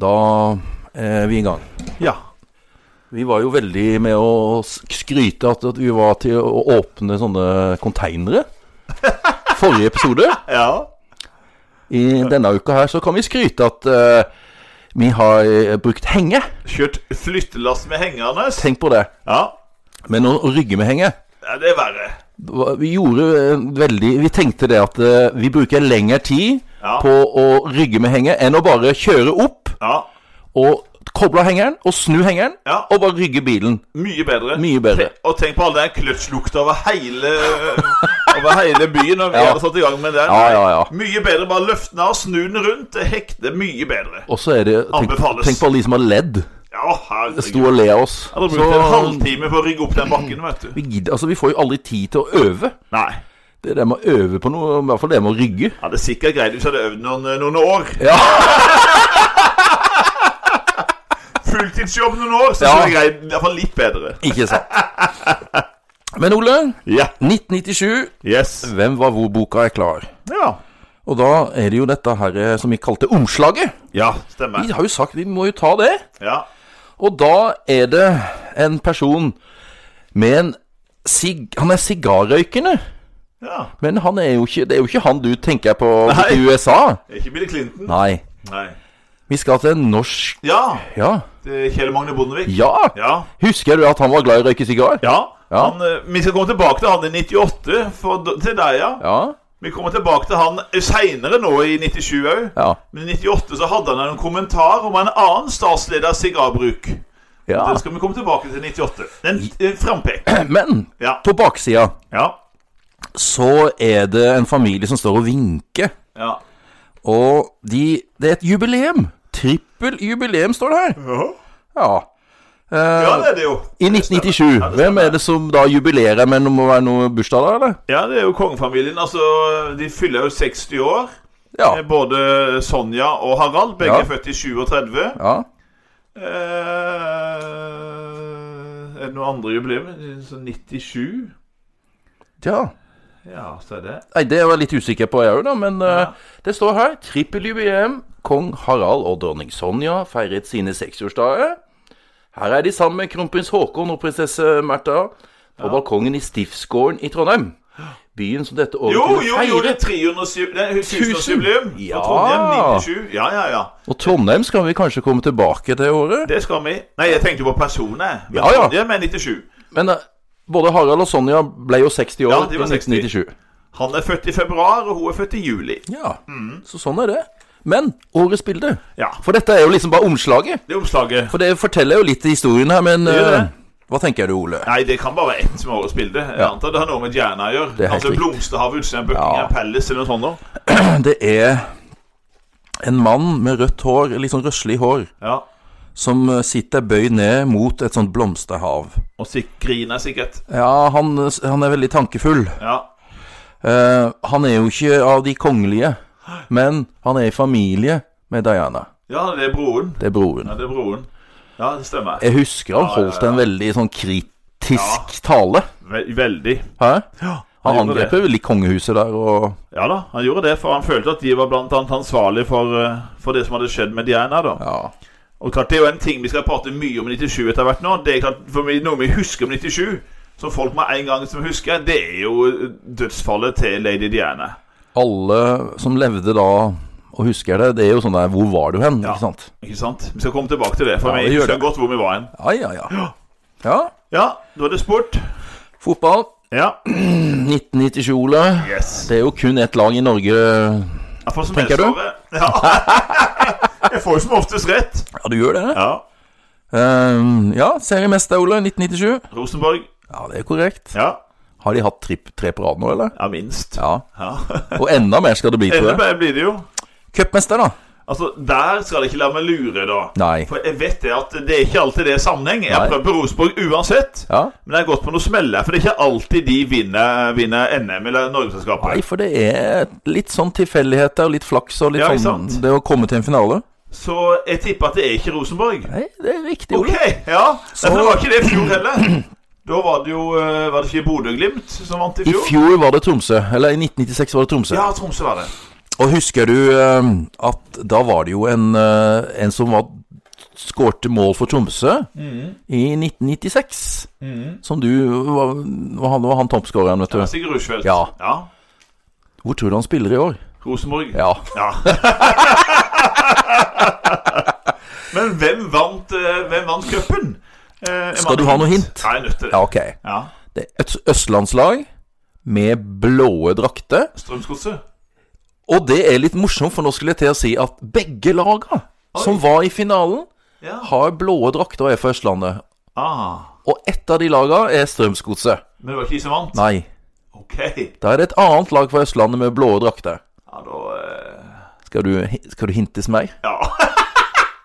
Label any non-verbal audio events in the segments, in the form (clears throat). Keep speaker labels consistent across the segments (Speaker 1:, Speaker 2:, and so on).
Speaker 1: Da er vi i gang.
Speaker 2: Ja.
Speaker 1: Vi var jo veldig med å s- skryte at, at vi var til å åpne sånne
Speaker 2: (laughs)
Speaker 1: konteinere. Forrige episode.
Speaker 2: Ja.
Speaker 1: I denne uka her så kan vi skryte at eh, vi har eh, brukt henge.
Speaker 2: Kjørt flyttelass med hengende.
Speaker 1: Tenk på det.
Speaker 2: Ja.
Speaker 1: Men å rygge med henge
Speaker 2: ja, det er verre.
Speaker 1: Vi gjorde eh, veldig Vi tenkte det at eh, vi bruker lengre tid
Speaker 2: Ja.
Speaker 1: på å rygge med henge enn å bare kjøre opp
Speaker 2: Ja.
Speaker 1: og koble av hengeren og snu hengeren
Speaker 2: Ja.
Speaker 1: og bare rygge bilen.
Speaker 2: Mye bedre.
Speaker 1: Mye bedre.
Speaker 2: Te- Og tenk på all den kløtsjlukta over hele (laughs) Over hele byen. Og vi
Speaker 1: Ja.
Speaker 2: hadde satt i gang med den.
Speaker 1: Ja, ja, ja.
Speaker 2: Mye bedre. Bare løfte den av, snu den rundt. Det hekter mye bedre.
Speaker 1: Og så er det Tenk,
Speaker 2: Anbefales.
Speaker 1: tenk på alle de som har ledd.
Speaker 2: Ja,
Speaker 1: Sto
Speaker 2: herregud.
Speaker 1: og le av oss.
Speaker 2: Jeg hadde
Speaker 1: Så
Speaker 2: brukt en halvtime på å rygge opp den bakken, vet
Speaker 1: (clears throat)
Speaker 2: du.
Speaker 1: vi, gidder, altså, vi får jo aldri tid til å øve.
Speaker 2: Nei.
Speaker 1: Det er det med å øve på noe, i hvert fall det med å rygge.
Speaker 2: Ja, det er sikkert greit hvis jeg hadde øvd noen, eh, noen år.
Speaker 1: Ja.
Speaker 2: (laughs) Fulltidsjobb noen år, så
Speaker 1: Ja.
Speaker 2: skulle det greit. I hvert fall litt bedre.
Speaker 1: Ikke
Speaker 2: (laughs)
Speaker 1: sant. Men Ole,
Speaker 2: Ja.
Speaker 1: 1997,
Speaker 2: Yes.
Speaker 1: Hvem var hvor-boka er klar.
Speaker 2: Ja.
Speaker 1: Og da er det jo dette her eh, som vi kalte omslaget.
Speaker 2: Ja, stemmer.
Speaker 1: Vi har jo sagt vi må jo ta det.
Speaker 2: Ja.
Speaker 1: Og da er det en person med en sig Han er sigarrøykende.
Speaker 2: ja.
Speaker 1: Men han er jo ikke, det er jo ikke han du tenker på i
Speaker 2: Nei.
Speaker 1: USA.
Speaker 2: Ikke Bill Clinton.
Speaker 1: Nei.
Speaker 2: Nei.
Speaker 1: Vi skal til en norsk
Speaker 2: Ja,
Speaker 1: Ja.
Speaker 2: det er Kjell Magne Bondevik.
Speaker 1: Ja!
Speaker 2: Ja.
Speaker 1: Husker du at han var glad i å røyke sigar?
Speaker 2: ja.
Speaker 1: Ja.
Speaker 2: Han, eh, vi skal komme tilbake til han i 98, for, d- til deg, ja.
Speaker 1: Ja.
Speaker 2: Vi kommer tilbake til han seinere nå, i 97 òg.
Speaker 1: Ja.
Speaker 2: Men i 98 så hadde han en kommentar om en annen statsleders sigarbruk.
Speaker 1: ja. (clears throat)
Speaker 2: Det skal vi komme tilbake til i 98. En, en frampek.
Speaker 1: Men
Speaker 2: Ja.
Speaker 1: på baksida
Speaker 2: Ja.
Speaker 1: så er det en familie som står og vinker.
Speaker 2: ja.
Speaker 1: Og de Det er et jubileum. Trippeljubileum står det her. Ja.
Speaker 2: Ja, det er det jo.
Speaker 1: I 1997. Hvem er det som da jubilerer med det må være noe bursdag da, eller?
Speaker 2: Ja, det er jo kongefamilien. Altså, de fyller jo 60 år.
Speaker 1: Ja.
Speaker 2: Eh, Både Sonja og Harald. Begge
Speaker 1: Ja.
Speaker 2: er født i 37.
Speaker 1: ja.
Speaker 2: Eh, er det noe andre jubileum? Så 97?
Speaker 1: Tja.
Speaker 2: Ja, så er det.
Speaker 1: Nei, det var jeg litt usikker på, jeg òg, da. Men eh,
Speaker 2: Ja.
Speaker 1: det står her trippeljubileum. Kong Harald og dronning Sonja feiret sine seksårsdager. Her er de sammen med kronprins Haakon og prinsesse Märtha på balkongen i Stiftsgården i Trondheim. Byen som dette året
Speaker 2: Jo,
Speaker 1: kunne
Speaker 2: jo, jo, det er
Speaker 1: feire.
Speaker 2: 300 det er 1000-årsjubileum for
Speaker 1: Ja.
Speaker 2: Trondheim. 97. Ja, ja, ja.
Speaker 1: Og Trondheim skal vi kanskje komme tilbake til året.
Speaker 2: Det skal vi. Nei, jeg tenkte jo på personer. Men
Speaker 1: Ja, ja.
Speaker 2: Trondheim er 97.
Speaker 1: Men eh, både Harald og Sonja ble jo 60 år
Speaker 2: Ja, de var
Speaker 1: i 1997.
Speaker 2: Han er født i februar, og hun er født i juli.
Speaker 1: Ja, Så sånn er det. Men årets bilde
Speaker 2: Mm. Ja.
Speaker 1: For dette er jo liksom bare omslaget.
Speaker 2: Det er omslaget.
Speaker 1: For det forteller jo litt i historien her, men
Speaker 2: gjør
Speaker 1: eh,
Speaker 2: det.
Speaker 1: hva tenker du, Ole? (clears throat)
Speaker 2: Nei, det kan bare være ett som er årets bilde. Jeg
Speaker 1: Ja.
Speaker 2: antar det har noe med Jerna
Speaker 1: Det
Speaker 2: å gjøre.
Speaker 1: er helt
Speaker 2: Altså
Speaker 1: riktig.
Speaker 2: Blomsterhavet utsiden av Buckingham
Speaker 1: Ja.
Speaker 2: Palace eller noe sånt. nå.
Speaker 1: Det er en mann med rødt hår, litt sånn røslig hår,
Speaker 2: Ja.
Speaker 1: som eh, sitter bøyd ned mot et sånt blomsterhav.
Speaker 2: Og sik- griner sikkert.
Speaker 1: Ja, han, eh, han er veldig tankefull.
Speaker 2: Ja.
Speaker 1: Eh, han er jo ikke av de kongelige, men han er i familie med Diana.
Speaker 2: ja, det er broren.
Speaker 1: Det er broren.
Speaker 2: Ja, det er broren. Ja, det stemmer.
Speaker 1: Jeg husker han
Speaker 2: Ja, ja,
Speaker 1: holdt en veldig sånn kritisk tale.
Speaker 2: Ve veldig.
Speaker 1: Hæ? Han
Speaker 2: gjorde
Speaker 1: angrep
Speaker 2: det.
Speaker 1: jo veldig kongehuset der, og
Speaker 2: Ja da, han gjorde det, for han følte at de var blant annet ansvarlig for, eh, for det som hadde skjedd med Diana. da.
Speaker 1: ja.
Speaker 2: Og klart, Det er jo en ting vi skal prate mye om 97 etter hvert nå. Det er klart, for vi- Noe vi husker om 97, som folk med en gang som husker, det er jo eh, dødsfallet til lady Diana.
Speaker 1: Alle som levde da og husker det, det er jo sånn der Hvor var du hen?
Speaker 2: Ja.
Speaker 1: Ikke sant?
Speaker 2: Ikke sant? Vi skal komme tilbake til det, for
Speaker 1: Ja,
Speaker 2: vi
Speaker 1: vi gjør
Speaker 2: husker
Speaker 1: det.
Speaker 2: godt hvor vi var hen.
Speaker 1: Ja, ja, ja. Ja,
Speaker 2: Ja, da er det sport.
Speaker 1: fotball.
Speaker 2: Ja.
Speaker 1: 1997, Ole.
Speaker 2: Yes.
Speaker 1: Det er jo kun ett lag i Norge Ja,
Speaker 2: Jeg får som
Speaker 1: Tenker
Speaker 2: helst
Speaker 1: du?
Speaker 2: over. (laughs) Ja. Jeg får jo som oftest rett.
Speaker 1: du gjør det? Ja,
Speaker 2: Ja.
Speaker 1: ja seriemester, Ole. 1997.
Speaker 2: Rosenborg.
Speaker 1: Ja, det er korrekt.
Speaker 2: Ja.
Speaker 1: Har de hatt tripp tre på rad nå, eller?
Speaker 2: Ja, minst.
Speaker 1: Ja.
Speaker 2: (laughs) Ja.
Speaker 1: Og enda mer skal det bli, tror jeg.
Speaker 2: Elleve blir det jo.
Speaker 1: Cupmester, da?
Speaker 2: Altså, Der skal jeg ikke la meg lure, da.
Speaker 1: Nei.
Speaker 2: For jeg vet det at det er ikke alltid det er sammenheng. Jeg har
Speaker 1: Nei.
Speaker 2: prøvd på Rosenborg uansett,
Speaker 1: Ja.
Speaker 2: men jeg har gått på noe smeller. For det er ikke alltid de vinner, vinner NM eller
Speaker 1: Nei,
Speaker 2: Norgesmesterskapet.
Speaker 1: for det er litt sånn tilfeldigheter og litt flaks og litt
Speaker 2: Ja, ikke
Speaker 1: sånn
Speaker 2: sant?
Speaker 1: Det å komme til en finale.
Speaker 2: Så jeg tipper at det er ikke Rosenborg.
Speaker 1: Nei, det er riktig.
Speaker 2: Ok,
Speaker 1: Ole.
Speaker 2: ja.
Speaker 1: Så-
Speaker 2: Så... Det var ikke det i fjor heller. (clears throat) Da var det jo eh, Var det ikke Bodø-Glimt som vant i
Speaker 1: I
Speaker 2: fjor?
Speaker 1: fjor var det Tromsø. Eller i 1996 var det Tromsø.
Speaker 2: Ja, Tromsø var det.
Speaker 1: Og husker du eh, at da var det jo en, eh, en som var skårte mål for Tromsø i 1996. Som du var, var han, var han toppskåreren, vet
Speaker 2: Det var
Speaker 1: du.
Speaker 2: Sigurd Rushfeldt.
Speaker 1: Ja.
Speaker 2: ja.
Speaker 1: Hvor tror du han spiller i år?
Speaker 2: Rosenborg.
Speaker 1: Ja.
Speaker 2: Ja. (laughs) Men hvem vant eh, Hvem vant cupen? Eh,
Speaker 1: Skal du
Speaker 2: Emanuel
Speaker 1: ha noe
Speaker 2: Hint?
Speaker 1: hint?
Speaker 2: Ja, jeg er nødt til det.
Speaker 1: ja, ok.
Speaker 2: Ja.
Speaker 1: Det er et østlandslag med blåe drakter.
Speaker 2: Strømsgodset.
Speaker 1: Og det er litt morsomt, for nå skulle jeg til å si at begge laga som var i finalen,
Speaker 2: Ja.
Speaker 1: har blåe drakter og er fra Østlandet.
Speaker 2: Ah.
Speaker 1: Og ett av de laga er Strømsgodset.
Speaker 2: Men det var ikke de som vant?
Speaker 1: Nei.
Speaker 2: Ok.
Speaker 1: Da er det et annet lag fra Østlandet med blåe drakter.
Speaker 2: Ja, da eh,
Speaker 1: Skal du, skal du hintes mer?
Speaker 2: Ja. (laughs)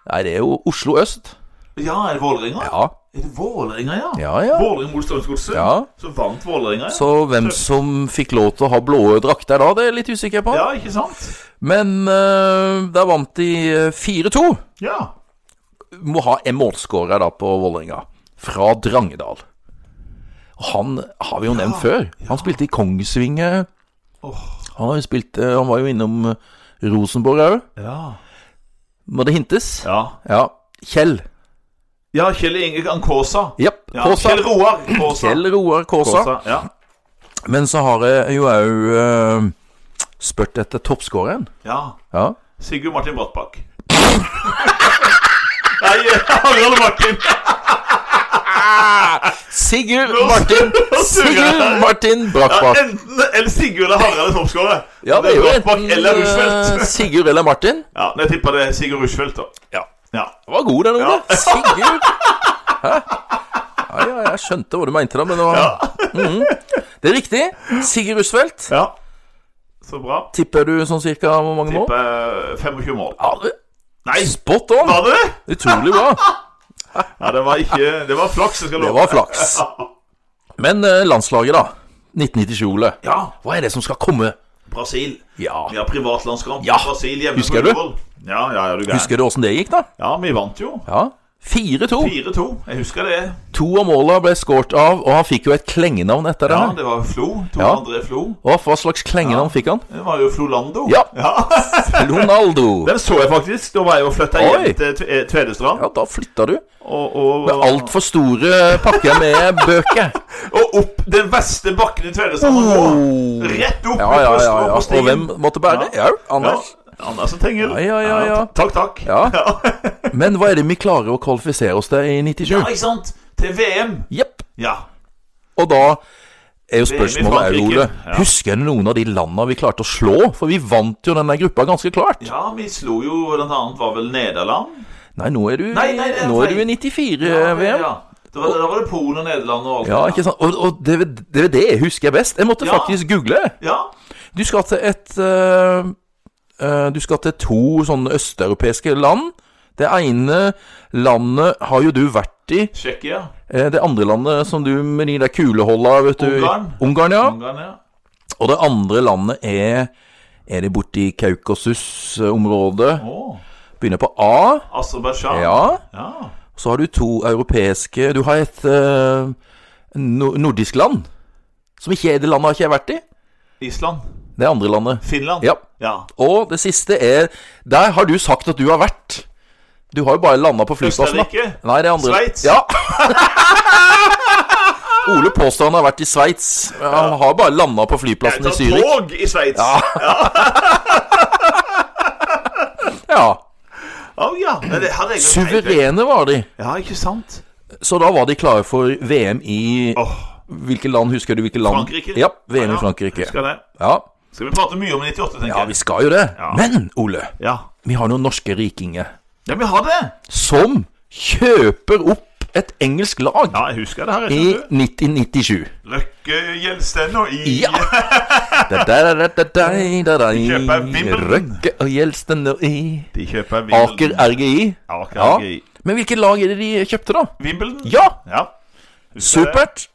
Speaker 1: Nei, det er jo Oslo øst.
Speaker 2: ja, er det Vålerenga?
Speaker 1: Ja,
Speaker 2: Er det Vålerenga, ja?
Speaker 1: ja, ja.
Speaker 2: Vålerenga mot Strømsgodset?
Speaker 1: Ja.
Speaker 2: Så vant Vålerenga? ja.
Speaker 1: Så hvem som fikk lov til å ha blåe drakter da, det er jeg litt usikker på.
Speaker 2: Ja, ikke sant?
Speaker 1: Men uh, der vant de eh, 4-2.
Speaker 2: Ja.
Speaker 1: Må ha en målskårer da på Vålerenga. Fra Drangedal. Og Han har vi jo nevnt før. Han spilte i Kongsvinger.
Speaker 2: Åh.
Speaker 1: Han, har jo spilt, eh, han var jo innom eh, Rosenborg òg.
Speaker 2: Ja.
Speaker 1: Må det hintes?
Speaker 2: Ja,
Speaker 1: Ja. Kjell.
Speaker 2: ja Kjell Inge Kåsa.
Speaker 1: Japp.
Speaker 2: Ja,
Speaker 1: Kåsa.
Speaker 2: Kjell Roar Kåsa.
Speaker 1: Kjell Roar Kåsa.
Speaker 2: Kåsa. Ja.
Speaker 1: Men så har jeg jo òg eh, spurt etter toppskåreren.
Speaker 2: ja.
Speaker 1: Ja.
Speaker 2: Sigurd Martin Brattbakk. (laughs) Nei, Harald Martin.
Speaker 1: Sigurd Martin Sigurd Martin
Speaker 2: Ja,
Speaker 1: Brakbakk.
Speaker 2: enten eller Sigurd eller Harald er toppskårer.
Speaker 1: Ja, det er jo
Speaker 2: Brattbakk eller
Speaker 1: enten eh,
Speaker 2: Rushfeldt.
Speaker 1: Sigurd eller Martin.
Speaker 2: Ja, men jeg tipper det er Sigurd Rushfeldt, da.
Speaker 1: Ja.
Speaker 2: Ja.
Speaker 1: Det var god, den unge.
Speaker 2: Ja.
Speaker 1: Sigurd. Hæ? Ja, ja, jeg skjønte hva du mente, da, men det var Mhm. Det er riktig. Sigurd Russfeldt.
Speaker 2: ja. Så bra.
Speaker 1: Tipper du sånn cirka hvor mange mål?
Speaker 2: Tipper eh, 25 mål.
Speaker 1: Ja, det-
Speaker 2: Nei,
Speaker 1: Spot on!
Speaker 2: var det det?
Speaker 1: Utrolig bra.
Speaker 2: Ja, det var ikke Det var flaks. Jeg skal
Speaker 1: Det
Speaker 2: love.
Speaker 1: var flaks. Men eh, landslaget, da. 1997-Ole.
Speaker 2: Ja.
Speaker 1: Hva er det som skal komme?
Speaker 2: Brasil.
Speaker 1: Ja.
Speaker 2: Vi har privatlandskamp.
Speaker 1: Ja.
Speaker 2: Brasil hjemme
Speaker 1: Husker
Speaker 2: på
Speaker 1: du?
Speaker 2: Ullevål. Ja, ja, ja, du er gæren.
Speaker 1: Husker du åssen det gikk, da?
Speaker 2: Ja, vi vant jo.
Speaker 1: Ja. 4-2.
Speaker 2: 4-2. Jeg husker det.
Speaker 1: To av måla ble skåret av, og han fikk jo et klengenavn etter det.
Speaker 2: Ja,
Speaker 1: her.
Speaker 2: det var Flo. Tor
Speaker 1: Ja.
Speaker 2: André Flo.
Speaker 1: Hva, hva slags klengenavn fikk (laughs) han?
Speaker 2: Det var jo Flolando.
Speaker 1: Ja.
Speaker 2: ja. (laughs)
Speaker 1: Ronaldo.
Speaker 2: Den så jeg faktisk. Da var jeg og flytta
Speaker 1: Oi.
Speaker 2: hjem til Tve- eh, Tvedestrand.
Speaker 1: Ja, da flytta du.
Speaker 2: Og, og,
Speaker 1: Med altfor store eh, pakker (laughs) med bøker.
Speaker 2: og opp den verste bakken i Tvedestrand. man
Speaker 1: Oh.
Speaker 2: går. Rett opp
Speaker 1: Ja,
Speaker 2: på
Speaker 1: ja,
Speaker 2: Østre
Speaker 1: ja. ja.
Speaker 2: på
Speaker 1: Og
Speaker 2: stigen.
Speaker 1: hvem måtte bære?
Speaker 2: Ja.
Speaker 1: Ja, Anders.
Speaker 2: Ja, Andersen Tengel.
Speaker 1: Ja, ja, ja, ja.
Speaker 2: Takk, takk.
Speaker 1: Ja. (laughs) Men hva er det vi klarer å kvalifisere oss til i
Speaker 2: Ja,
Speaker 1: 97?
Speaker 2: ikke sant? Til VM.
Speaker 1: Jepp.
Speaker 2: Ja.
Speaker 1: Og da er jo
Speaker 2: er vi i
Speaker 1: spørsmålet her,
Speaker 2: Frankrike.
Speaker 1: Ole
Speaker 2: Ja.
Speaker 1: Husker du noen av de landa vi klarte å slå? For vi vant jo denne gruppa ganske klart.
Speaker 2: ja, vi slo jo blant annet var vel Nederland.
Speaker 1: Nei, nå er du,
Speaker 2: Nei, nei, det er
Speaker 1: nå er du i
Speaker 2: feil. Ja,
Speaker 1: 94-VM.
Speaker 2: Ja. Da var, det, da var det Polen og Nederland og alt
Speaker 1: Eh, Ja,
Speaker 2: det der.
Speaker 1: ikke sant? Og, og det, det, det husker jeg best. Jeg måtte
Speaker 2: Ja.
Speaker 1: faktisk google.
Speaker 2: Ja.
Speaker 1: Du skal til et øh, øh, Du skal til to sånne østeuropeiske land. Det ene landet har jo du vært i.
Speaker 2: Tsjekkia.
Speaker 1: Eh, Det andre landet som du med de der kuleholda vet du
Speaker 2: Ungarn.
Speaker 1: Ungarn, ja.
Speaker 2: Ungarn, ja.
Speaker 1: Og det andre landet er Er det borti Kaukasus-området?
Speaker 2: Å,
Speaker 1: Begynner på A.
Speaker 2: Aserbajdsjan.
Speaker 1: Ja.
Speaker 2: ja.
Speaker 1: Så har du to europeiske Du har et øh, no- nordisk land. Som ikke er det landet har ikke jeg vært i.
Speaker 2: Island.
Speaker 1: Det andre landet.
Speaker 2: Finland.
Speaker 1: Ja.
Speaker 2: ja.
Speaker 1: Og det siste er Der har du sagt at du har vært. Du har jo bare landa på flyplassen. da.
Speaker 2: Østerrike?
Speaker 1: Nei, det andre
Speaker 2: Sveits?
Speaker 1: Ja. (laughs) Ole påstår han har vært i Sveits. men Han har bare landa på
Speaker 2: Jeg
Speaker 1: flyplassen i
Speaker 2: tar
Speaker 1: Zürich.
Speaker 2: tog i Sveits. Ja.
Speaker 1: Ja.
Speaker 2: ja. Nei, det hadde jeg glemt helt.
Speaker 1: Suverene var de.
Speaker 2: Ja, ikke sant?
Speaker 1: Så da var de klare for VM i
Speaker 2: Åh,
Speaker 1: Hvilke land husker du? hvilke land?
Speaker 2: Frankrike?
Speaker 1: Ja, VM
Speaker 2: Ja,
Speaker 1: i Frankrike.
Speaker 2: Skal, det.
Speaker 1: Ja.
Speaker 2: skal vi prate mye om 98, tenker
Speaker 1: ja,
Speaker 2: jeg.
Speaker 1: vi skal jo det.
Speaker 2: Ja.
Speaker 1: Men, Ole,
Speaker 2: Ja.
Speaker 1: vi har noen norske rikinger
Speaker 2: ja, vi har det!
Speaker 1: som kjøper opp et engelsk lag
Speaker 2: Ja, jeg husker det her.
Speaker 1: i
Speaker 2: Jeg
Speaker 1: 1997.
Speaker 2: Røkke Gjelsten og I. (laughs)
Speaker 1: Ja. Da, da, da, da, da, da, da, i.
Speaker 2: kjøper Wimbledon.
Speaker 1: Røkke og Gjelsten og i
Speaker 2: De kjøper
Speaker 1: Aker
Speaker 2: Wimbledon.
Speaker 1: RGI.
Speaker 2: Aker
Speaker 1: Ja.
Speaker 2: RGI.
Speaker 1: Men hvilket lag er det de kjøpte, da?
Speaker 2: Wimbledon?
Speaker 1: Ja,
Speaker 2: Ja. Husker jeg det?
Speaker 1: supert!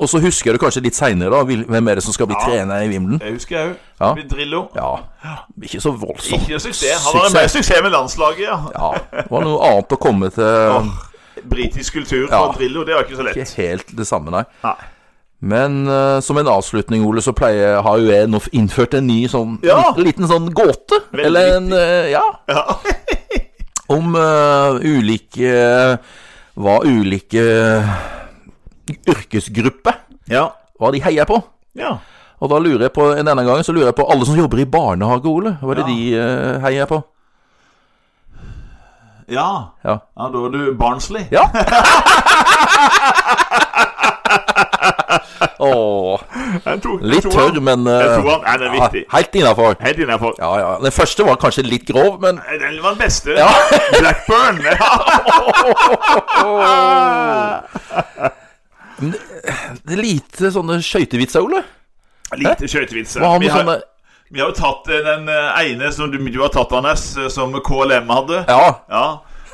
Speaker 1: Og så husker du kanskje litt seinere, da. hvil- Hvem er det som skal bli trener i Wimbledon?
Speaker 2: Jeg husker jeg òg.
Speaker 1: Ja.
Speaker 2: Drillo.
Speaker 1: Ja, ikke så voldsomt.
Speaker 2: Ikke suksess. Han hadde mer suksess med landslaget, ja.
Speaker 1: Ja, det var noe annet å komme til.
Speaker 2: Britisk kultur
Speaker 1: Ja.
Speaker 2: fra Drillo, det var ikke så lett.
Speaker 1: Ikke helt det samme, nei.
Speaker 2: Nei.
Speaker 1: Men eh, som en avslutning, Ole, så pleier, har jo jeg nå innført en ny sånn
Speaker 2: Ja.
Speaker 1: liten, liten sånn gåte.
Speaker 2: Veldig
Speaker 1: eller en eh, Ja. Om eh, ulike Hva ulike yrkesgrupper
Speaker 2: Ja.
Speaker 1: Hva de heier på.
Speaker 2: ja.
Speaker 1: Og da lurer jeg på denne gangen så lurer jeg på alle som jobber i barnehage, Ole. Hva er det
Speaker 2: Ja.
Speaker 1: de eh, heier på?
Speaker 2: Ja.
Speaker 1: Ja.
Speaker 2: Ja, da er du barnslig.
Speaker 1: ja. Åh,
Speaker 2: Jeg tror- jeg
Speaker 1: litt
Speaker 2: tror
Speaker 1: tørr,
Speaker 2: han-
Speaker 1: men eh,
Speaker 2: Jeg tror han er den viktig.
Speaker 1: ja, helt innafor.
Speaker 2: Helt innafor.
Speaker 1: Ja, ja. Den første var kanskje litt grov,
Speaker 2: (laughs)
Speaker 1: men
Speaker 2: Eh, Den var den beste.
Speaker 1: ja.
Speaker 2: (laughs)
Speaker 1: (laughs)
Speaker 2: Blackburn. Ja.
Speaker 1: Det er lite sånne skøytevitser, Ole.
Speaker 2: Lite skøytevitser.
Speaker 1: Hva har
Speaker 2: Vi
Speaker 1: med
Speaker 2: har-
Speaker 1: sånne
Speaker 2: Vi har jo tatt eh, den eh, ene som du, du har tatt, Anders, eh, som KLM hadde.
Speaker 1: Ja.
Speaker 2: Ja,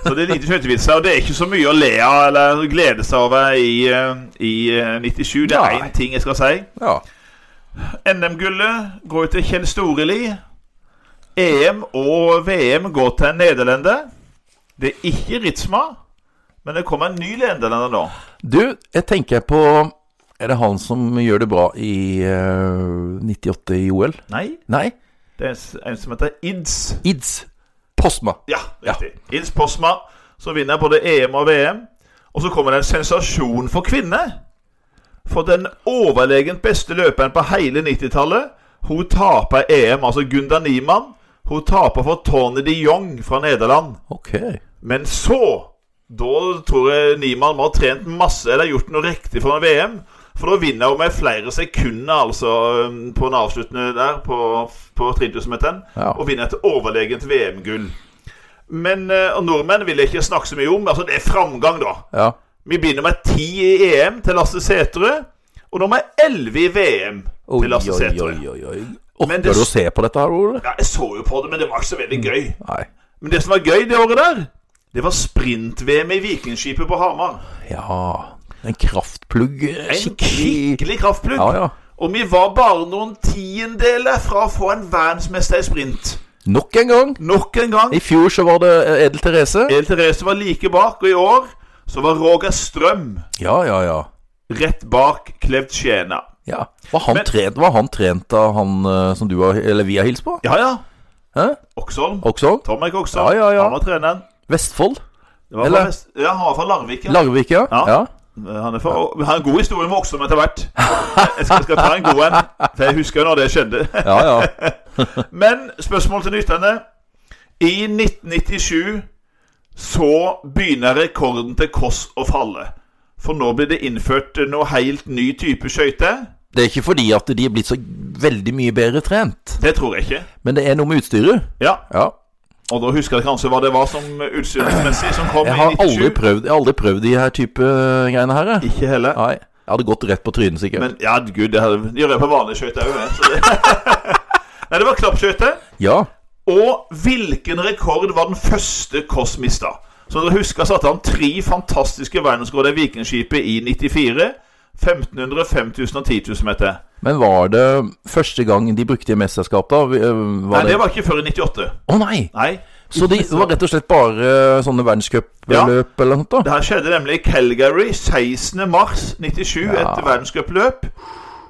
Speaker 2: Så det er lite skøytevitser, og det er ikke så mye å le av eller glede seg over i, eh, i eh, 97. Det er
Speaker 1: Nei.
Speaker 2: én ting jeg skal si.
Speaker 1: ja.
Speaker 2: NM-gullet går jo til Kjell Storeli. EM og VM går til en nederlender. Det er ikke Ritsma, men det kommer en ny nederlender nå.
Speaker 1: Du, jeg tenker på Er det han som gjør det bra i eh, 98 i OL?
Speaker 2: Nei,
Speaker 1: Nei,
Speaker 2: det er en s- en som heter Ids.
Speaker 1: Ids Posma.
Speaker 2: Ja, riktig. Ils Posma, som vinner både EM og VM. Og så kommer det en sensasjon for kvinner. For den overlegent beste løperen på hele 90-tallet, hun taper EM, altså Gunda Niemann. Hun taper for Tony de Jong fra Nederland.
Speaker 1: Ok.
Speaker 2: Men så Da tror jeg Niemann må ha trent masse eller gjort noe riktig for en VM. For da vinner hun med flere sekunder altså øhm, på den avsluttende der, på, på 3000-meteren.
Speaker 1: Ja.
Speaker 2: Og vinner et overlegent VM-gull. Men øh, og nordmenn vil jeg ikke snakke så mye om. Altså, det er framgang, da.
Speaker 1: Ja.
Speaker 2: Vi begynner med 10 i EM til Lasse Sætre. Og nummer 11 i VM
Speaker 1: Oi,
Speaker 2: til Lasse
Speaker 1: oi,
Speaker 2: Sætre.
Speaker 1: oi, oi, oi.
Speaker 2: Men
Speaker 1: Orker
Speaker 2: det-
Speaker 1: du å se på dette her, Ole?
Speaker 2: Ja, jeg så jo på det, men det var ikke så veldig gøy.
Speaker 1: Nei.
Speaker 2: Men det som var gøy det året der, det var sprint-VM i Vikingskipet på Hamar.
Speaker 1: Ja En kraftplugg. eh,
Speaker 2: En skikkelig kraftplugg.
Speaker 1: Ja, ja.
Speaker 2: Og vi var bare noen tiendeler fra å få en verdensmester i sprint.
Speaker 1: Nok en gang.
Speaker 2: Nok en gang.
Speaker 1: I fjor så var det eh, Edel Therese.
Speaker 2: El Therese var like bak, og i år så var Roger Strøm
Speaker 1: Ja, ja, ja.
Speaker 2: rett bak Klevd Tjena.
Speaker 1: ja. Var, han
Speaker 2: Men-
Speaker 1: trent, var han trent av han eh, som du har, eller vi har hilst på?
Speaker 2: Ja, ja.
Speaker 1: Hæ?
Speaker 2: Oksholm.
Speaker 1: Også?
Speaker 2: Tomek Oksholm.
Speaker 1: Ja, ja, ja.
Speaker 2: Han var treneren.
Speaker 1: Vestfold?
Speaker 2: Det var
Speaker 1: Eller-
Speaker 2: fra Vest... Ja, han var fra Larvik. Ja.
Speaker 1: Larvik, ja.
Speaker 2: Ja.
Speaker 1: ja.
Speaker 2: Han er fra... Han har en god historie med Oksholm etter hvert. Jeg skal, skal ta en god en, for jeg husker jo når det skjedde.
Speaker 1: Ja, ja.
Speaker 2: Men spørsmål til lytterne. I 1997 så begynner rekorden til Kåss å falle. For nå blir det innført noe helt ny type skøyter.
Speaker 1: Det er ikke fordi at de er blitt så veldig mye bedre trent,
Speaker 2: Det tror jeg ikke.
Speaker 1: men det er noe med utstyret.
Speaker 2: Ja,
Speaker 1: Ja.
Speaker 2: Og da husker jeg kanskje hva det var som utstyrsmessig som kom i
Speaker 1: Jeg har
Speaker 2: 97.
Speaker 1: aldri prøvd, jeg har aldri prøvd de her type eh, greiene her. jeg.
Speaker 2: Ikke heller.
Speaker 1: Nei. Jeg hadde gått rett på trynet, sikkert.
Speaker 2: Men ja, gud, det her- det gjør jeg på vanlige skøyter òg. (laughs) Nei, det var klappskøyter.
Speaker 1: Ja.
Speaker 2: Og hvilken rekord var den første Kåss mista? Som dere husker, satte han tre fantastiske verdensrekord i Vikingskipet i 94. 1500, 5000 og 10 000 meter.
Speaker 1: Men var det første gang de brukte i mesterskap, da? Vi- eh,
Speaker 2: Nei,
Speaker 1: Var
Speaker 2: det var ikke før i 98.
Speaker 1: Å nei!
Speaker 2: Nei.
Speaker 1: Så de, det var rett og slett bare eh, sånne verdenscupløp eller noe sånt? da?
Speaker 2: Det her skjedde nemlig i Calgary 16. mars 97, et verdenscupløp.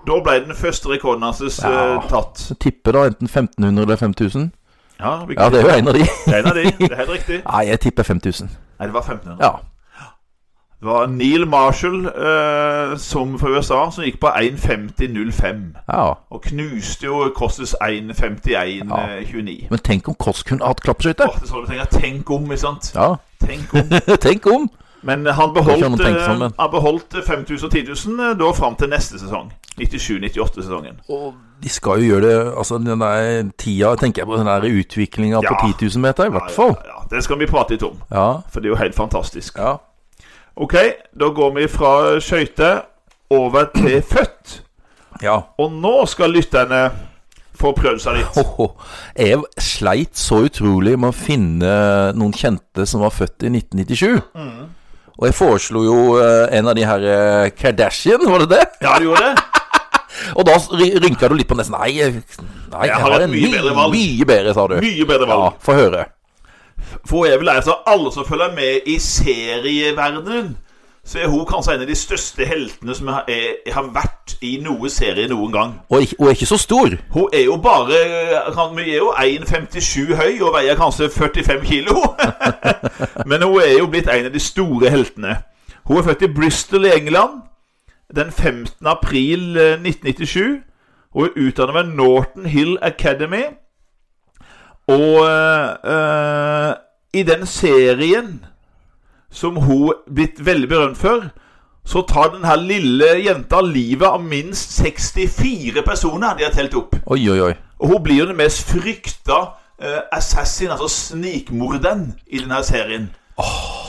Speaker 2: Da ble den første rekorden hans eh,
Speaker 1: Ja.
Speaker 2: tatt.
Speaker 1: Så tipper da enten 1500 eller 5000.
Speaker 2: Ja, vi-
Speaker 1: Ja, det er jo en av de.
Speaker 2: (laughs) det er en av de. Det er helt
Speaker 1: (laughs)
Speaker 2: riktig.
Speaker 1: Nei, jeg tipper 5000.
Speaker 2: Nei, det var 1500.
Speaker 1: Ja.
Speaker 2: Det var Neil Marshall eh, som fra USA som gikk på 1.50,05.
Speaker 1: ja.
Speaker 2: Og knuste jo Kostes 1.51,29.
Speaker 1: Men tenk om Kåss kunne hatt klappskøyter!
Speaker 2: eh, Åh, det er sånn du tenker, Tenk om, ikke sant?
Speaker 1: Ja. (laughs)
Speaker 2: Tenk om.
Speaker 1: tenk om!
Speaker 2: Men eh, han
Speaker 1: Det kan
Speaker 2: beholdt,
Speaker 1: man tenke sånn,
Speaker 2: eh,
Speaker 1: men.
Speaker 2: han beholdt 5000 og 10.000 eh, da fram til neste sesong. 97-98-sesongen.
Speaker 1: Og de skal jo gjøre det Altså, den der tida tenker jeg på den der utviklinga på
Speaker 2: Ja.
Speaker 1: 10 000 meter, i hvert fall.
Speaker 2: Ja, ja, det skal vi prate litt om,
Speaker 1: Ja.
Speaker 2: for det er jo helt fantastisk.
Speaker 1: ja.
Speaker 2: Ok, da går vi fra skøyter over til født.
Speaker 1: ja.
Speaker 2: Og nå skal lytterne få prøvd seg litt.
Speaker 1: Hoho. Jeg sleit så utrolig med å finne noen kjente som var født i 1997. Og jeg foreslo jo eh, en av de her eh, Kardashian, var det det?
Speaker 2: Ja, du gjorde det?
Speaker 1: Og da ry- rynka du litt på nesten. Nei, jeg- nei
Speaker 2: har et mye bedre valg.
Speaker 1: Mye bedre, sa du.
Speaker 2: Mye bedre
Speaker 1: Ja,
Speaker 2: valg.
Speaker 1: få høre.
Speaker 2: For jeg vil altså alle som følger med i serieverdenen, så er hun kanskje en av de største heltene som har, er, har vært i noe serie noen gang.
Speaker 1: Og, ikke- og er ikke så stor.
Speaker 2: Hun er jo bare kan- Hun er jo 1,57 høy og veier kanskje 45 kilo. (laughs) Men hun er jo blitt en av de store heltene. Hun er født i Bristol i England den 15. april eh, 1997. Hun er utdannet ved Norton Hill Academy. Og eh, eh, i den serien som hun blitt veldig berømt for, så tar den her lille jenta livet av minst 64 personer de har telt opp.
Speaker 1: Oi, oi, oi.
Speaker 2: Og hun blir jo den mest frykta eh, assassin, altså snikmorderen, i denne serien.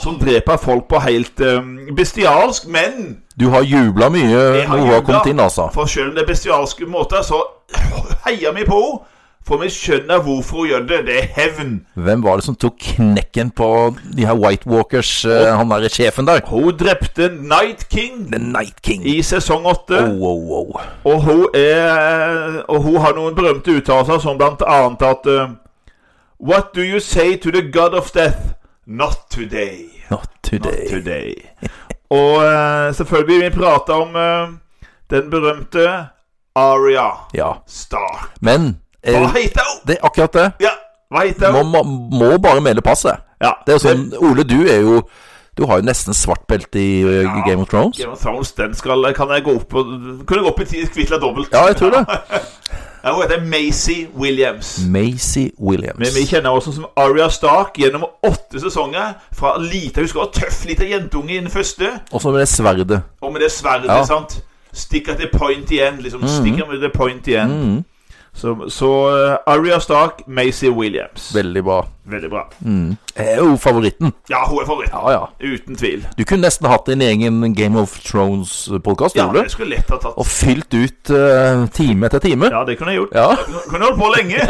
Speaker 2: Som dreper folk på helt eh, bestialsk, men
Speaker 1: Du har jubla mye når hun har kommet inn, altså.
Speaker 2: For selv om det er bestialske måter, så (laughs) heier vi på henne. For vi skjønner hvorfor hun gjør det. Det er hevn.
Speaker 1: Hvem var det som tok knekken på de her White Walkers, eh, han derre sjefen der?
Speaker 2: Hun drepte Night King
Speaker 1: The Night King.
Speaker 2: i sesong åtte.
Speaker 1: Oh, oh, oh.
Speaker 2: Og hun, er, og hun har noen berømte uttalelser, som blant annet at eh, What do you say to the god of death? Not today.
Speaker 1: Not
Speaker 2: Not
Speaker 1: today.
Speaker 2: today. og eh, selvfølgelig vi prater om eh, den berømte Aria
Speaker 1: Ja.
Speaker 2: Star.
Speaker 1: Men
Speaker 2: Hva
Speaker 1: eh,
Speaker 2: heter hun?
Speaker 1: det er akkurat det.
Speaker 2: Ja, hva heter
Speaker 1: Må,
Speaker 2: hun?
Speaker 1: må, må bare melde passet.
Speaker 2: Ja,
Speaker 1: Det er jo sånn Ole, du er jo Du har jo nesten svart belte i eh, Game of Thrones.
Speaker 2: Game of Thrones, den skal, kan jeg gå opp på Kunne gå opp i ti kvittla dobbelt.
Speaker 1: Ja, jeg tror det.
Speaker 2: (laughs) Ja, hun heter Macy Williams.
Speaker 1: Mm. Macy
Speaker 2: Men vi
Speaker 1: Williams.
Speaker 2: kjenner henne også som Aria Stark gjennom åtte sesonger. Fra lite, Hun skal være tøff lita jentunge i den første,
Speaker 1: Og så med det sverdet.
Speaker 2: og med det sverdet.
Speaker 1: Ja. Mm.
Speaker 2: sant? Stick at the point igjen. liksom Stick at the point igjen.
Speaker 1: Mhm.
Speaker 2: Så, så eh, Aria Stark, Macy Williams.
Speaker 1: Veldig bra.
Speaker 2: Veldig bra.
Speaker 1: Er jo favoritten.
Speaker 2: Ja, hun er favoritten.
Speaker 1: Ja, ja.
Speaker 2: Uten tvil.
Speaker 1: Du kunne nesten hatt din egen Game of Thrones-podkast,
Speaker 2: Ja,
Speaker 1: Ole.
Speaker 2: jeg skulle lett ha
Speaker 1: Og
Speaker 2: tatt
Speaker 1: fylt ut eh, time etter time.
Speaker 2: Ja, det kunne jeg gjort.
Speaker 1: Ja.
Speaker 2: Kunne holdt på
Speaker 1: (laughs)
Speaker 2: lenge.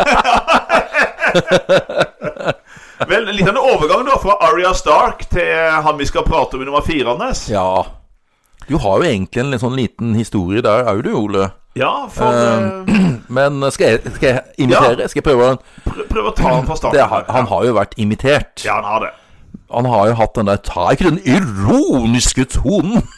Speaker 2: Vel, litt av en overgang da fra Aria Stark til eh, han vi skal prate om i nummer fire, Anders.
Speaker 1: ja. Du har jo egentlig en litt sånn liten historie der òg, du, Ole.
Speaker 2: Ja, for
Speaker 1: Eh,
Speaker 2: eh,
Speaker 1: Men skal jeg, skal jeg imitere? Skal jeg prøve? å-
Speaker 2: prøv, prøv å ta han fra starten.
Speaker 1: Det, har- han har jo vært imitert.
Speaker 2: Ja, han har det.
Speaker 1: Han har jo hatt den der Ta ikke den ironiske tonen!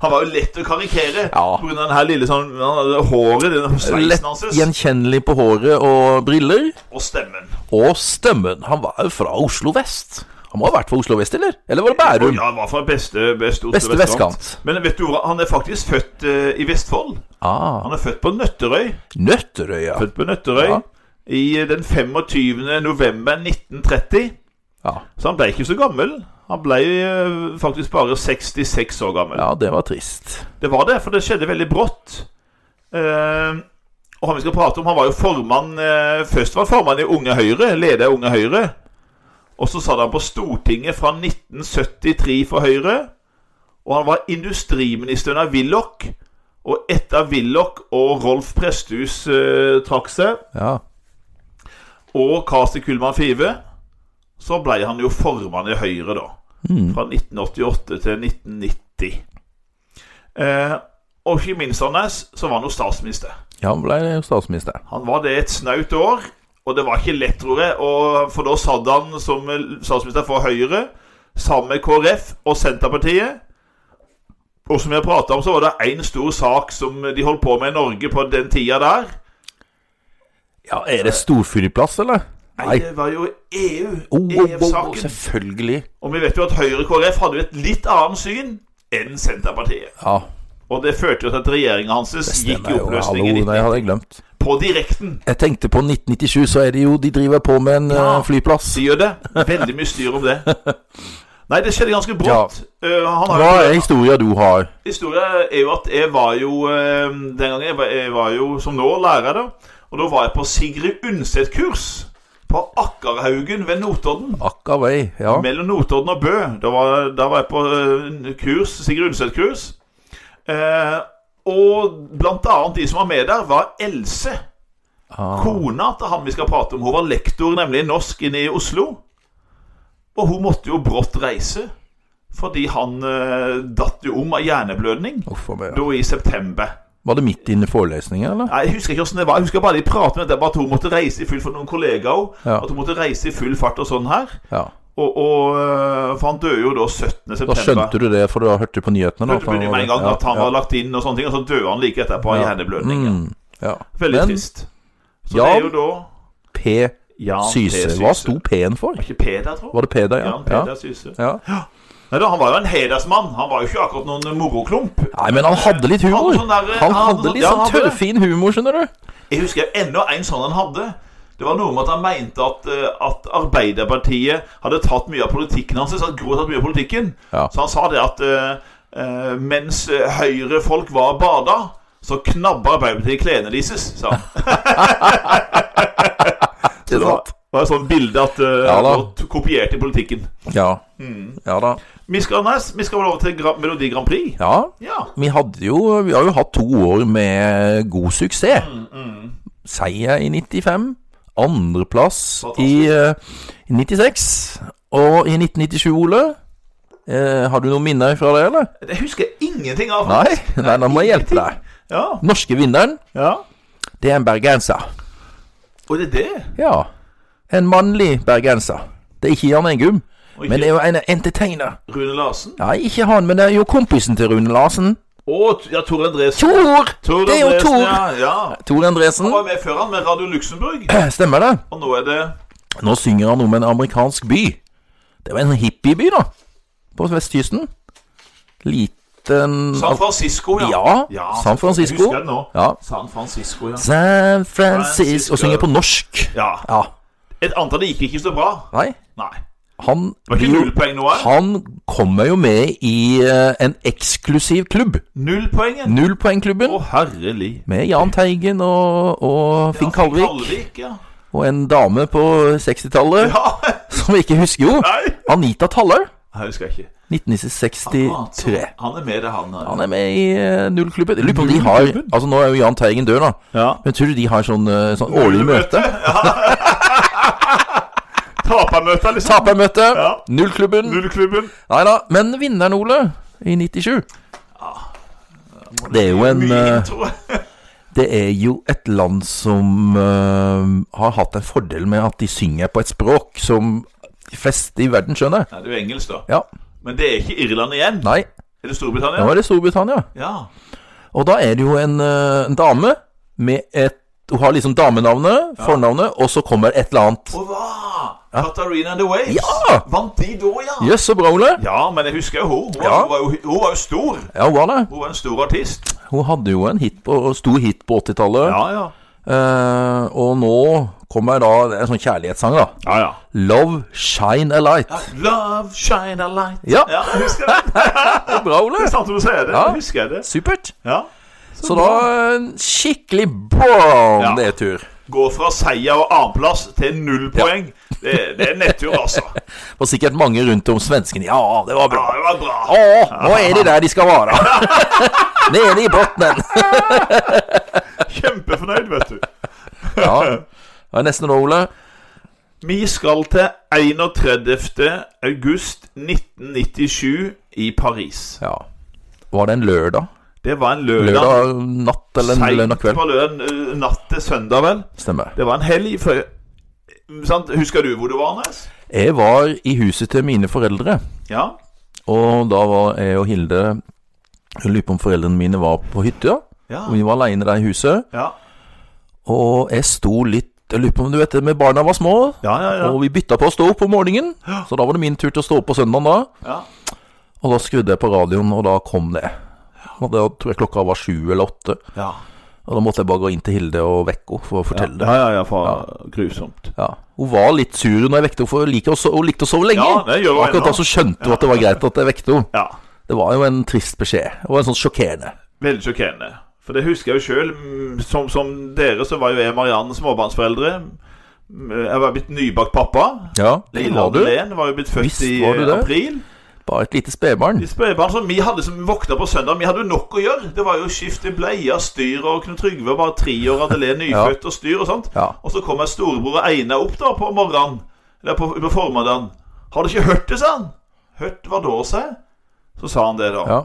Speaker 2: Han var jo lett å karikere
Speaker 1: Ja.
Speaker 2: pga. den her lille sånn han hadde håret, den sveisen
Speaker 1: Lett
Speaker 2: hans
Speaker 1: gjenkjennelig på håret og briller.
Speaker 2: og stemmen.
Speaker 1: Og stemmen. Han var jo fra Oslo vest. Han må ha vært fra Oslo vest, eller? Eller var det
Speaker 2: Og
Speaker 1: Bærum?
Speaker 2: ja, han var fra beste, beste, Oslo
Speaker 1: Beste vestkant.
Speaker 2: Men vet du hva, han er faktisk født eh, i Vestfold.
Speaker 1: Ah,
Speaker 2: Han er født på Nøtterøy.
Speaker 1: Nøtterøya.
Speaker 2: Født på Nøtterøy
Speaker 1: Ja.
Speaker 2: i eh, den 25. november 1930.
Speaker 1: Ja.
Speaker 2: Så han ble ikke så gammel. Han ble eh, faktisk bare 66 år gammel.
Speaker 1: ja, det var trist.
Speaker 2: Det var det, for det skjedde veldig brått. Eh, og han vi skal prate om, han var jo formann eh, Først var han formann i Unge Høyre, leder av Unge Høyre. Og så satt han på Stortinget fra 1973 for Høyre. Og han var industriminister under Willoch. Og etter Willoch og Rolf Presthus eh, trakk seg,
Speaker 1: Ja.
Speaker 2: og Kasi Kullmann Five, så ble han jo formann i Høyre, da.
Speaker 1: Mm.
Speaker 2: Fra 1988 til 1990. Eh, og ikke minst, Anders, så var han jo statsminister.
Speaker 1: Ja, han ble jo statsminister.
Speaker 2: Han var det et snaut år, og det var ikke lett, tror jeg. Og for da satt han som statsminister for Høyre sammen med KrF og Senterpartiet. Og som jeg prata om, så var det én stor sak som de holdt på med i Norge på den tida der.
Speaker 1: Ja, Er det storflyplass, eller?
Speaker 2: Nei, det var jo E EU.
Speaker 1: Oh, oh, oh, oh,
Speaker 2: EU-saken.
Speaker 1: selvfølgelig.
Speaker 2: Og vi vet jo at Høyre og KrF hadde jo et litt annet syn enn Senterpartiet.
Speaker 1: Ja,
Speaker 2: Og det førte jo til at regjeringa hans gikk
Speaker 1: stemmer
Speaker 2: i
Speaker 1: jo. Hallo,
Speaker 2: oppløsning i
Speaker 1: det
Speaker 2: 19...
Speaker 1: hadde jeg glemt.
Speaker 2: på direkten.
Speaker 1: Jeg tenkte på 1997, så er det jo De driver på med en
Speaker 2: Ja.
Speaker 1: eh, flyplass.
Speaker 2: De gjør det. Veldig mye styr
Speaker 1: (laughs)
Speaker 2: om det. Nei, det skjedde ganske brått. Eh, han har
Speaker 1: Hva
Speaker 2: jo
Speaker 1: er historia du har?
Speaker 2: Historia er jo at jeg var jo eh, Den gangen jeg var, jeg var jo som nå lærer, da. Og da var jeg på Sigrid Undset-kurs på Akkarhaugen ved Notodden.
Speaker 1: Akka vei, ja.
Speaker 2: Mellom Notodden og Bø. Da var, da var jeg på eh, kurs, Sigrid Undset-kurs. Eh, og blant annet de som var med der, var Else.
Speaker 1: Ah.
Speaker 2: Kona til han vi skal prate om. Hun var lektor nemlig i norsk inne i Oslo. Og hun måtte jo brått reise. Fordi han eh, datt jo om av hjerneblødning
Speaker 1: Uff a meg. ja.
Speaker 2: da i september.
Speaker 1: Var det midt inne i forelesningen, eller?
Speaker 2: Nei, Jeg husker ikke hvordan det var. Jeg husker bare de pratet om dette, bare at hun måtte reise i full for noen kollegaer òg.
Speaker 1: Ja.
Speaker 2: At hun måtte reise i full fart og sånn her.
Speaker 1: Ja.
Speaker 2: Og, og, eh, for han døde jo da 17.
Speaker 1: Da
Speaker 2: september.
Speaker 1: skjønte du det, for du har hørt det på nyhetene. da,
Speaker 2: Hørte på
Speaker 1: at han
Speaker 2: det
Speaker 1: var-
Speaker 2: med en gang
Speaker 1: ja,
Speaker 2: at han var lagt inn, og sånne ting, og så døde han like etterpå av
Speaker 1: Ja.
Speaker 2: hjerneblødning.
Speaker 1: Mm, ja.
Speaker 2: Veldig
Speaker 1: Men
Speaker 2: trist. Så det
Speaker 1: Jan
Speaker 2: er jo da
Speaker 1: P.
Speaker 2: Jan P.
Speaker 1: Syse. Hva sto P-en for?
Speaker 2: Var ikke P der, tror
Speaker 1: Var det P der, ja?
Speaker 2: Jan
Speaker 1: ja.
Speaker 2: Peter Syse.
Speaker 1: ja.
Speaker 2: Nei da, han var jo en hedersmann. Han var jo ikke akkurat noen moroklump.
Speaker 1: Nei, men han hadde litt humor.
Speaker 2: Han hadde sånn
Speaker 1: Han
Speaker 2: der- han hadde
Speaker 1: hadde
Speaker 2: sånn-
Speaker 1: litt
Speaker 2: ja, han
Speaker 1: sånn
Speaker 2: hadde det.
Speaker 1: tørrfin humor, skjønner du.
Speaker 2: Jeg husker enda en sånn han hadde. Det var noe med at han mente at, eh, at Arbeiderpartiet hadde tatt mye av politikken hans. At Gro hadde tatt mye av politikken.
Speaker 1: Ja.
Speaker 2: Så han sa det at eh, eh, mens eh, Høyre-folk var og bada, så knabba Arbeiderpartiet klærne deres,
Speaker 1: (laughs)
Speaker 2: sa han. Så det var det var et sånt bilde at eh,
Speaker 1: Ja da.
Speaker 2: han kopierte politikken.
Speaker 1: Ja.
Speaker 2: Mm.
Speaker 1: ja da.
Speaker 2: Vi skal, nei, vi skal over til Gra Melodi Grand Prix.
Speaker 1: Ja.
Speaker 2: Ja.
Speaker 1: Vi, hadde jo, vi har jo hatt to år med god suksess. Seier i 95. Andreplass i eh, 96. Og i 1997, Ole. Eh, har du noen minner fra det, eller?
Speaker 2: Det husker jeg ingenting av.
Speaker 1: Nei? Nei, nå må jeg hjelpe deg.
Speaker 2: Ja.
Speaker 1: Norske vinneren,
Speaker 2: ja.
Speaker 1: det er en bergenser.
Speaker 2: Og det er det.
Speaker 1: Ja. En mannlig bergenser. Det er ikke Jan Engum,
Speaker 2: Og
Speaker 1: men det er
Speaker 2: ikke
Speaker 1: jo en entertainer.
Speaker 2: Rune Larsen.
Speaker 1: Nei, ikke han, men det er jo kompisen til Rune Larsen.
Speaker 2: Og ja, Tor Andresen.
Speaker 1: Tor!
Speaker 2: Tor
Speaker 1: Det er jo
Speaker 2: Andresen,
Speaker 1: Tor.
Speaker 2: Ja, ja.
Speaker 1: Tor Andresen.
Speaker 2: Han var med før han med Radio Luxembourg,
Speaker 1: Stemmer det?
Speaker 2: og nå er det
Speaker 1: Nå synger han om en amerikansk by. Det var en hippieby, da. På vestkysten. Liten
Speaker 2: San Francisco, ja.
Speaker 1: Ja, San Francisco.
Speaker 2: Jeg husker det nå.
Speaker 1: Ja.
Speaker 2: San Francisco, ja.
Speaker 1: San Francisco Og synger på norsk.
Speaker 2: ja.
Speaker 1: Ja.
Speaker 2: Et antall det gikk ikke så bra.
Speaker 1: Nei,
Speaker 2: Nei.
Speaker 1: han
Speaker 2: Det var
Speaker 1: blir
Speaker 2: ikke
Speaker 1: jo-
Speaker 2: null poeng nå, her.
Speaker 1: Han kommer jo med i eh, en eksklusiv klubb.
Speaker 2: Null poeng, ja.
Speaker 1: Nullpoengklubben.
Speaker 2: Å, herrelig.
Speaker 1: Med Jahn Teigen og, og Finn Kalvik.
Speaker 2: Kalvik, ja. (laughs)
Speaker 1: Og en dame på 60-tallet
Speaker 2: ja.
Speaker 1: som jeg ikke husker jo.
Speaker 2: Nei.
Speaker 1: Anita Tallø.
Speaker 2: Jeg husker ikke. Akkurat, så
Speaker 1: 1963.
Speaker 2: Han er med, det, han. her.
Speaker 1: Han er med i eh, nullklubben. Jeg Lurer på om de har Altså, nå er jo Jahn Teigen død, da.
Speaker 2: Ja.
Speaker 1: Men tror du de har sånn, eh, sånn årlig møte?
Speaker 2: Tapermøte, liksom.
Speaker 1: Tapermøte.
Speaker 2: Ja.
Speaker 1: Nullklubben.
Speaker 2: Nullklubben.
Speaker 1: Nei da. Men vinneren, Ole, i 97 Det er jo en
Speaker 2: Mye
Speaker 1: eh,
Speaker 2: intro. (laughs)
Speaker 1: Det er jo et land som eh, har hatt en fordel med at de synger på et språk som de fleste i verden skjønner.
Speaker 2: Nei, det er jo engelsk, da.
Speaker 1: Ja.
Speaker 2: Men det er ikke Irland igjen.
Speaker 1: Nei,
Speaker 2: Er det
Speaker 1: nå
Speaker 2: Storbritannia?
Speaker 1: er det Storbritannia.
Speaker 2: Ja.
Speaker 1: Og da er det jo en, eh, en dame med et Hun har liksom damenavnet, fornavnet, og så kommer et eller annet.
Speaker 2: Og hva? Katarina and the Waves?
Speaker 1: Ja!
Speaker 2: Vant de da, ja?
Speaker 1: Jøss, så bra, Ole.
Speaker 2: Ja, men jeg husker jo hun. Hun,
Speaker 1: Ja.
Speaker 2: var, jo, hun var jo stor.
Speaker 1: Ja, hun var det.
Speaker 2: Hun var en stor artist.
Speaker 1: Hun hadde jo en hit på, stor hit på 80-tallet.
Speaker 2: ja.
Speaker 1: Eh, og nå kommer da det er en sånn kjærlighetssang, da.
Speaker 2: ja, ja.
Speaker 1: 'Love Shine a Light'.
Speaker 2: Love shine a light.
Speaker 1: Ja.
Speaker 2: ja jeg husker det.
Speaker 1: Bra, Ole.
Speaker 2: Det er sant du sier det.
Speaker 1: Ja.
Speaker 2: Jeg husker det.
Speaker 1: Supert.
Speaker 2: Ja.
Speaker 1: Så da en skikkelig brown
Speaker 2: Ja.
Speaker 1: det er tur.
Speaker 2: Gå fra seier og annenplass til null poeng. Det, det er nettur, altså.
Speaker 1: Det var sikkert mange rundt om svenskene. Ja, det var
Speaker 2: Ja,
Speaker 1: bra.
Speaker 2: det var bra.
Speaker 1: Å, nå er de der de skal være. (laughs) Nede i bunnen.
Speaker 2: Kjempefornøyd, vet du.
Speaker 1: Ja. Det er nesten nå, Ole.
Speaker 2: Vi skal til 31. august 1997 i Paris.
Speaker 1: Ja. Var det en lørdag?
Speaker 2: Det var en lørdag.
Speaker 1: Lørdag natt eller en
Speaker 2: Seint
Speaker 1: lørdag kveld?
Speaker 2: på lørdag, eh, natt til søndag, vel.
Speaker 1: Stemmer.
Speaker 2: Det var en helg før sant? Husker du hvor du var, Nes?
Speaker 1: Jeg var i huset til mine foreldre,
Speaker 2: Ja.
Speaker 1: og da var jeg og Hilde Jeg lurer på om foreldrene mine var på hytta.
Speaker 2: Ja.
Speaker 1: Og vi var aleine der i huset,
Speaker 2: ja.
Speaker 1: og jeg sto litt Jeg lurer på om du vet det med barna var små,
Speaker 2: Ja, ja, ja.
Speaker 1: Og vi bytta på å stå opp om morgenen, så da var det min tur til å stå opp på søndagen da.
Speaker 2: ja.
Speaker 1: Og da skrudde jeg på radioen, og da kom det. Og da tror jeg klokka var sju eller åtte.
Speaker 2: Ja.
Speaker 1: Og da måtte jeg bare gå inn til Hilde og vekke henne for å fortelle det.
Speaker 2: Ja, ja, ja, for grusomt.
Speaker 1: Ja. Hun var litt sur når jeg vekte henne, for hun liker å so- hun likte å sove lenge.
Speaker 2: Ja, det gjør hun
Speaker 1: Akkurat da
Speaker 2: ennå.
Speaker 1: så skjønte hun at det var greit at jeg vekte henne.
Speaker 2: Ja.
Speaker 1: Det var jo en trist beskjed, og en sånn sjokkerende.
Speaker 2: Veldig sjokkerende. For det husker jeg jo sjøl. Som, som dere så var jo jeg og Marianne småbarnsforeldre. Mm, Jeg var blitt nybakt pappa.
Speaker 1: Ja, det
Speaker 2: Lille
Speaker 1: var du.
Speaker 2: Madeleine var jo blitt født
Speaker 1: Visst
Speaker 2: i
Speaker 1: var du
Speaker 2: eh,
Speaker 1: det.
Speaker 2: april.
Speaker 1: Bare et lite spedbarn.
Speaker 2: De spedbarn som vi hadde som våkna på søndag, vi hadde jo nok å gjøre. Det var jo å skifte bleier, styr, og Knut Trygve var tre år, Adelén nyfødt og styr og sånt.
Speaker 1: Ja.
Speaker 2: Og så kom jeg storebror Einar opp da på morgenen, eller på, på formiddagen. Har du ikke hørt det, sa han. Hørt hva da, sa jeg. Så sa han det, da.
Speaker 1: Ja.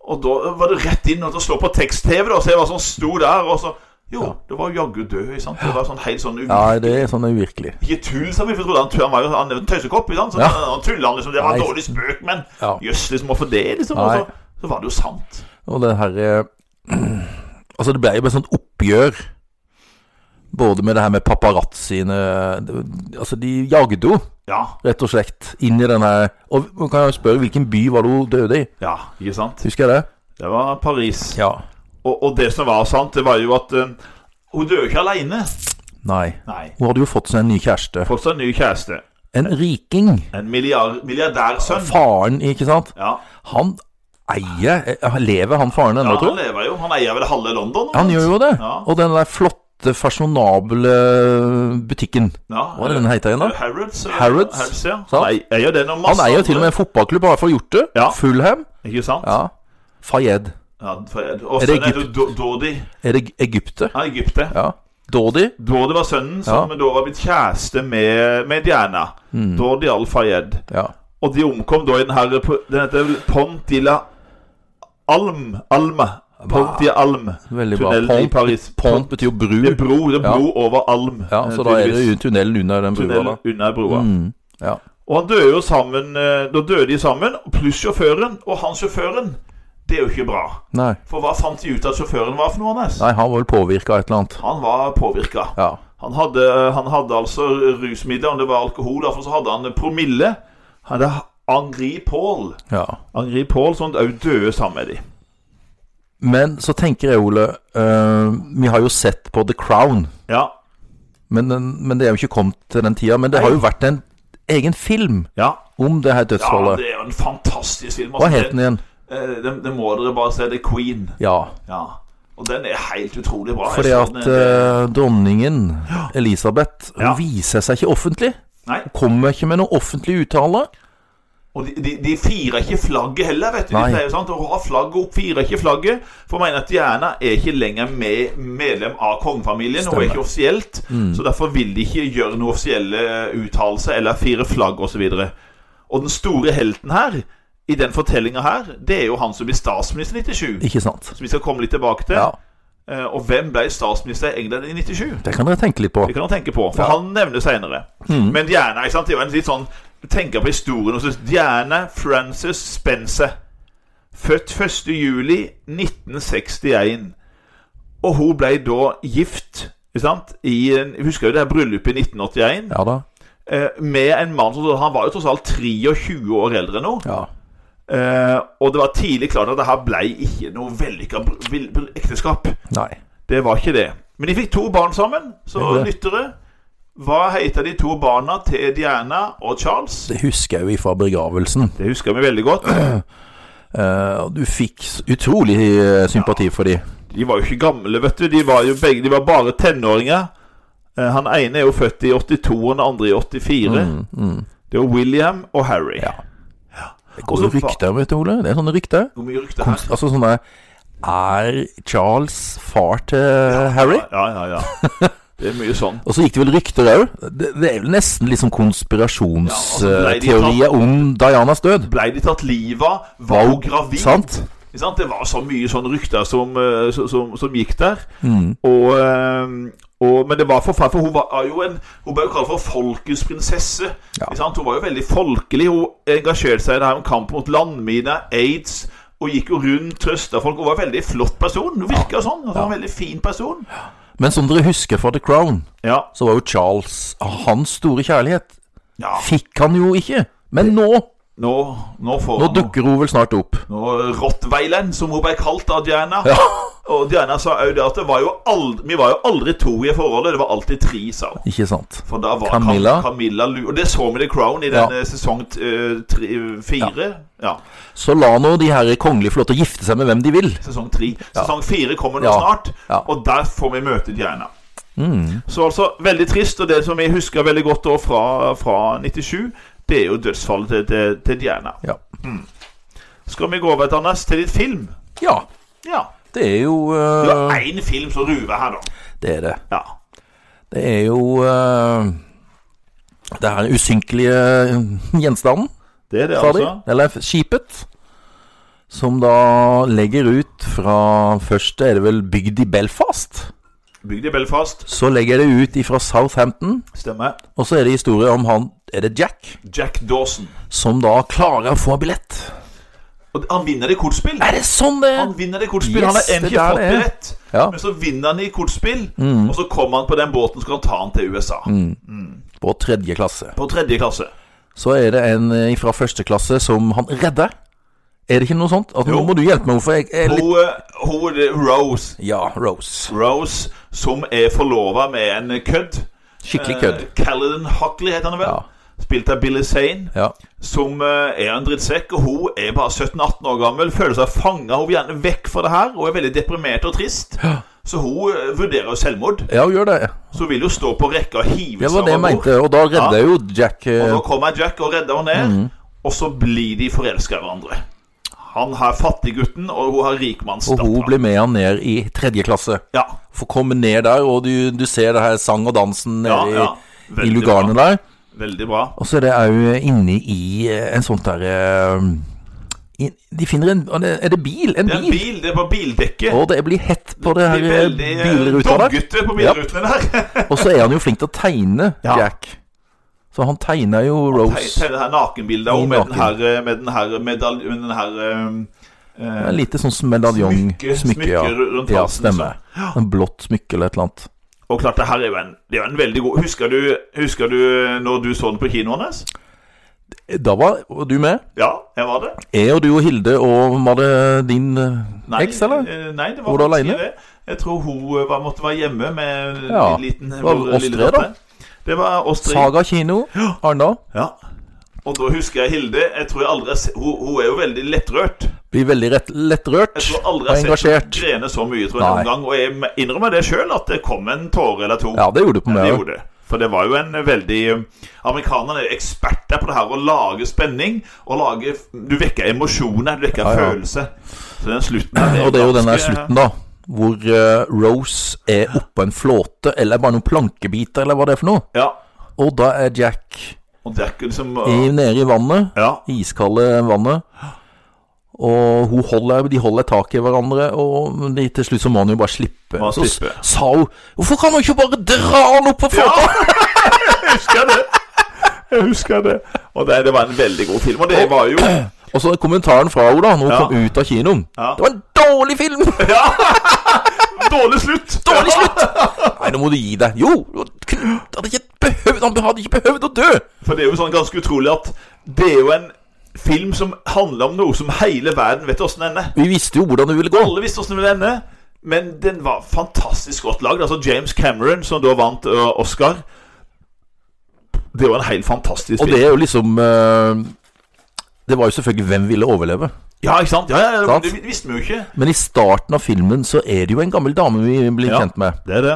Speaker 2: Og da var det rett inn og til å slå på tekst-TV, da. Så jeg var sånn, sto der, og så Jo, det var jaggu død. Ikke sant? Det var sånn helt sånn
Speaker 1: Ja, det er sånn uvirkelig.
Speaker 2: Ikke tull, sa vi, for jeg trodde han, tu- han var jo han er en tøysekopp. Ikke sant? Så
Speaker 1: Ja.
Speaker 2: han tulla liksom. Det var en
Speaker 1: Nei.
Speaker 2: dårlig spøk, men
Speaker 1: Ja.
Speaker 2: jøss, liksom, hvorfor det, liksom?
Speaker 1: Nei.
Speaker 2: Og så, så var det jo sant.
Speaker 1: Og det her eh, (clears throat) Altså, det ble jo bare sånt oppgjør. Både med det her med paparazziene det- Altså, de jagde jo,
Speaker 2: Ja.
Speaker 1: rett og slett, inn i den her Og man kan jo spørre, hvilken by var det hun døde i?
Speaker 2: Ja, ikke sant?
Speaker 1: Husker jeg det?
Speaker 2: Det var Paris.
Speaker 1: Ja.
Speaker 2: Og, og det som var sant, det var jo at eh, hun døde ikke aleine.
Speaker 1: Nei.
Speaker 2: Nei.
Speaker 1: Hun hadde jo fått seg en ny kjæreste.
Speaker 2: Fortsatt ny kjæreste.
Speaker 1: En riking.
Speaker 2: En milliard, milliardærsønn.
Speaker 1: Faren, ikke sant?
Speaker 2: Ja.
Speaker 1: Han eier eh, Lever han faren
Speaker 2: ja,
Speaker 1: ennå,
Speaker 2: han
Speaker 1: tror jeg?
Speaker 2: lever jo. Han eier vel halve London?
Speaker 1: Han gjør jo det.
Speaker 2: Ja.
Speaker 1: Og den der flotte, fasjonable eh, butikken.
Speaker 2: Ja,
Speaker 1: Hva er det den heter igjen, da?
Speaker 2: Harrods. eh,
Speaker 1: Harrods,
Speaker 2: Harrods ja.
Speaker 1: sant?
Speaker 2: Nei, jeg gjør det noe masse
Speaker 1: Han eier jo til og med en fotballklubb, har i hvert fall gjort det.
Speaker 2: Ja.
Speaker 1: Fulham.
Speaker 2: andre. Ikke sant?
Speaker 1: Ja. Fayed.
Speaker 2: Ja, for- og
Speaker 1: Er
Speaker 2: så
Speaker 1: det
Speaker 2: er det Do- Dodi.
Speaker 1: Er det Egypte?
Speaker 2: Ja, Egypte.
Speaker 1: Ja. Dodi?
Speaker 2: Dodi var sønnen som
Speaker 1: Ja. Mm.
Speaker 2: da var blitt kjæreste med, med Diana. Dodi al-Fayed.
Speaker 1: Ja.
Speaker 2: Og de omkom da i den her Den heter vel Pont de la Alm. Alme. Pont de Alm.
Speaker 1: Veldig bra.
Speaker 2: Tunnelen i
Speaker 1: Pont,
Speaker 2: Paris.
Speaker 1: Pont betyr jo bru.
Speaker 2: Det er bro, det er bro over Alm.
Speaker 1: Ja, så da er det jo tunnel under den brua,
Speaker 2: tunnel
Speaker 1: da.
Speaker 2: under broa.
Speaker 1: Mm. Ja.
Speaker 2: Og han døde jo sammen eh, Da døde de sammen, pluss sjåføren. Og han sjåføren, det er jo ikke bra.
Speaker 1: Nei.
Speaker 2: For hva fant de ut at sjåføren var for noe? Anders?
Speaker 1: Nei, han var vel påvirka av et eller annet.
Speaker 2: Han var påvirka.
Speaker 1: Ja.
Speaker 2: Han, hadde- han hadde altså rusmidler, om det var alkohol, derfor så hadde han promille. Han hadde Angri Paul.
Speaker 1: ja.
Speaker 2: Angri Paul som òg døde sammen med de.
Speaker 1: Men så tenker jeg, Ole eh, Vi har jo sett på The Crown.
Speaker 2: Ja,
Speaker 1: Men, den- men det er jo ikke kommet til den tida. Men det har jo vært en egen film
Speaker 2: ja.
Speaker 1: om det her
Speaker 2: ja
Speaker 1: dødsfallet.
Speaker 2: det er jo en fantastisk film.
Speaker 1: Hva
Speaker 2: altså.
Speaker 1: het den igjen?
Speaker 2: Eh, Det, det må dere bare se. Det er Queen.
Speaker 1: Ja.
Speaker 2: Ja. Og den er helt utrolig bra. Jeg
Speaker 1: Fordi
Speaker 2: så
Speaker 1: at
Speaker 2: den, eh,
Speaker 1: eh, dronningen, Elisabeth, hun
Speaker 2: Ja.
Speaker 1: viser seg ikke offentlig.
Speaker 2: Nei.
Speaker 1: Kommer ikke med noen offentlig uttale.
Speaker 2: Og de, de, de firer ikke flagget heller, vet du.
Speaker 1: Nei.
Speaker 2: De pleier jo sant, å ha flagget opp, firer ikke flagget. For å mene at Diana er ikke lenger med, medlem av kongefamilien. Hun er
Speaker 1: Stemmer. Mm.
Speaker 2: ikke offisielt. Så derfor vil de ikke gjøre noen offisielle uttalelser eller fire flagg osv. Og, så og den store helten her, i den fortellinga her, det er jo han som blir statsminister i 97.
Speaker 1: Ikke sant?
Speaker 2: Som vi skal komme litt tilbake til.
Speaker 1: Ja,
Speaker 2: Eh, Og hvem ble statsminister i England i 97?
Speaker 1: Det kan dere tenke litt på.
Speaker 2: Det kan han tenke på, for
Speaker 1: Ja. Mm.
Speaker 2: han nevner senere. Men Diana ikke sant? Det er jo en litt sånn Tenker på historien og så Diana Frances Spencer. Født 1. juli 1961. Og hun ble da gift ikke sant? I en, jeg husker jo det her bryllupet i 1981
Speaker 1: Ja da.
Speaker 2: eh, med en mann som Han var jo tross alt 23 år eldre nå.
Speaker 1: Ja.
Speaker 2: Eh, og det var tidlig klart at det her ble ikke noe vellykka br- vil- br- ekteskap.
Speaker 1: Nei.
Speaker 2: Det var ikke det. Men de fikk to barn sammen, så
Speaker 1: Det er det.
Speaker 2: lyttere Hva heter de to barna til Diana og Charles?
Speaker 1: Det husker jeg jo ifra begravelsen.
Speaker 2: Det husker vi veldig godt.
Speaker 1: Eh, og du fikk s- utrolig eh, sympati for de.
Speaker 2: De var jo ikke gamle, vet du. De var jo begge De var bare tenåringer. Eh, Han ene er jo født i 82, og den andre i 84. Det er William og Harry.
Speaker 1: Mm, Ja. Det
Speaker 2: Og
Speaker 1: går
Speaker 2: så
Speaker 1: jo rykter, vet du, Ole. Det er sånne rykter.
Speaker 2: Hvor mye rykte her?
Speaker 1: Altså sånne Er Charles far til Harry?
Speaker 2: Ja, ja, ja. Det er mye sånn.
Speaker 1: Og så gikk det vel rykter òg. Det, det er vel nesten liksom
Speaker 2: Ja, altså, Lady
Speaker 1: konspirasjonsteorier om Dianas død.
Speaker 2: Blei de tatt livet av? Var hun
Speaker 1: (laughs)
Speaker 2: gravid?
Speaker 1: Sant?
Speaker 2: Ikke sant? Det var så mye sånne rykter som, eh, som, som, som gikk der.
Speaker 1: Mm.
Speaker 2: Og, eh, og, men det var forferdelig, for hun var jo en Hun ble jo kalt for folkets prinsesse.
Speaker 1: Ja.
Speaker 2: Ikke sant? Hun var jo veldig folkelig. Hun engasjerte seg i det her om kamp mot landminer, aids. Og gikk jo rundt, trøsta folk. Hun var en veldig flott person. Hun virka sånn. Hun var en veldig fin person.
Speaker 1: Men som dere husker fra The Crown,
Speaker 2: Ja.
Speaker 1: så var jo Charles hans store kjærlighet.
Speaker 2: ja.
Speaker 1: Fikk han jo ikke. Men nå
Speaker 2: Nå, nå får
Speaker 1: Nå
Speaker 2: hun
Speaker 1: dukker hun vel snart opp.
Speaker 2: nå, Rottweileren, som hun ble kalt av Diana. Og Diana sa òg det at det var jo aldri, vi var jo aldri to i forholdet, det var alltid tre, sa hun.
Speaker 1: (laughs) Ikke sant.
Speaker 2: For da var
Speaker 1: Camilla.
Speaker 2: Camilla, Camilla Lu Og det så vi i The Crown i
Speaker 1: Ja.
Speaker 2: denne sesong eh, tre- eh, fire. Ja.
Speaker 1: Så la nå de her kongelige få lov til å gifte seg med hvem de vil.
Speaker 2: sesong tre. Sesong fire kommer nå
Speaker 1: Ja.
Speaker 2: snart,
Speaker 1: Ja. Mm.
Speaker 2: og der får vi møte Diana. Så altså, veldig trist, og det som jeg husker veldig godt da fra, fra 97, det er jo dødsfallet til, til, til Diana.
Speaker 1: Ja.
Speaker 2: Skal vi gå over til, Anders, til ditt film?
Speaker 1: ja
Speaker 2: Ja.
Speaker 1: det er jo
Speaker 2: Det
Speaker 1: eh,
Speaker 2: var én film som ruver her, da.
Speaker 1: Det er det.
Speaker 2: Ja.
Speaker 1: Det er jo eh, Det her usynkelige eh, gjenstanden.
Speaker 2: Det er det,
Speaker 1: sa de.
Speaker 2: altså.
Speaker 1: Eller skipet. Som da legger ut fra Først er det vel bygd i Belfast?
Speaker 2: Bygd i Belfast.
Speaker 1: Så legger jeg det ut ifra Southampton,
Speaker 2: Stemmer.
Speaker 1: og så er det historie om han Er det Jack?
Speaker 2: Jack Dawson.
Speaker 1: Som da klarer å få en billett.
Speaker 2: Og han vinner i kortspill.
Speaker 1: Er det sånn det
Speaker 2: Han vinner i kortspill.
Speaker 1: Yes,
Speaker 2: han har ennå
Speaker 1: det er
Speaker 2: ikke fått
Speaker 1: det.
Speaker 2: billett.
Speaker 1: Ja. Mm.
Speaker 2: Men så vinner han i kortspill, og så kommer han på den båten skal han ta han til USA.
Speaker 1: På tredje klasse.
Speaker 2: På tredje klasse.
Speaker 1: Så er det en eh, fra første klasse som han redder. Er det ikke noe sånt? Altså, nå
Speaker 2: Jo.
Speaker 1: må du hjelpe meg, hvorfor jeg er litt
Speaker 2: Hun, eh, hun eh, Rose,
Speaker 1: Ja, Rose.
Speaker 2: Rose som er forlova med en kødd
Speaker 1: Skikkelig kødd.
Speaker 2: Eh, Caledon Huckley heter han vel.
Speaker 1: Ja.
Speaker 2: Spilt av Billy Zane.
Speaker 1: Ja.
Speaker 2: Som eh, er en drittsekk. Og hun er bare 17-18 år gammel, føler seg fanga. Hun vil gjerne vekk fra det her, og er veldig deprimert og trist. Så hun eh, vurderer jo selvmord.
Speaker 1: ja, hun gjør det.
Speaker 2: Så hun vil jo stå på rekka og hive
Speaker 1: Det var det jeg
Speaker 2: over
Speaker 1: mente, og da redder
Speaker 2: Ja.
Speaker 1: jo Jack eh, Mhm.
Speaker 2: Og nå kommer Jack og redder henne ned, og så blir de forelska i hverandre. Han har fattiggutten, og hun har
Speaker 1: Og hun
Speaker 2: rikmannsdatteren.
Speaker 1: blir med han ned i tredje klasse.
Speaker 2: Ja,
Speaker 1: Får komme ned der, og du, du ser det her sang og dansen nede
Speaker 2: ja,
Speaker 1: i-
Speaker 2: ja.
Speaker 1: i
Speaker 2: Veldig
Speaker 1: lugarene
Speaker 2: bra.
Speaker 1: der.
Speaker 2: Veldig bra.
Speaker 1: Og så er det òg inne i eh, en sånn der eh, i- De finner en og det- Er det bil? En
Speaker 2: Det er en
Speaker 1: bil?
Speaker 2: bil, det er på bildekket.
Speaker 1: Og det blir hett på det her
Speaker 2: Blir
Speaker 1: eh,
Speaker 2: veldig eh,
Speaker 1: bilruta der.
Speaker 2: doggete på bilrutene
Speaker 1: (laughs)
Speaker 2: der.
Speaker 1: Og så er han jo flink til å tegne,
Speaker 2: (laughs) Ja.
Speaker 1: Jack. Så han tegner jo
Speaker 2: Te-
Speaker 1: Rose.
Speaker 2: Tegne det her nakenbildet og
Speaker 1: I
Speaker 2: med den
Speaker 1: naken.
Speaker 2: her, eh, med den her, medal- med den her eh, eh,
Speaker 1: En lite sånn medaljong
Speaker 2: Smykke- smykke
Speaker 1: ja.
Speaker 2: rundt
Speaker 1: ja,
Speaker 2: halsen, liksom.
Speaker 1: stemmer. En blått smykke eller et eller annet.
Speaker 2: Og klart, det her er jo en, det er jo en veldig god Husker du, husker du eh, når du så den på kinoen hans?
Speaker 1: Da var var du med.
Speaker 2: Ja, jeg var det.
Speaker 1: Jeg og du og Hilde og var det din eh,
Speaker 2: Nei,
Speaker 1: eks, eller?
Speaker 2: eh, Nei, det
Speaker 1: Var
Speaker 2: var
Speaker 1: du
Speaker 2: faktisk
Speaker 1: alene?
Speaker 2: ikke det. Jeg tror hun eh, var, måtte være hjemme med
Speaker 1: Ja,
Speaker 2: en liten
Speaker 1: det var
Speaker 2: vår lille
Speaker 1: Åstrid, da.
Speaker 2: datter. Det var Åstrid.
Speaker 1: Saga kino, Arendal.
Speaker 2: Ja. Og da husker jeg Hilde. Jeg tror jeg aldri har se- hun, hun er jo veldig lettrørt.
Speaker 1: Blir veldig rett, lettrørt
Speaker 2: Jeg tror
Speaker 1: og
Speaker 2: aldri jeg har sett
Speaker 1: engasjert.
Speaker 2: henne grene så mye tror jeg,
Speaker 1: Nei.
Speaker 2: noen gang. Og jeg me- innrømmer det sjøl, at det kom en tåre eller to.
Speaker 1: Ja, det gjorde du på
Speaker 2: det
Speaker 1: meg òg.
Speaker 2: gjorde det. For det var jo en veldig eh, Amerikanerne er jo eksperter på det her å lage spenning. Og lage Du vekker emosjoner, du vekker
Speaker 1: Ja, ja.
Speaker 2: følelse. Så den slutten her,
Speaker 1: Og det er jo den der
Speaker 2: ganske-
Speaker 1: slutten, da. Hvor eh, Rose er oppå en flåte, eller bare noen plankebiter, eller hva det er for noe.
Speaker 2: Ja.
Speaker 1: Og da er Jack
Speaker 2: Og det er ikke liksom
Speaker 1: i, nede i vannet,
Speaker 2: Ja.
Speaker 1: iskalde vannet. Og hun holder, de holder tak i hverandre, og de, til slutt så må han jo bare slippe.
Speaker 2: Må han
Speaker 1: Så s-
Speaker 2: slippe.
Speaker 1: sa hun 'Hvorfor kan hun ikke bare dra han opp på flåta?'
Speaker 2: Jeg husker det. Jeg husker det. Og det, det var en veldig god film. Og det var jo
Speaker 1: Og så kommentaren fra henne da, når hun
Speaker 2: Ja.
Speaker 1: kom ut av kinoen.
Speaker 2: Ja.
Speaker 1: 'Det var en dårlig film!'
Speaker 2: Ja! Dårlig slutt.
Speaker 1: Dårlig
Speaker 2: (laughs)
Speaker 1: slutt! Nei, nå må du gi deg. Jo, Knut hadde ikke behøvd, han hadde ikke behøvd å dø!
Speaker 2: For det er jo sånn ganske utrolig at det er jo en film som handler om noe som hele verden vet åssen ender.
Speaker 1: Vi visste jo hvordan det ville gå.
Speaker 2: Alle visste åssen det ville ende. Men den var fantastisk godt lagd. Altså James Cameron, som da vant ø, Oscar Det var en helt fantastisk
Speaker 1: Og
Speaker 2: film.
Speaker 1: det er jo liksom eh, Det var jo selvfølgelig hvem ville overleve.
Speaker 2: Ja, ikke sant? Ja, ja, ja,
Speaker 1: Sant.
Speaker 2: det visste vi jo ikke.
Speaker 1: Men i starten av filmen så er det jo en gammel dame vi blir
Speaker 2: Ja.
Speaker 1: kjent med.
Speaker 2: Det er det.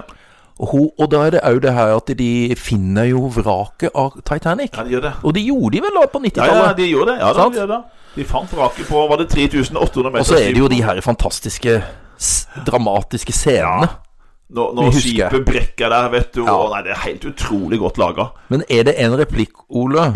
Speaker 1: Og, hun, og da er det òg det her at de finner jo vraket av Titanic.
Speaker 2: Ja, det gjør det.
Speaker 1: Og det gjorde de vel da på
Speaker 2: Ja, ja,
Speaker 1: 90-tallet?
Speaker 2: de gjorde det. Ja, da,
Speaker 1: Sant?
Speaker 2: de, gjorde det. de fant vraket på Var det 3800 meter?
Speaker 1: og så er det jo de her fantastiske, s- dramatiske scenene.
Speaker 2: Når, når
Speaker 1: vi husker.
Speaker 2: skipet brekker der, vet du.
Speaker 1: Ja.
Speaker 2: Og, nei, det er helt utrolig godt laga.
Speaker 1: Men er det en replikk, Ole,
Speaker 2: Ja,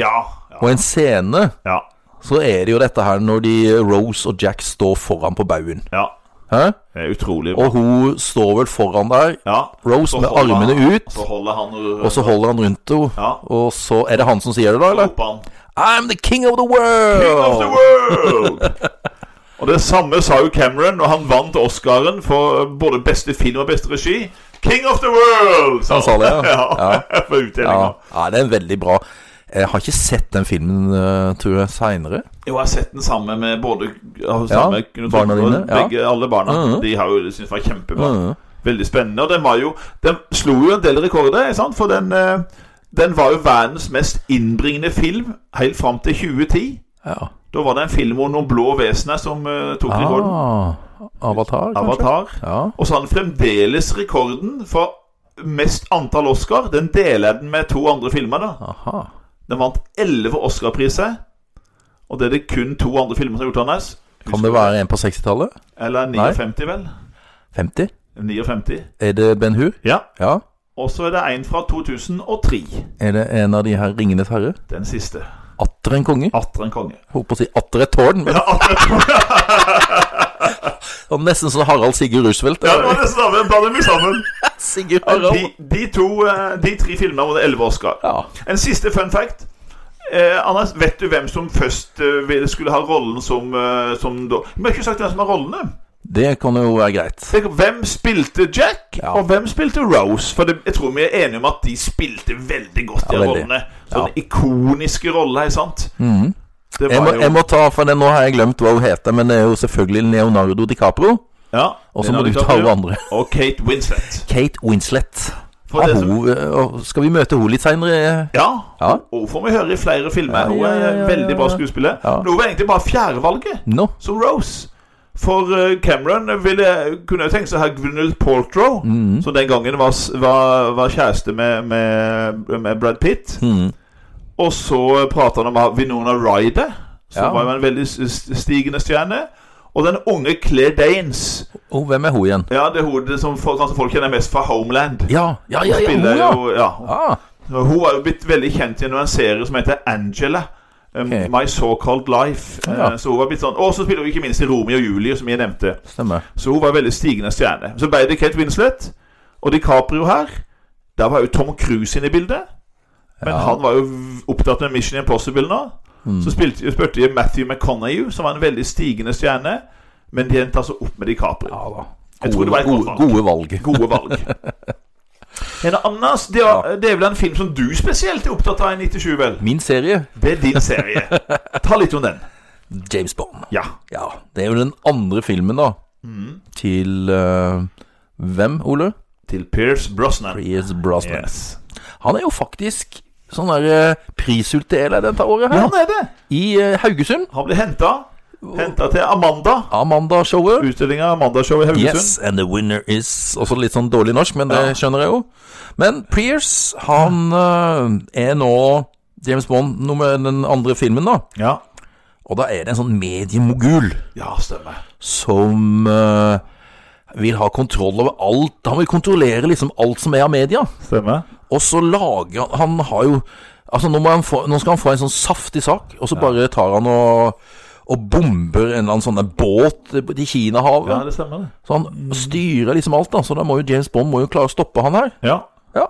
Speaker 2: ja,
Speaker 1: og en scene
Speaker 2: ja,
Speaker 1: så er det jo dette her når de Rose og Jack står foran på baugen.
Speaker 2: ja.
Speaker 1: Hæ?
Speaker 2: Det er utrolig bra.
Speaker 1: Og hun står vel foran der,
Speaker 2: Ja.
Speaker 1: Rose
Speaker 2: Så
Speaker 1: med
Speaker 2: holder
Speaker 1: armene
Speaker 2: han-
Speaker 1: ut,
Speaker 2: Så holder han øh,
Speaker 1: og så holder han rundt henne.
Speaker 2: Ja.
Speaker 1: Og så er det han som sier det, da? eller?
Speaker 2: roper han
Speaker 1: I'm the king of the world!
Speaker 2: King of the
Speaker 1: (laughs)
Speaker 2: world! og det samme sa jo Cameron når han vant Oscaren for både beste film og beste regi. King of the world!
Speaker 1: Han sa det, ja.
Speaker 2: (laughs) ja. For
Speaker 1: Ja.
Speaker 2: utdelinga.
Speaker 1: ja, det er veldig bra. Jeg har ikke sett den filmen, eh, tror jeg, seinere.
Speaker 2: Jo, jeg har sett den sammen med både ja, samme, Knut
Speaker 1: barna
Speaker 2: Rognvold,
Speaker 1: dine, ja.
Speaker 2: Begge, alle barna.
Speaker 1: Mhm.
Speaker 2: De har jo det syntes var kjempebra.
Speaker 1: Mhm.
Speaker 2: Veldig spennende. Og den var jo Den slo jo en del rekorder, ikke sant? for den, eh, den var jo verdens mest innbringende film helt fram til 2010.
Speaker 1: Ja.
Speaker 2: Da var det en film om noen blå vesener som eh, tok rekorden.
Speaker 1: Ah, Avatar, kanskje?
Speaker 2: Avatar.
Speaker 1: Ja.
Speaker 2: Og så har den fremdeles rekorden for mest antall Oscar. Den deler jeg den med to andre filmer, da.
Speaker 1: Aha.
Speaker 2: Den vant elleve Oscar-priser. Og det er det kun to andre filmer som har gjort, Anders.
Speaker 1: Kan det være en på 60-tallet?
Speaker 2: Eller 59, vel?
Speaker 1: 50?
Speaker 2: 59.
Speaker 1: Er det Ben Hur?
Speaker 2: Ja.
Speaker 1: Ja.
Speaker 2: Og så er det en fra 2003.
Speaker 1: Er det en av de her Ringenes herre?
Speaker 2: Den siste.
Speaker 1: 18? atter en konge.
Speaker 2: Atter en konge.
Speaker 1: Jeg holdt på å si atter et tårn, men
Speaker 2: Ja, atter en konge.
Speaker 1: det var nesten som Harald Sigurd Roosevelt.
Speaker 2: Ja, det var nesten sammen. Blander vi sammen.
Speaker 1: Sigurd
Speaker 2: De, de, to, eh, de tre filmene var det elleve Oscar.
Speaker 1: Ja.
Speaker 2: En siste fun fact. Eh, Anders, vet du hvem som først eh, ville- skulle ha rollen som, eh, som da Vi har ikke sagt hvem som har rollene.
Speaker 1: Det kan jo være greit.
Speaker 2: Tenk, hvem spilte Jack,
Speaker 1: Ja.
Speaker 2: og hvem spilte Rose? For det, jeg tror vi er enige om at de spilte veldig godt, de
Speaker 1: Ja, veldig.
Speaker 2: rollene. Sånne ikoniske roller, ikke sant? Det
Speaker 1: Jeg må,
Speaker 2: var jo
Speaker 1: jeg må ta, for det, Nå har jeg glemt hva hun heter, men det er jo selvfølgelig Leonardo DiCapro.
Speaker 2: ja,
Speaker 1: Og så
Speaker 2: Leonardo
Speaker 1: må du ta
Speaker 2: DiCaprio
Speaker 1: hun andre.
Speaker 2: Og Kate Winslet.
Speaker 1: Kate Winslet.
Speaker 2: For
Speaker 1: Er
Speaker 2: det som-
Speaker 1: hun, eh, og skal vi møte henne litt eh, seinere?
Speaker 2: Ja,
Speaker 1: Ja.
Speaker 2: og hun får vi høre i flere filmer.
Speaker 1: Ja,
Speaker 2: Hun
Speaker 1: ja,
Speaker 2: er
Speaker 1: ja, ja,
Speaker 2: veldig bra
Speaker 1: ja.
Speaker 2: skuespiller.
Speaker 1: Ja.
Speaker 2: Men hun var egentlig bare fjerdevalget.
Speaker 1: Nå?
Speaker 2: som Rose. For eh, Cameron ville, kunne jo tenke seg å ha Gwyneth Paltrow,
Speaker 1: Mm.
Speaker 2: som den gangen var, s- var, var kjæreste med, med, med Brad Pitt.
Speaker 1: Mhm.
Speaker 2: Og så prater han om Vinona Ryder, som
Speaker 1: Ja.
Speaker 2: var jo en veldig s- s- stigende stjerne. Og den unge Claire Danes.
Speaker 1: Oh, hvem er hun igjen?
Speaker 2: Ja, det er hodet som folk, kanskje folk kjenner mest fra Homeland.
Speaker 1: Ja, ja, ja, ja, hun,
Speaker 2: Spiller
Speaker 1: ja.
Speaker 2: jo, ja.
Speaker 1: Ah,
Speaker 2: Hun har jo blitt veldig kjent gjennom en serie som heter Angela. Um,
Speaker 1: Ok.
Speaker 2: My So-Called Life. Eh,
Speaker 1: Ja.
Speaker 2: Så hun var blitt sånn Og så spiller hun ikke minst i Romeo og Julie, som jeg nevnte.
Speaker 1: stemmer.
Speaker 2: Så hun var veldig stigende stjerne. Så ble det Kate Winslet og DiCaprio her. Der var jo Tom Cruise inne i bildet. Men
Speaker 1: Ja. Mm.
Speaker 2: han var jo v- opptatt med Mission Impossible nå. Så spilte, spurte de Matthew McConaughey, som var en veldig stigende stjerne. Men de endte altså opp med DiCaprio.
Speaker 1: Ja da.
Speaker 2: Jeg tror det var et godt
Speaker 1: gode,
Speaker 2: valg.
Speaker 1: gode valg.
Speaker 2: Gode (laughs) valg. Men Anders, det, er, det er vel en film som du spesielt er opptatt av i 97, vel?
Speaker 1: (laughs) Min serie,
Speaker 2: Det er din serie. Ta litt om den.
Speaker 1: James Bond.
Speaker 2: Ja.
Speaker 1: Ja, det er jo den andre filmen, da.
Speaker 2: Mhm.
Speaker 1: Til eh, hvem, Ole?
Speaker 2: Til Pierce Brosnan.
Speaker 1: Pierce Brosnan.
Speaker 2: Yes.
Speaker 1: Han er jo faktisk sånn der eh, prisutdeler dette året
Speaker 2: Ja,
Speaker 1: her.
Speaker 2: han er det.
Speaker 1: I eh, Haugesund.
Speaker 2: Han ble henta. Henta til Amanda.
Speaker 1: Amanda-showet.
Speaker 2: Utstillinga Amanda-show i Haugesund.
Speaker 1: Yes, and the winner is Også litt sånn dårlig norsk, men det skjønner jeg jo. Men Pierce, han eh, er nå James Bond nummer den andre filmen, da.
Speaker 2: Ja.
Speaker 1: Og da er det en sånn mediemogul
Speaker 2: ja, stemmer.
Speaker 1: som eh, vil ha kontroll over alt. Han vil kontrollere liksom alt som er av media.
Speaker 2: Stemmer.
Speaker 1: Og så lager han Han har jo Altså, nå, må han få, nå skal han få en sånn saftig sak, og så bare tar han og og bomber en eller annen sånn der båt i Kinahavet.
Speaker 2: Ja, det stemmer det.
Speaker 1: Så han styrer liksom alt, da. Så da må jo James Bond må jo klare å stoppe han her.
Speaker 2: Ja.
Speaker 1: Ja.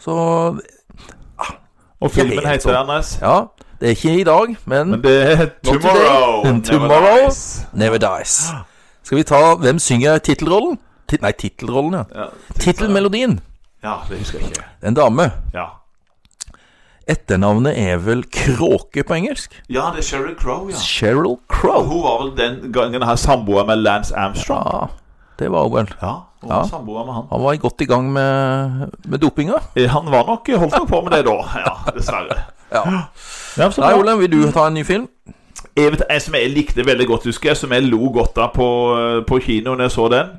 Speaker 1: Så
Speaker 2: Og
Speaker 1: Jeg
Speaker 2: filmen
Speaker 1: vet
Speaker 2: heter
Speaker 1: sånn.
Speaker 2: Anders.
Speaker 1: Ja, det er ikke i dag, men
Speaker 2: Men det er
Speaker 1: Not
Speaker 2: Tomorrow.
Speaker 1: today.
Speaker 2: Never
Speaker 1: Tomorrow.
Speaker 2: dies.
Speaker 1: Never Dies. Skal vi ta Hvem synger tittelrollen? Ti- nei, tittelrollen, ja.
Speaker 2: Ja,
Speaker 1: Tittelmelodien.
Speaker 2: ja, det husker jeg ikke.
Speaker 1: En dame.
Speaker 2: Ja,
Speaker 1: Etternavnet er vel Kråke på engelsk?
Speaker 2: ja det er Sheryl Crow, ja.
Speaker 1: Cheryl
Speaker 2: Og
Speaker 1: Crow.
Speaker 2: Hun var vel den gangen her samboer med Lance Armstrong.
Speaker 1: Ja, det var hun vel.
Speaker 2: Ja, hun var samboer med han.
Speaker 1: Han var godt i gang med, med dopinga.
Speaker 2: Eh, Han var nok holdt nok på med det da. Ja, dessverre.
Speaker 1: Ja.
Speaker 2: (laughs) Ja, så
Speaker 1: Nei,
Speaker 2: bra.
Speaker 1: Ole, vil du ta en ny film?
Speaker 2: Jeg vet, en som jeg likte veldig godt, husker jeg, som jeg lo godt av på, på kino når jeg så den.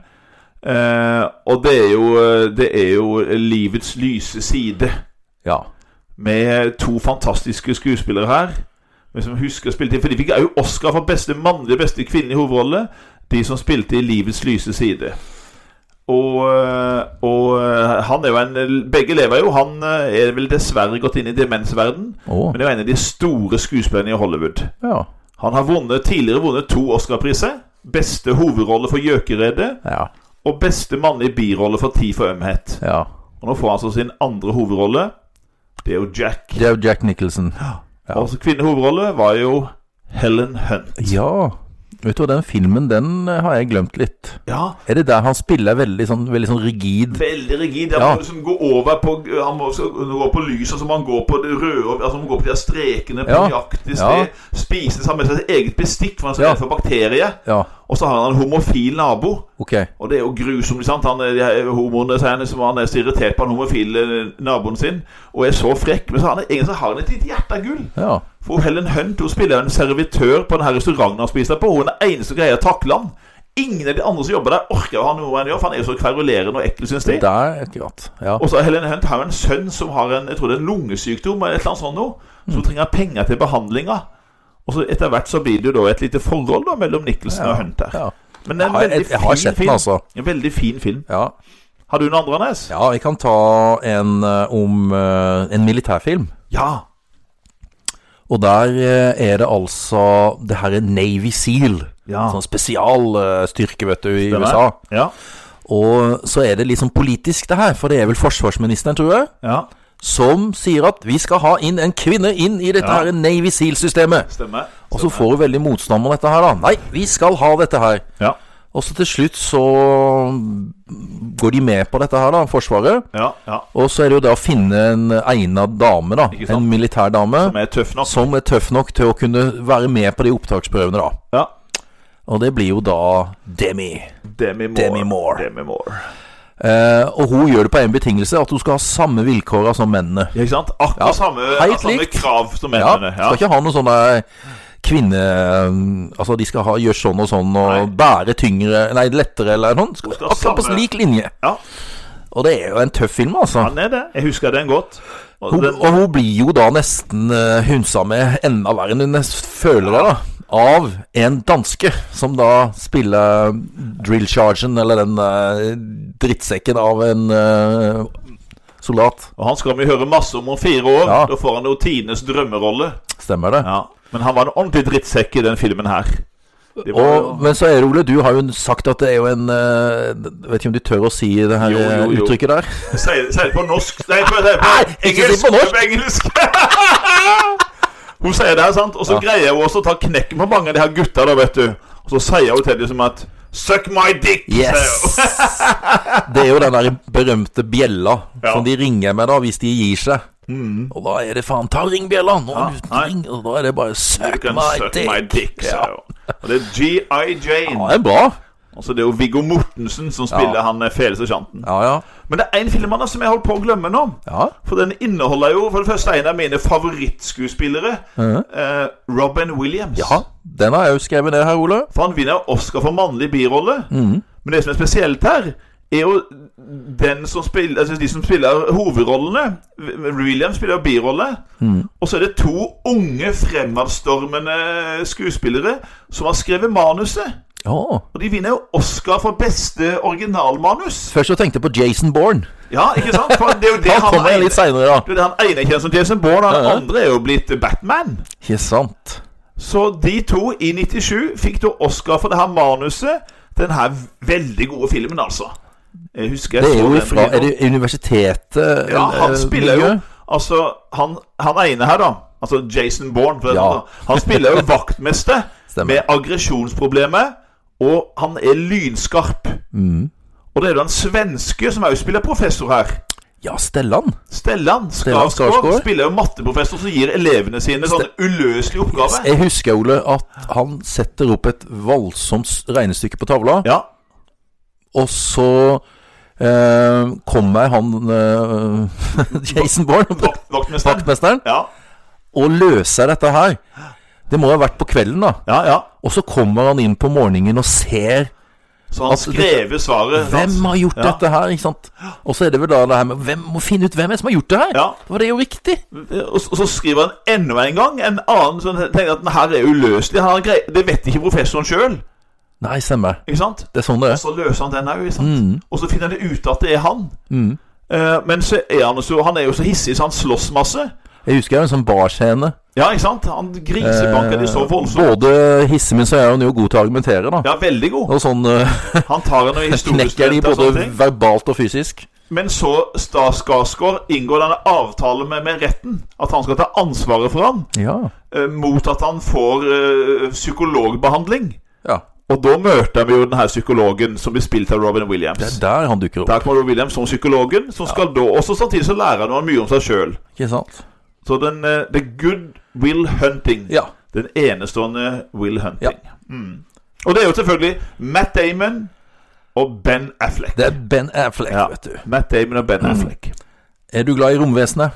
Speaker 2: Eh, og det er, jo, eh, det er jo livets lyse side,
Speaker 1: Ja.
Speaker 2: med to fantastiske skuespillere her. Men som husker å spille inn, For de fikk jo Oscar for beste mannlige beste kvinne i hovedrolle, de som spilte i livets lyse side. Og, eh, og han er jo en Begge lever jo. Han eh, er vel dessverre gått inn i demensverden
Speaker 1: Å.
Speaker 2: men det er jo en av de store skuespillerne i Hollywood.
Speaker 1: Ja.
Speaker 2: Han har vunnet, tidligere vunnet to Oscar-priser. Beste hovedrolle for Gjøkeredet
Speaker 1: Ja.
Speaker 2: og beste mannlige birolle for Tid for ømhet.
Speaker 1: ja.
Speaker 2: Og nå får han altså sin andre hovedrolle. Det er jo Jack.
Speaker 1: Det er jo Jack Nicholson.
Speaker 2: Og Også Altså, kvinnehovedrolle var jo Helen Hunt.
Speaker 1: Ja. Vet du hva, den filmen, den eh, har jeg glemt litt.
Speaker 2: Ja,
Speaker 1: Er det der han spiller veldig sånn, veldig sånn rigid
Speaker 2: veldig rigid. Han
Speaker 1: Ja.
Speaker 2: må liksom gå over på Han må også gå på lyset, så må han gå på det røde Altså han må gå på de der strekene på
Speaker 1: Ja. Ja.
Speaker 2: nøyaktig sted. Spise sammen med sitt eget bestikk, for han skal
Speaker 1: Ja.
Speaker 2: redd for bakterier.
Speaker 1: Ja,
Speaker 2: Og så har han en homofil nabo.
Speaker 1: ok.
Speaker 2: Og det er jo grusomt. ikke sant? Han er, de her homoene, så er han, liksom, han er så irritert på han homofile naboen sin og er så frekk. Men så har han, egentlig så har han et lite hjerte av gull.
Speaker 1: Ja.
Speaker 2: For Helen Hunt hun spiller en servitør på denne restauranten han spiser på. Hun er den eneste som greier å takle han. Ingen av de andre som jobber der, orker å ha noe med han gjør, for han er jo så kverulerende og ekkel, syns de.
Speaker 1: Der, akkurat. Ja.
Speaker 2: Og så har Helen Hunt har jo en sønn som har en jeg tror det er en lungesykdom eller et eller annet sånt noe.
Speaker 1: Mm.
Speaker 2: Så hun trenger penger til behandlinga. Og så etter hvert så blir det jo da et lite forhold da mellom Nicholson og Hunt der.
Speaker 1: Ja.
Speaker 2: Men det er en
Speaker 1: Jeg har-
Speaker 2: veldig
Speaker 1: jeg- jeg har
Speaker 2: fin
Speaker 1: sett den,
Speaker 2: film.
Speaker 1: altså.
Speaker 2: En veldig fin film.
Speaker 1: ja.
Speaker 2: Har du en andre, Anders?
Speaker 1: Ja, vi kan ta en eh, om eh, en militærfilm.
Speaker 2: Ja.
Speaker 1: Og der eh, er det altså det her er Navy Seal.
Speaker 2: Ja.
Speaker 1: Sånn spesialstyrke, vet du, i
Speaker 2: Stemmer.
Speaker 1: USA.
Speaker 2: Ja.
Speaker 1: Og så er det liksom politisk, det her. For det er vel forsvarsministeren, tror jeg,
Speaker 2: ja.
Speaker 1: som sier at vi skal ha inn en kvinne inn i dette
Speaker 2: Ja.
Speaker 1: her Navy Seal-systemet.
Speaker 2: Stemmer.
Speaker 1: Og så får du veldig motstand mot dette her, da. Nei, vi skal ha dette her.
Speaker 2: Ja.
Speaker 1: Og så til slutt så går de med på dette her, da, Forsvaret.
Speaker 2: Ja. ja.
Speaker 1: Og så er det jo det å finne en egnet dame, da.
Speaker 2: Ikke sant?
Speaker 1: En militær dame.
Speaker 2: Vi er tøff nok.
Speaker 1: Som er tøff nok til å kunne være med på de opptaksprøvene, da.
Speaker 2: Ja.
Speaker 1: Og det blir jo da Demi.
Speaker 2: Demi Moore.
Speaker 1: Demi Moore.
Speaker 2: Demi Moore.
Speaker 1: Eh, og hun gjør det på én betingelse, at hun skal ha samme vilkåra som mennene.
Speaker 2: Ja, ikke sant? Akkurat
Speaker 1: Ja,
Speaker 2: samme,
Speaker 1: helt
Speaker 2: samme
Speaker 1: likt.
Speaker 2: krav som
Speaker 1: Ja,
Speaker 2: mennene. Ja.
Speaker 1: Skal ikke ha noe sånn der kvinne... Altså, de skal ha, gjøre sånn og sånn og bære tyngre Nei, lettere eller noe. Skal,
Speaker 2: skal ha
Speaker 1: akkurat på
Speaker 2: samme-
Speaker 1: lik linje.
Speaker 2: Ja.
Speaker 1: Og det er jo en tøff film, altså.
Speaker 2: Han er det. Jeg husker den godt. Og
Speaker 1: Hun,
Speaker 2: den,
Speaker 1: og hun blir jo da nesten eh, hunsa med enda verre enn hun nes- føler det, da. Av en danske som da spiller drill chargen, eller den eh, drittsekken av en eh, soldat.
Speaker 2: og han skal vi høre masse om om fire år.
Speaker 1: Ja.
Speaker 2: Da får han jo tidenes drømmerolle.
Speaker 1: Stemmer det?
Speaker 2: Ja. Men han var en ordentlig drittsekk i den filmen her. Det var jo-
Speaker 1: Og, men så er det Ole, du har jo sagt at det er jo en eh, Vet ikke om du tør å si det her eh,
Speaker 2: Jo, jo, jo.
Speaker 1: uttrykket der?
Speaker 2: Sier sier det på norsk Nei, på, sier det på
Speaker 1: Nei, ikke si det på norsk.
Speaker 2: På engelsk. (laughs) hun sier det, her, sant? og så greier hun også å ta knekken på mange av de her gutta, da, vet du. Og så sier hun til dem som at Suck my dick! sier hun.
Speaker 1: Yes! (laughs) Det er jo den der berømte bjella
Speaker 2: Ja. Mm.
Speaker 1: som de ringer med da hvis de gir seg. Og da er det faen Ta ring bjella! Nå er du
Speaker 2: nei.
Speaker 1: ring, og da er det bare
Speaker 2: You
Speaker 1: Suck
Speaker 2: can
Speaker 1: my
Speaker 2: suck my
Speaker 1: dick!
Speaker 2: dick, sier
Speaker 1: Ja.
Speaker 2: hun. Og det er G.I. Jane.
Speaker 1: Ja, det er bra.
Speaker 2: Altså Det er jo Viggo Mortensen som spiller
Speaker 1: Ja.
Speaker 2: han eh, fele sersjanten.
Speaker 1: Ja, ja.
Speaker 2: Men det er én film han som jeg holdt på å glemme nå.
Speaker 1: Ja.
Speaker 2: For den inneholder jo for det første en av mine favorittskuespillere. eh, Robin Williams.
Speaker 1: ja. Den har jeg jo skrevet ned her, Ole.
Speaker 2: For han vinner Oscar for mannlig birolle.
Speaker 1: Mhm.
Speaker 2: Men det som er spesielt her, er jo den som spiller, altså de som spiller hovedrollene. William spiller birolle.
Speaker 1: Mhm.
Speaker 2: Og så er det to unge, fremadstormende skuespillere som har skrevet manuset.
Speaker 1: Ja.
Speaker 2: Og de vinner jo Oscar for beste originalmanus.
Speaker 1: Først så tenkte jeg på Jason Bourne.
Speaker 2: Ja, ikke sant? For det er jo det
Speaker 1: Han
Speaker 2: han,
Speaker 1: kommer jeg
Speaker 2: ene-
Speaker 1: litt seinere, da.
Speaker 2: det er det han ene kjenner som Jason Bourne, han
Speaker 1: Ja, ja.
Speaker 2: andre er jo blitt Batman.
Speaker 1: Ikke sant.
Speaker 2: Så de to i 97 fikk da Oscar for det her manuset. Den her veldig gode filmen, altså. Jeg husker jeg
Speaker 1: Det er
Speaker 2: så
Speaker 1: jo
Speaker 2: den på
Speaker 1: ifra
Speaker 2: kino.
Speaker 1: Er det universitetet
Speaker 2: Ja, han
Speaker 1: eh,
Speaker 2: spiller jo
Speaker 1: miljø?
Speaker 2: Altså, han, han ene her, da. Altså Jason Bourne. For det,
Speaker 1: Ja.
Speaker 2: da. Han
Speaker 1: (laughs)
Speaker 2: spiller jo vaktmester
Speaker 1: Stemmer.
Speaker 2: med aggresjonsproblemer, og han er lynskarp.
Speaker 1: Mm.
Speaker 2: Og det er jo den svenske som også spiller professor her.
Speaker 1: Ja, Stellan.
Speaker 2: Stellan
Speaker 1: Stellan Skarsgård.
Speaker 2: Skarsgård spiller jo matteprofessor som gir elevene sine sånne uløselige oppgaver.
Speaker 1: Jeg husker, Ole, at han setter opp et voldsomt s- regnestykke på tavla.
Speaker 2: Ja,
Speaker 1: Og så eh, kommer han eh, (laughs) Jason Bourne, (laughs)
Speaker 2: vak- vaktmesteren.
Speaker 1: vaktmesteren,
Speaker 2: Ja,
Speaker 1: og løser dette her. Det må ha vært på kvelden, da.
Speaker 2: ja, ja.
Speaker 1: Og så kommer han inn på morgenen og ser
Speaker 2: Så han
Speaker 1: Altså,
Speaker 2: skrev svaret.
Speaker 1: hvem
Speaker 2: sant?
Speaker 1: har gjort
Speaker 2: Ja.
Speaker 1: dette her. ikke sant? Og så er det vel da det her med hvem må finne ut hvem er det som har gjort det her.
Speaker 2: Ja.
Speaker 1: For det er jo riktig.
Speaker 2: eh, Og så- og så skriver han enda en gang en annen som tenker at den her er uløselig. Han har grei- det vet ikke professoren sjøl,
Speaker 1: Nei, stemmer.
Speaker 2: ikke sant?
Speaker 1: Det er sånn det
Speaker 2: Og
Speaker 1: er.
Speaker 2: så løser han den òg, sant?
Speaker 1: Mm.
Speaker 2: Og så finner han ut at det er han. Eh, men så er han, så, han er jo så hissig, så han slåss masse.
Speaker 1: Jeg husker jo en sånn barscene.
Speaker 2: Ja, ikke sant? Han grisebanker de
Speaker 1: Eh.
Speaker 2: så voldsomt.
Speaker 1: Både hisse min, så er hun jo god til å argumentere, da.
Speaker 2: Ja, veldig god.
Speaker 1: Og sånn eh, (laughs)
Speaker 2: Han tar henne i
Speaker 1: knekker de
Speaker 2: historiestudenter og sånne
Speaker 1: både
Speaker 2: ting.
Speaker 1: verbalt og fysisk.
Speaker 2: Men så Stas Skarsgård inngår denne avtalen med, med retten. At han skal ta ansvaret for ham
Speaker 1: Ja.
Speaker 2: eh, mot at han får eh, psykologbehandling.
Speaker 1: ja.
Speaker 2: Og da møter vi jo denne psykologen som blir spilt av Robin
Speaker 1: Det
Speaker 2: Williams.
Speaker 1: er der han dukker opp.
Speaker 2: Der kommer Robin Williams som psykologen, som skal da også samtidig så lærer han mye om seg sjøl.
Speaker 1: Ikke sant?
Speaker 2: Så den eh, The Good Will Hunting.
Speaker 1: Ja.
Speaker 2: Den enestående Will Hunting. Mm. Og det er jo selvfølgelig Matt Damon og Ben Affleck.
Speaker 1: Det Mm. er Ben Affleck,
Speaker 2: Ja.
Speaker 1: vet du.
Speaker 2: Matt Damon og Ben Affleck.
Speaker 1: Er du glad i romvesenet?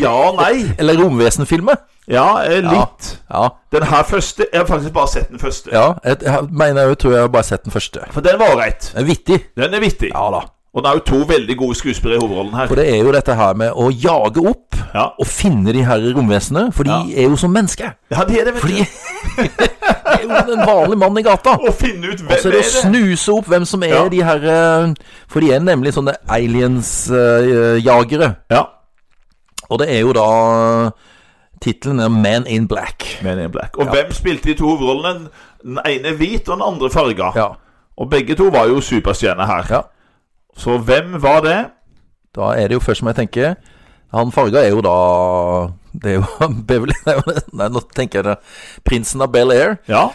Speaker 2: Ja og nei.
Speaker 1: Eller romvesenfilmer?
Speaker 2: Ja, eh, litt.
Speaker 1: Ja.
Speaker 2: Den her første Jeg har faktisk bare sett den første.
Speaker 1: ja jeg, jeg mener jeg tror jeg har bare sett den første.
Speaker 2: For den var ålreit.
Speaker 1: Det er vittig.
Speaker 2: Den er vittig.
Speaker 1: Ja da.
Speaker 2: Og den har jo to veldig gode skuespillere i hovedrollen her.
Speaker 1: For det er jo dette her med å jage opp
Speaker 2: Ja,
Speaker 1: og finne de her romvesenene, for de er jo som mennesker.
Speaker 2: ja det er det, vet
Speaker 1: For
Speaker 2: du.
Speaker 1: de de er jo en vanlig mann i
Speaker 2: (laughs)
Speaker 1: gata.
Speaker 2: Å finne ut
Speaker 1: Og så
Speaker 2: hvem
Speaker 1: er det å snuse opp hvem som er
Speaker 2: Ja.
Speaker 1: de her eh, For de er nemlig sånne eh, aliens-jagere.
Speaker 2: Ja.
Speaker 1: Og det er jo da eh, Tittelen er Man in Black.
Speaker 2: Men in Black. Og hvem spilte de to hovedrollene? Den ene hvit og den andre farga.
Speaker 1: Ja.
Speaker 2: Og begge to var jo superstjerner her.
Speaker 1: Ja.
Speaker 2: Så hvem var det?
Speaker 1: Da er det jo først som jeg tenker Han farga er jo da Det er jo (laughs) Beverly det er jo- Nei, nå tenker jeg det. Prinsen av Bel-Air.
Speaker 2: Ja,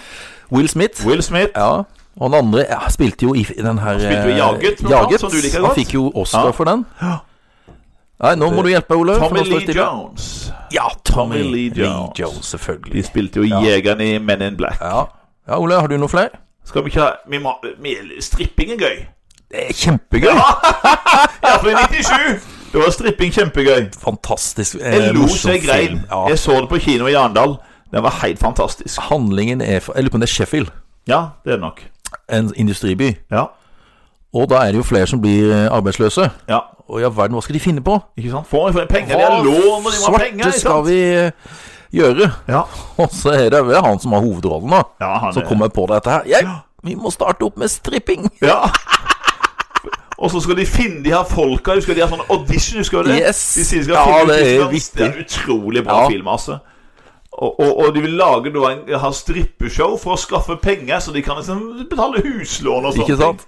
Speaker 1: Will Smith.
Speaker 2: Will Smith.
Speaker 1: Ja. Og den andre ja, spilte jo i f- i den her
Speaker 2: spilte jo
Speaker 1: eh,
Speaker 2: Jaget, blant annet, som du liker
Speaker 1: Han
Speaker 2: godt.
Speaker 1: fikk jo Oscar
Speaker 2: Ja.
Speaker 1: for den. Nei, nå må du hjelpe, Ole. for
Speaker 2: Tommy
Speaker 1: nå står det
Speaker 2: Lee
Speaker 1: stille.
Speaker 2: Jones.
Speaker 1: Ja, Tommy,
Speaker 2: Tommy Lee
Speaker 1: Lee,
Speaker 2: Jones.
Speaker 1: Jones. selvfølgelig.
Speaker 2: De spilte jo jegerne i Men in Black.
Speaker 1: Ja. ja, Ole, har du noe flere?
Speaker 2: Skal vi ikke ha vi må, vi- Stripping er gøy.
Speaker 1: Det er kjempegøy.
Speaker 2: (laughs) Iallfall i 97. Da var stripping kjempegøy.
Speaker 1: Fantastisk. eh,
Speaker 2: Jeg lo
Speaker 1: morsom
Speaker 2: så jeg grein.
Speaker 1: film. Ja.
Speaker 2: Jeg så det på kino i Arendal. Den var helt fantastisk.
Speaker 1: Handlingen er fra Jeg lurer på om det er Sheffield.
Speaker 2: Ja, det er det nok.
Speaker 1: En industriby.
Speaker 2: Ja.
Speaker 1: Og da er det jo flere som blir eh, arbeidsløse.
Speaker 2: ja.
Speaker 1: Og i all verden, hva skal de finne på?
Speaker 2: Ikke sant? Får de penger? De har lån, og de må ha penger.
Speaker 1: svarte
Speaker 2: ikke
Speaker 1: skal
Speaker 2: sant?
Speaker 1: vi eh, gjøre? (laughs)
Speaker 2: Ja.
Speaker 1: Og så er det vel han som har hovedrollen, da.
Speaker 2: Ja, han
Speaker 1: Så
Speaker 2: er-
Speaker 1: kommer jeg på dette her. Jeg, vi må starte opp med
Speaker 2: (laughs)
Speaker 1: stripping.
Speaker 2: Ja. Og så skal de finne de her folka. Husker du de har sånn audition? husker du det?
Speaker 1: Yes.
Speaker 2: De sier de skal
Speaker 1: Ja,
Speaker 2: finne ut
Speaker 1: det er
Speaker 2: hvordan-
Speaker 1: viktig.
Speaker 2: Det er en utrolig bra
Speaker 1: Ja.
Speaker 2: film, altså. Og, og, og de vil lage da en, ha strippeshow for å skaffe penger, så de kan liksom betale huslån og sånt.
Speaker 1: Ikke sant?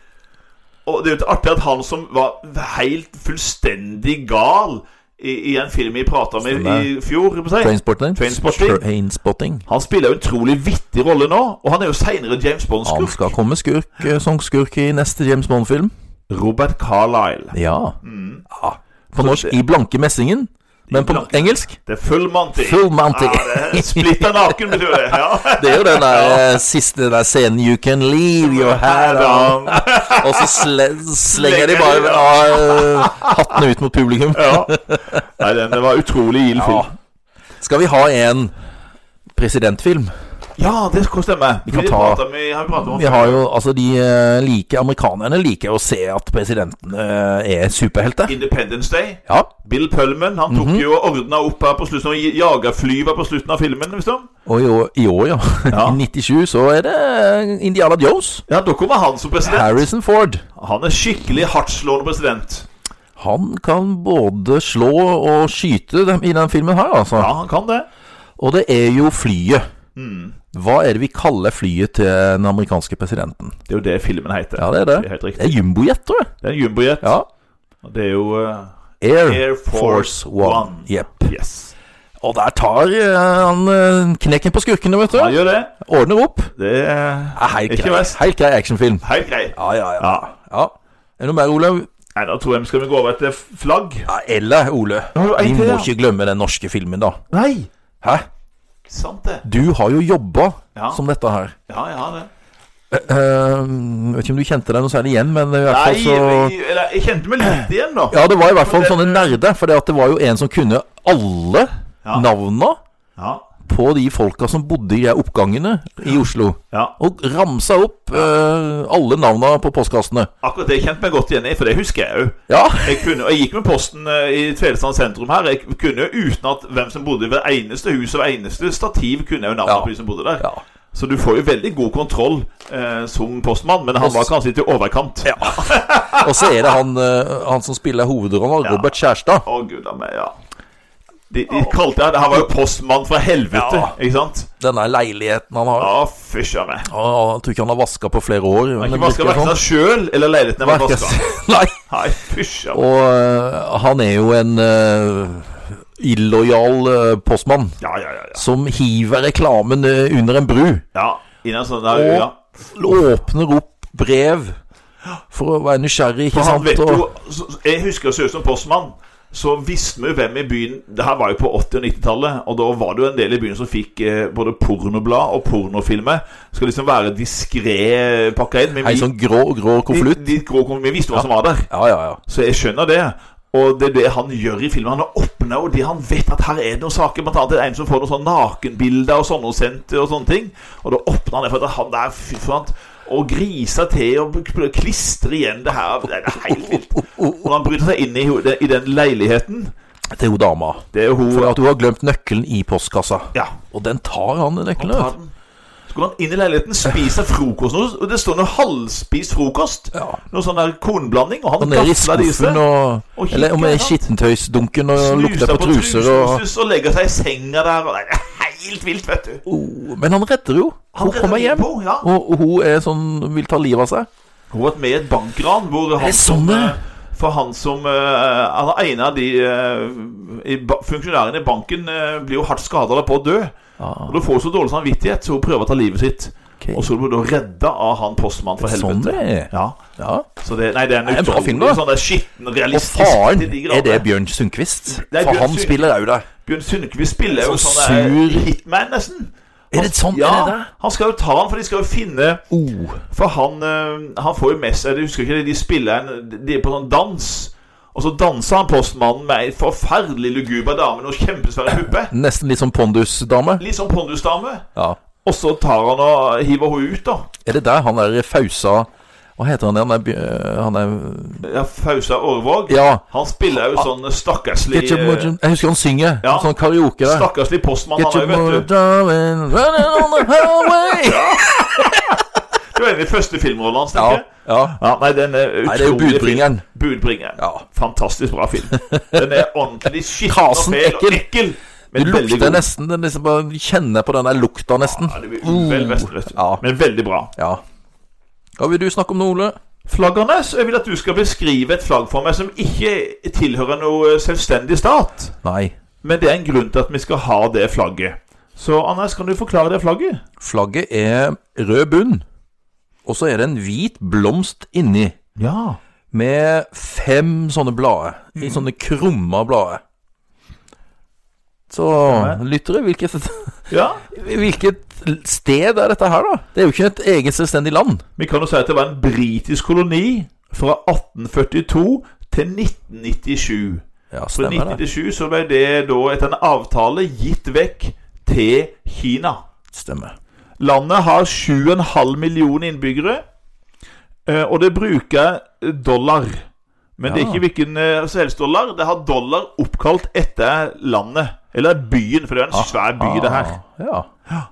Speaker 2: Og det er jo artig at han som var helt fullstendig gal i, i en film vi prata med i fjor holdt jeg på å si.
Speaker 1: Trainspotting.
Speaker 2: Trainspotting.
Speaker 1: Trainspotting.
Speaker 2: Han spiller jo en utrolig vittig rolle nå, og han er jo seinere James
Speaker 1: Han
Speaker 2: Bond-skurk.
Speaker 1: skal komme skurk, eh, som skurk i neste James Bond-film.
Speaker 2: Robert Carlyle.
Speaker 1: Ja. ja. På norsk I blanke messingen, men på
Speaker 2: Mm. blanke-
Speaker 1: engelsk
Speaker 2: Det er full Monty.
Speaker 1: Full Monty.
Speaker 2: Ja, det er Splitter naken, betyr det. Ja.
Speaker 1: (laughs) Det er jo den der eh, siste den der scenen You can leave your
Speaker 2: (laughs)
Speaker 1: hat on Og så sle slenger de bare eh, hattene ut mot publikum.
Speaker 2: Ja. Nei, den det var utrolig gild film.
Speaker 1: Skal vi ha en presidentfilm?
Speaker 2: Ja, det skal stemme. Vi
Speaker 1: kan ta-
Speaker 2: prater med- har vi pratet om
Speaker 1: Vi har jo, altså de eh, like, Amerikanerne liker å se at presidenten eh, er superhelter.
Speaker 2: Independence Day.
Speaker 1: Ja,
Speaker 2: Bill Pullman han
Speaker 1: Mhm.
Speaker 2: tok jo og ordna opp her på slutten og jagerfly var på slutten av filmen. Visst om?
Speaker 1: Og i år, i år ja.
Speaker 2: Ja.
Speaker 1: I 97 så er det eh, Indiana Jones.
Speaker 2: Ja, da kommer han som president.
Speaker 1: Harrison Ford.
Speaker 2: Han er skikkelig hardtslående president.
Speaker 1: Han kan både slå og skyte dem i den filmen her, altså.
Speaker 2: Ja, han kan det.
Speaker 1: Og det er jo flyet.
Speaker 2: Mm.
Speaker 1: Hva er det vi kaller flyet til den amerikanske presidenten?
Speaker 2: Det er jo det filmen heter.
Speaker 1: Ja, det er det.
Speaker 2: Det er helt riktig.
Speaker 1: Det er jumbojet, tror jeg.
Speaker 2: Det er en jumbojet.
Speaker 1: Ja.
Speaker 2: Og Det er jo eh,
Speaker 1: Air,
Speaker 2: Air Force
Speaker 1: Force One.
Speaker 2: One.
Speaker 1: Jepp.
Speaker 2: Yes.
Speaker 1: Og der tar eh, han eh, knekken på skurkene, vet
Speaker 2: Han
Speaker 1: du.
Speaker 2: gjør det.
Speaker 1: Ordner opp.
Speaker 2: Det
Speaker 1: Ja,
Speaker 2: er
Speaker 1: Helt
Speaker 2: ikke
Speaker 1: grei,
Speaker 2: verst.
Speaker 1: helt grei actionfilm.
Speaker 2: Helt grei.
Speaker 1: Ja, ja, ja.
Speaker 2: Ja.
Speaker 1: ja. Er det noe mer, Ole?
Speaker 2: Nei, da tror jeg vi skal gå over til flagg.
Speaker 1: Ja, eller, Ole,
Speaker 2: Ja, jeg
Speaker 1: vi
Speaker 2: til,
Speaker 1: må
Speaker 2: ja.
Speaker 1: ikke glemme den norske filmen, da.
Speaker 2: Nei!
Speaker 1: Hæ?
Speaker 2: Sant det.
Speaker 1: Du har jo jobba
Speaker 2: Ja.
Speaker 1: som dette her.
Speaker 2: Ja, ja, det.
Speaker 1: Eh, vet ikke om du kjente deg noe særlig igjen, men i hvert
Speaker 2: Nei,
Speaker 1: fall så
Speaker 2: jeg, eller, jeg kjente meg litt igjen, da.
Speaker 1: Ja, det var i hvert fall sånne nerder, for det var jo en som kunne alle
Speaker 2: Ja.
Speaker 1: navna
Speaker 2: Ja.
Speaker 1: på de folka som bodde i de oppgangene i Oslo.
Speaker 2: ja.
Speaker 1: Og ramsa opp eh, alle navna på postkassene.
Speaker 2: Akkurat det kjente meg godt igjen i, for det husker jeg òg.
Speaker 1: Ja,
Speaker 2: Jeg, kunne, og jeg gikk med posten eh, i Tvedestrand sentrum her. Jeg kunne jo uten at hvem som bodde i hvert eneste hus og hvert eneste stativ, kunne jeg jo navnet
Speaker 1: Ja.
Speaker 2: på de som bodde der.
Speaker 1: Ja.
Speaker 2: Så du får jo veldig god kontroll eh, som postmann, men han var kanskje litt i overkant. Å,
Speaker 1: (laughs) Og så er det han, eh, han som spiller hovedrollen, Robert Kjærstad.
Speaker 2: gud a meg, ja. De, de kalte han Han var jo postmann fra helvete,
Speaker 1: Ja.
Speaker 2: ikke sant?
Speaker 1: Denne leiligheten han har.
Speaker 2: Ja, fysja meg.
Speaker 1: Ja, jeg tror ikke han har vaska på flere år. men
Speaker 2: Han
Speaker 1: det
Speaker 2: ikke vaska
Speaker 1: virker
Speaker 2: verken
Speaker 1: sånn.
Speaker 2: seg sjøl eller leiligheten han var
Speaker 1: Verken-
Speaker 2: vaska.
Speaker 1: (laughs) Nei.
Speaker 2: Nei, fysja meg.
Speaker 1: Og eh, han er jo en uh, illojal eh, postmann
Speaker 2: Ja, ja, ja. ja.
Speaker 1: som hiver reklamen eh, under en bru.
Speaker 2: ja Innan sånn der,
Speaker 1: Og
Speaker 2: ja.
Speaker 1: åpner opp brev for å være nysgjerrig, ikke
Speaker 2: Og han
Speaker 1: sant?
Speaker 2: vet
Speaker 1: og,
Speaker 2: jo så- så- Jeg husker seriøst som postmann. Så visste vi jo hvem i byen Det her var jo på 80- og 90-tallet. Og da var det jo en del i byen som fikk eh, både pornoblad og pornofilmer. Skal liksom være diskré pakka inn. Men
Speaker 1: Ei
Speaker 2: vi,
Speaker 1: sånn grå, grå
Speaker 2: de,
Speaker 1: konvolutt.
Speaker 2: de grå kom, vi visste hva som var der.
Speaker 1: Ja, ja, ja.
Speaker 2: Så jeg skjønner det. Og det er det han gjør i filmen. Han åpner jo det han vet at her er det noen saker. Blant annet er det en som får noen sånne nakenbilder og sånne sendt og sånne ting. Og da åpner han det for at han der fy faen og griser til og k- klistrer igjen det her. Det er helt vilt. Og når han bryter seg inn i, ho- i den leiligheten
Speaker 1: Til hun dama.
Speaker 2: Det er jo
Speaker 1: For
Speaker 2: hun
Speaker 1: at hun har glemt nøkkelen i postkassa.
Speaker 2: Ja.
Speaker 1: Og den tar han,
Speaker 2: han
Speaker 1: nøkkelen.
Speaker 2: tar
Speaker 1: vet du.
Speaker 2: den. Så går han inn i leiligheten, spiser frokost nå, og det står noe halvspist frokost.
Speaker 1: Ja.
Speaker 2: Noe sånn der kornblanding, og
Speaker 1: Og
Speaker 2: han
Speaker 1: nede i
Speaker 2: kasler disse.
Speaker 1: skuffen og,
Speaker 2: Og kikker,
Speaker 1: Eller om det er
Speaker 2: sant?
Speaker 1: skittentøysdunken og lukter på truser og
Speaker 2: og legger seg i senga der. Og det er helt vilt, vet du.
Speaker 1: oh, Men han redder jo.
Speaker 2: Han
Speaker 1: Hun kommer
Speaker 2: redder
Speaker 1: hjem,
Speaker 2: på, ja.
Speaker 1: og, og hun er sånn vil ta livet av seg.
Speaker 2: Hun har vært med i et bankran hvor han
Speaker 1: det sånn,
Speaker 2: som
Speaker 1: ja?
Speaker 2: eh, For han som eh, Han er en av de eh, i ba- funksjonærene i banken eh, blir jo hardt skada eller på å dø. Og Da får hun så dårlig samvittighet, så hun prøver å ta livet sitt.
Speaker 1: Ah. Ok.
Speaker 2: Og så blir hun da redda av han postmannen, for
Speaker 1: Det er
Speaker 2: helvete.
Speaker 1: sånn det er.
Speaker 2: Ja.
Speaker 1: Ja.
Speaker 2: Så det, nei, det er en
Speaker 1: Det er en bra
Speaker 2: utrolig
Speaker 1: film, da.
Speaker 2: sånn der skitten,
Speaker 1: Og
Speaker 2: realistisk
Speaker 1: faren,
Speaker 2: til de
Speaker 1: er det
Speaker 2: grader.
Speaker 1: Bjørn Sundquist?
Speaker 2: Det er
Speaker 1: For
Speaker 2: Bjørn
Speaker 1: han
Speaker 2: Sund-
Speaker 1: spiller òg der.
Speaker 2: Bjørn Sundquist spiller jo
Speaker 1: Sånn
Speaker 2: sånn der
Speaker 1: sur-
Speaker 2: hitman, nesten.
Speaker 1: Er det sånn?
Speaker 2: Ja,
Speaker 1: Er det det?
Speaker 2: han skal jo ta han, for de skal jo finne
Speaker 1: Oh.
Speaker 2: For han, eh, han får jo med seg Jeg husker ikke det, de spiller en De er på sånn dans Og så danser han postmannen med ei forferdelig luguba dame Noe kjempesvære puppe
Speaker 1: Nesten litt som Pondus-dame.
Speaker 2: Litt sånn pondusdame
Speaker 1: Ja.
Speaker 2: Og så tar han og hiver hun ut da
Speaker 1: Er det der han er Fausa Hva heter han igjen? Han er Bjør- Han er
Speaker 2: ja, Fausa Årvåg
Speaker 1: Ja.
Speaker 2: Han spiller jo sånn stakkarslig
Speaker 1: Get your
Speaker 2: eh,
Speaker 1: mojo- Jeg husker han synger.
Speaker 2: Ja.
Speaker 1: Sånn karaoke der.
Speaker 2: Stakkarslig postmann
Speaker 1: Get
Speaker 2: han
Speaker 1: your
Speaker 2: er jo,
Speaker 1: mojo
Speaker 2: vet du
Speaker 1: darling, running on the highway.
Speaker 2: Det var en av de første filmrollene hans,
Speaker 1: Ja.
Speaker 2: tenker jeg
Speaker 1: ja.
Speaker 2: ja, nei, den er utrolig
Speaker 1: Nei, det er jo
Speaker 2: fin.
Speaker 1: budbringeren.
Speaker 2: Budbringeren.
Speaker 1: Ja.
Speaker 2: Fantastisk bra film. Den er ordentlig skitten og
Speaker 1: Rasen
Speaker 2: fæl og
Speaker 1: ekkel.
Speaker 2: ekkel.
Speaker 1: Du
Speaker 2: Men veldig
Speaker 1: lukter
Speaker 2: god.
Speaker 1: nesten den liksom bare Kjenner på den der lukta, nesten.
Speaker 2: Ja, det blir uvel vest, vet du.
Speaker 1: Ja.
Speaker 2: Men veldig bra.
Speaker 1: Ja. Hva vil du snakke om nå, Ole?
Speaker 2: Flaggernes, jeg vil at du skal beskrive et flagg for meg som ikke tilhører noe selvstendig stat.
Speaker 1: Nei.
Speaker 2: Men det er en grunn til at vi skal ha det flagget. Så Anders, kan du forklare det flagget?
Speaker 1: Flagget er rød bunn, og så er det en hvit blomst inni.
Speaker 2: Ja.
Speaker 1: Med fem sånne blader.
Speaker 2: Mm.
Speaker 1: I sånne krumma blader. Så lyttere, hvilket, (laughs)
Speaker 2: Ja,
Speaker 1: hvilket sted er dette her, da? Det er jo ikke et eget selvstendig land.
Speaker 2: Vi kan jo si at det var en britisk koloni fra 1842 til 1997.
Speaker 1: Ja,
Speaker 2: Fra
Speaker 1: stemmer det.
Speaker 2: 1997 så ble det da etter en avtale gitt vekk til Kina.
Speaker 1: Stemmer.
Speaker 2: Landet har 7,5 millioner innbyggere, eh, og det bruker eh, dollar. Men det er
Speaker 1: Ja.
Speaker 2: ikke hvilken eh, som helst dollar. Det har dollar oppkalt etter landet. Eller byen, for det er en svær by, det her.
Speaker 1: Ah, Ja.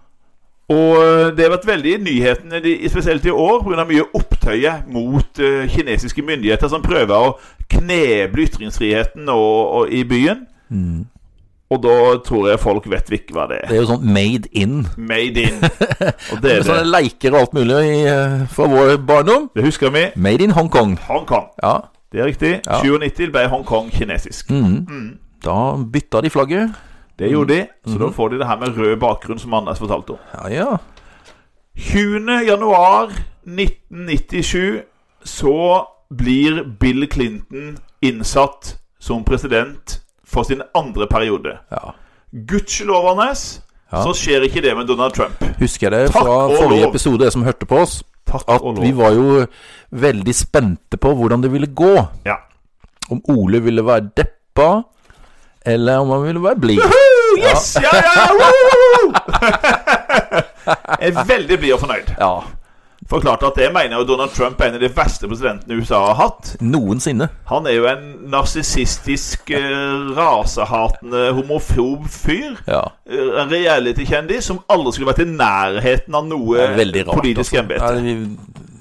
Speaker 2: Og eh, det har vært veldig i nyhetene, de- spesielt i år, pga. mye opptøyer mot eh, kinesiske myndigheter som prøver å kneble ytringsfriheten og, og, i byen. Mm. Og da tror jeg folk vet ikke hva det er.
Speaker 1: Det er jo sånn made in.
Speaker 2: Made (laughs) in. Og det
Speaker 1: Med
Speaker 2: er det.
Speaker 1: sånne leker og alt mulig i, eh, fra vår barndom.
Speaker 2: Det husker vi.
Speaker 1: Made in Hongkong.
Speaker 2: Hongkong.
Speaker 1: Ja.
Speaker 2: Det er riktig.
Speaker 1: Ja.
Speaker 2: 97 ble Hongkong kinesisk. Mm.
Speaker 1: Da bytta de flagget.
Speaker 2: Det gjorde de. Så
Speaker 1: Mhm.
Speaker 2: da får de det her med rød bakgrunn, som Anders fortalte om.
Speaker 1: Ja, ja.
Speaker 2: 20. januar 1997 så blir Bill Clinton innsatt som president for sin andre periode.
Speaker 1: ja.
Speaker 2: Gudskjelov, Anders,
Speaker 1: Ja.
Speaker 2: så skjer ikke det med Donald Trump.
Speaker 1: Husker jeg det
Speaker 2: Takk
Speaker 1: fra
Speaker 2: og
Speaker 1: forrige
Speaker 2: lov.
Speaker 1: episode, dere som hørte på oss?
Speaker 2: Takk
Speaker 1: At
Speaker 2: og lov.
Speaker 1: vi var jo veldig spente på hvordan det ville gå.
Speaker 2: Ja.
Speaker 1: Om Ole ville være deppa, eller om han ville være
Speaker 2: (laughs)
Speaker 1: blid.
Speaker 2: Oh, Yes! Ja, ja, ja! woo! Jeg er veldig blid og fornøyd.
Speaker 1: Ja.
Speaker 2: Forklart at jeg mener jo Donald Trump er en av de verste presidentene USA har hatt.
Speaker 1: Noensinne.
Speaker 2: Han er jo en narsissistisk, eh, rasehatende, homofob fyr.
Speaker 1: Ja.
Speaker 2: Eh, En reality-kjendis som aldri skulle vært i nærheten av
Speaker 1: Det
Speaker 2: noe
Speaker 1: er veldig rart.
Speaker 2: politisk
Speaker 1: altså.
Speaker 2: embete.
Speaker 1: Ja, vi-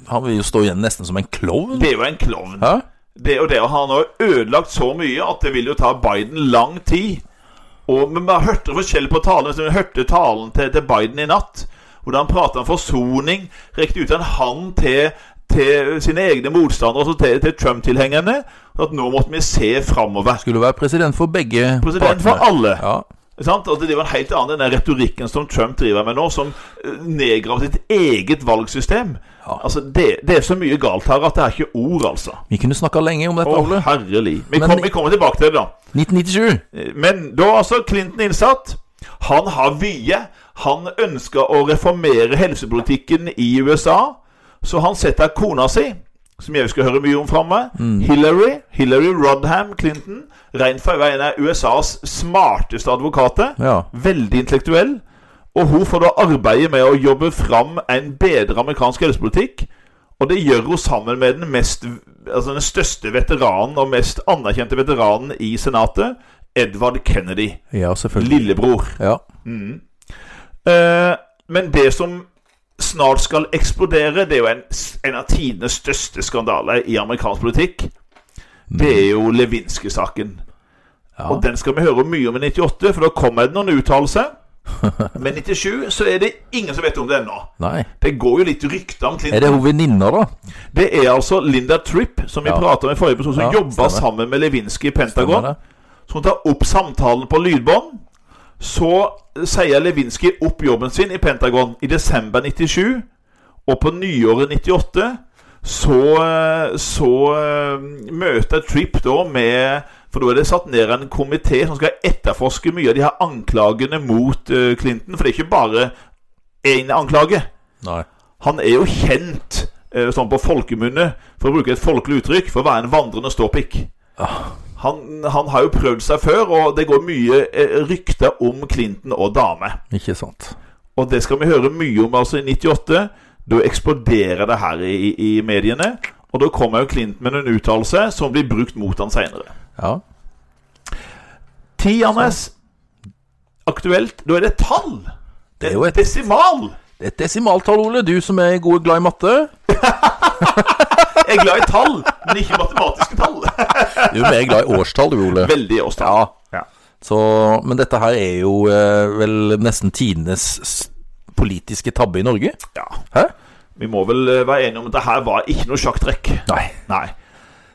Speaker 1: han vil jo stå igjen nesten som en klovn.
Speaker 2: Det er jo en klovn.
Speaker 1: Hæ?
Speaker 2: Det og det, og han har ødelagt så mye at det vil jo ta Biden lang tid. Og Men man hørte forskjell på talen. Hvis man hørte talen til, til Biden i natt, hvordan han pratet om forsoning, rekte ut en hand til, til sine egne motstandere, altså til, til Trump-tilhengerne, at nå måtte vi se framover.
Speaker 1: Skulle være president for begge
Speaker 2: President for alle.
Speaker 1: Ja.
Speaker 2: Ikke Sant? Og det er jo en helt annen enn den retorikken som Trump driver med nå, som eh, nedgraver sitt eget valgsystem.
Speaker 1: Ja.
Speaker 2: Altså, det, det er så mye galt her at det er ikke ord, altså.
Speaker 1: Vi kunne snakka lenge om dette,
Speaker 2: Å,
Speaker 1: Ole.
Speaker 2: herrelig. Vi,
Speaker 1: Men-
Speaker 2: kom, vi kommer tilbake til det, da.
Speaker 1: 1997.
Speaker 2: Eh, Men da er altså Clinton innsatt. Han har vyer. Han ønsker å reformere helsepolitikken i USA, så han setter kona si som jeg skal høre mye om framme.
Speaker 1: Mm.
Speaker 2: Hillary Hillary Rodham Clinton. Rent fra en av USAs smarteste advokater.
Speaker 1: Ja.
Speaker 2: Veldig intellektuell. Og hun får da arbeide med å jobbe fram en bedre amerikansk helsepolitikk. Og det gjør hun sammen med den, mest, altså den største veteranen og mest anerkjente veteranen i Senatet, Edvard Kennedy.
Speaker 1: Ja, selvfølgelig.
Speaker 2: Lillebror.
Speaker 1: Ja.
Speaker 2: Eh, men det som snart skal eksplodere. Det er jo en, en av tidenes største skandaler i amerikansk politikk. Det er jo Lewinsky-saken. Og den skal vi høre mye om i 98, for da kommer det noen
Speaker 1: (laughs)
Speaker 2: uttalelser. Men i 97 så er det ingen som vet om det ennå.
Speaker 1: Nei.
Speaker 2: Det går jo litt rykter om
Speaker 1: Er
Speaker 2: Clinton.
Speaker 1: det hun venninna, da?
Speaker 2: Det er altså Linda Tripp, som vi
Speaker 1: Ja.
Speaker 2: pratet med i forrige episode, som
Speaker 1: Ja,
Speaker 2: jobba
Speaker 1: stemmer.
Speaker 2: sammen med Lewinsky i
Speaker 1: Stemmer
Speaker 2: Pentagon.
Speaker 1: det.
Speaker 2: Så hun tar opp samtalen på lydbånd. Så sier Lewinsky opp jobben sin i Pentagon i desember 97. Og på nyåret 98 så, så eh, møter Tripp da med For da er det satt ned en komité som skal etterforske mye av de her anklagene mot eh, Clinton. For det er ikke bare én anklage.
Speaker 1: Nei.
Speaker 2: Han er jo kjent eh, sånn på folkemunne, for å bruke et folkelig uttrykk, for å være en vandrende ståpikk.
Speaker 1: Ah.
Speaker 2: Han, han har jo prøvd seg før, og det går mye eh, rykter om Clinton og dame.
Speaker 1: Ikke sant.
Speaker 2: Og det skal vi høre mye om altså i 98. Da eksploderer det her i, i mediene. Og da kommer jo Clinton med en uttalelse som blir brukt mot han seinere.
Speaker 1: Ja.
Speaker 2: Ti, Anders. Aktuelt. Da er det tall.
Speaker 1: er
Speaker 2: Det er
Speaker 1: jo et-
Speaker 2: desimal.
Speaker 1: Et desimaltall, Ole. Du som er god og glad i matte.
Speaker 2: Jeg er glad i tall, men ikke matematiske tall. (laughs)
Speaker 1: Du er mer glad i årstall, du, Ole.
Speaker 2: Veldig årstall.
Speaker 1: Ja.
Speaker 2: Ja.
Speaker 1: Så, men dette her er jo eh, vel nesten tidenes s- politiske tabbe i Norge.
Speaker 2: ja.
Speaker 1: Hæ?
Speaker 2: Vi må vel eh, være enige om at det her var ikke noe sjakktrekk.
Speaker 1: Nei.
Speaker 2: Nei.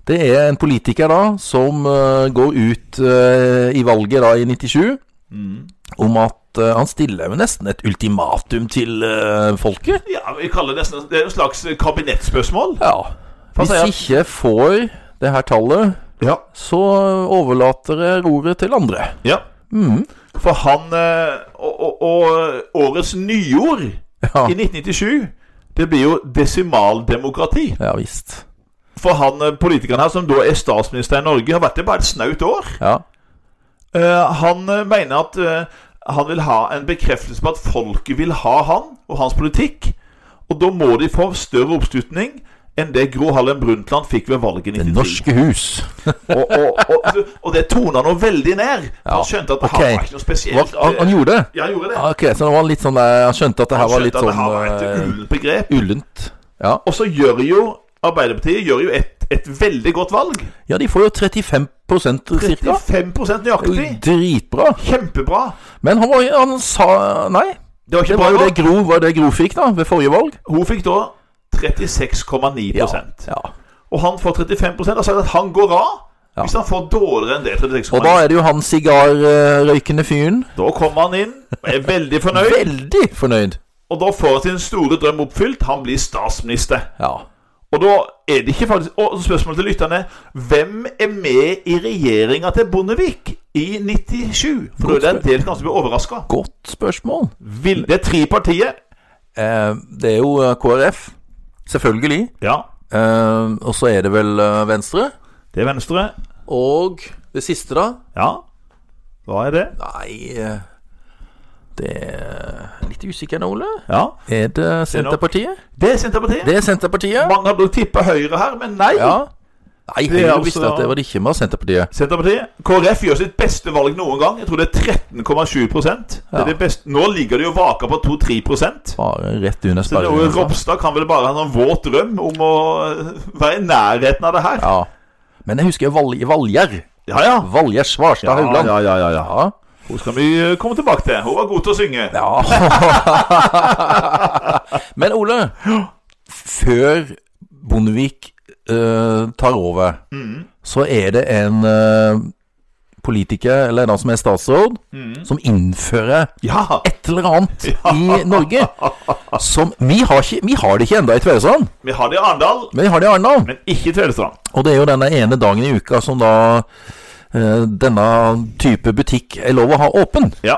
Speaker 1: Det er en politiker da som eh, går ut eh, i valget da i 97 Mm. om at eh, han stiller med nesten et ultimatum til eh, folket.
Speaker 2: Ja, vi kaller det nesten Det er jo et slags eh, kabinettspørsmål.
Speaker 1: Ja. Hvis
Speaker 2: sier han?
Speaker 1: ikke får det her tallet,
Speaker 2: Ja.
Speaker 1: så overlater jeg roret til andre.
Speaker 2: ja.
Speaker 1: Mhm.
Speaker 2: For han eh, og, og, og årets nyord
Speaker 1: Ja,
Speaker 2: i 1997, det blir jo desimaldemokrati.
Speaker 1: ja visst.
Speaker 2: For han eh, politikeren her, som da er statsminister i Norge, har vært det bare et snaut år.
Speaker 1: Ja.
Speaker 2: Eh, han eh, mener at eh, han vil ha en bekreftelse på at folket vil ha han og hans politikk. Og da må de få større oppslutning enn det Gro Harlem Brundtland fikk ved valget i
Speaker 1: Det
Speaker 2: 1993.
Speaker 1: norske hus.
Speaker 2: og, og, (laughs) og, og det tona nå veldig ned. Han
Speaker 1: Ja,
Speaker 2: skjønte at det
Speaker 1: ok.
Speaker 2: her var ikke noe
Speaker 1: Hva,
Speaker 2: spesielt. eh,
Speaker 1: han, han gjorde det?
Speaker 2: Ja, han gjorde det.
Speaker 1: Ah, Ok, så det var litt sånn eh, Han skjønte at det her
Speaker 2: Han
Speaker 1: var
Speaker 2: skjønte
Speaker 1: litt
Speaker 2: at det
Speaker 1: sånn
Speaker 2: her var et
Speaker 1: eh,
Speaker 2: ullent begrep.
Speaker 1: ullent. Ja.
Speaker 2: Og så gjør jo Arbeiderpartiet gjør jo et, et veldig godt valg.
Speaker 1: ja, de får jo 35 ca.
Speaker 2: 35 nøyaktig.
Speaker 1: Dritbra.
Speaker 2: Kjempebra.
Speaker 1: Men han, var, han sa Nei.
Speaker 2: Det var
Speaker 1: Det
Speaker 2: ikke
Speaker 1: var
Speaker 2: bra
Speaker 1: jo det
Speaker 2: nok.
Speaker 1: Gro, var det Gro fikk da ved forrige valg.
Speaker 2: Hun fikk da 36,9
Speaker 1: Ja. ja.
Speaker 2: Og han får 35 og sier at han går av
Speaker 1: Ja.
Speaker 2: hvis han får dårligere enn det. 36,9.
Speaker 1: Og da er det jo han sigarrøykende fyren.
Speaker 2: Da kommer han inn og er veldig fornøyd.
Speaker 1: Veldig fornøyd.
Speaker 2: Og da får han sin store drøm oppfylt. Han blir statsminister.
Speaker 1: Ja.
Speaker 2: Og da er det ikke faktisk Og spørsmålet til lytterne Hvem er med i regjeringa til Bondevik i 97? For da er det en del som kanskje blir overraska.
Speaker 1: Godt spørsmål.
Speaker 2: Det er tre partier.
Speaker 1: Eh, det er jo eh, KrF. Selvfølgelig.
Speaker 2: Ja,
Speaker 1: Eh, og så er det vel eh, Venstre.
Speaker 2: det er Venstre.
Speaker 1: Og det siste, da?
Speaker 2: Ja. Hva er det?
Speaker 1: Nei eh, Det er litt usikker nå, Ole.
Speaker 2: Ja.
Speaker 1: Er det
Speaker 2: er nok-
Speaker 1: Senterpartiet?
Speaker 2: Det er Senterpartiet.
Speaker 1: Det er Senterpartiet.
Speaker 2: Mange hadde tippa Høyre her, men nei.
Speaker 1: Ja. Nei,
Speaker 2: er
Speaker 1: Høyre
Speaker 2: altså-
Speaker 1: visste at det var det ikke med Senterpartiet.
Speaker 2: Senterpartiet. KrF gjør sitt beste valg noen gang. Jeg tror det er 13,7 Det
Speaker 1: Ja.
Speaker 2: er det beste. Nå ligger de og vaker på 2-3 Så
Speaker 1: Bare rett under
Speaker 2: det er jo
Speaker 1: sperregrensa.
Speaker 2: Ropstad kan vel bare ha en våt drøm om å eh, være i nærheten av det her.
Speaker 1: Ja. Men jeg husker jo Val Valgerd.
Speaker 2: Ja, ja.
Speaker 1: Valgerd Svarstad Haugland.
Speaker 2: ja, ja, ja, ja.
Speaker 1: Ja.
Speaker 2: Hun skal vi eh, komme tilbake til. Hun var god til å synge.
Speaker 1: Ja. (laughs) Men Ole, før Bondevik eh, tar over,
Speaker 2: Mm.
Speaker 1: så er det en eh, politiker, eller en som er statsråd,
Speaker 2: Mm.
Speaker 1: som innfører
Speaker 2: Ja,
Speaker 1: et eller
Speaker 2: (laughs)
Speaker 1: annet i Norge som Vi har, ikke, vi har det ikke enda i Tvedestrand,
Speaker 2: Vi har det i Arendal,
Speaker 1: men vi har det i Arendal.
Speaker 2: men ikke i Tvedestrand.
Speaker 1: Og det er jo denne ene dagen i uka som da eh, denne type butikk er lov å ha åpen.
Speaker 2: Ja.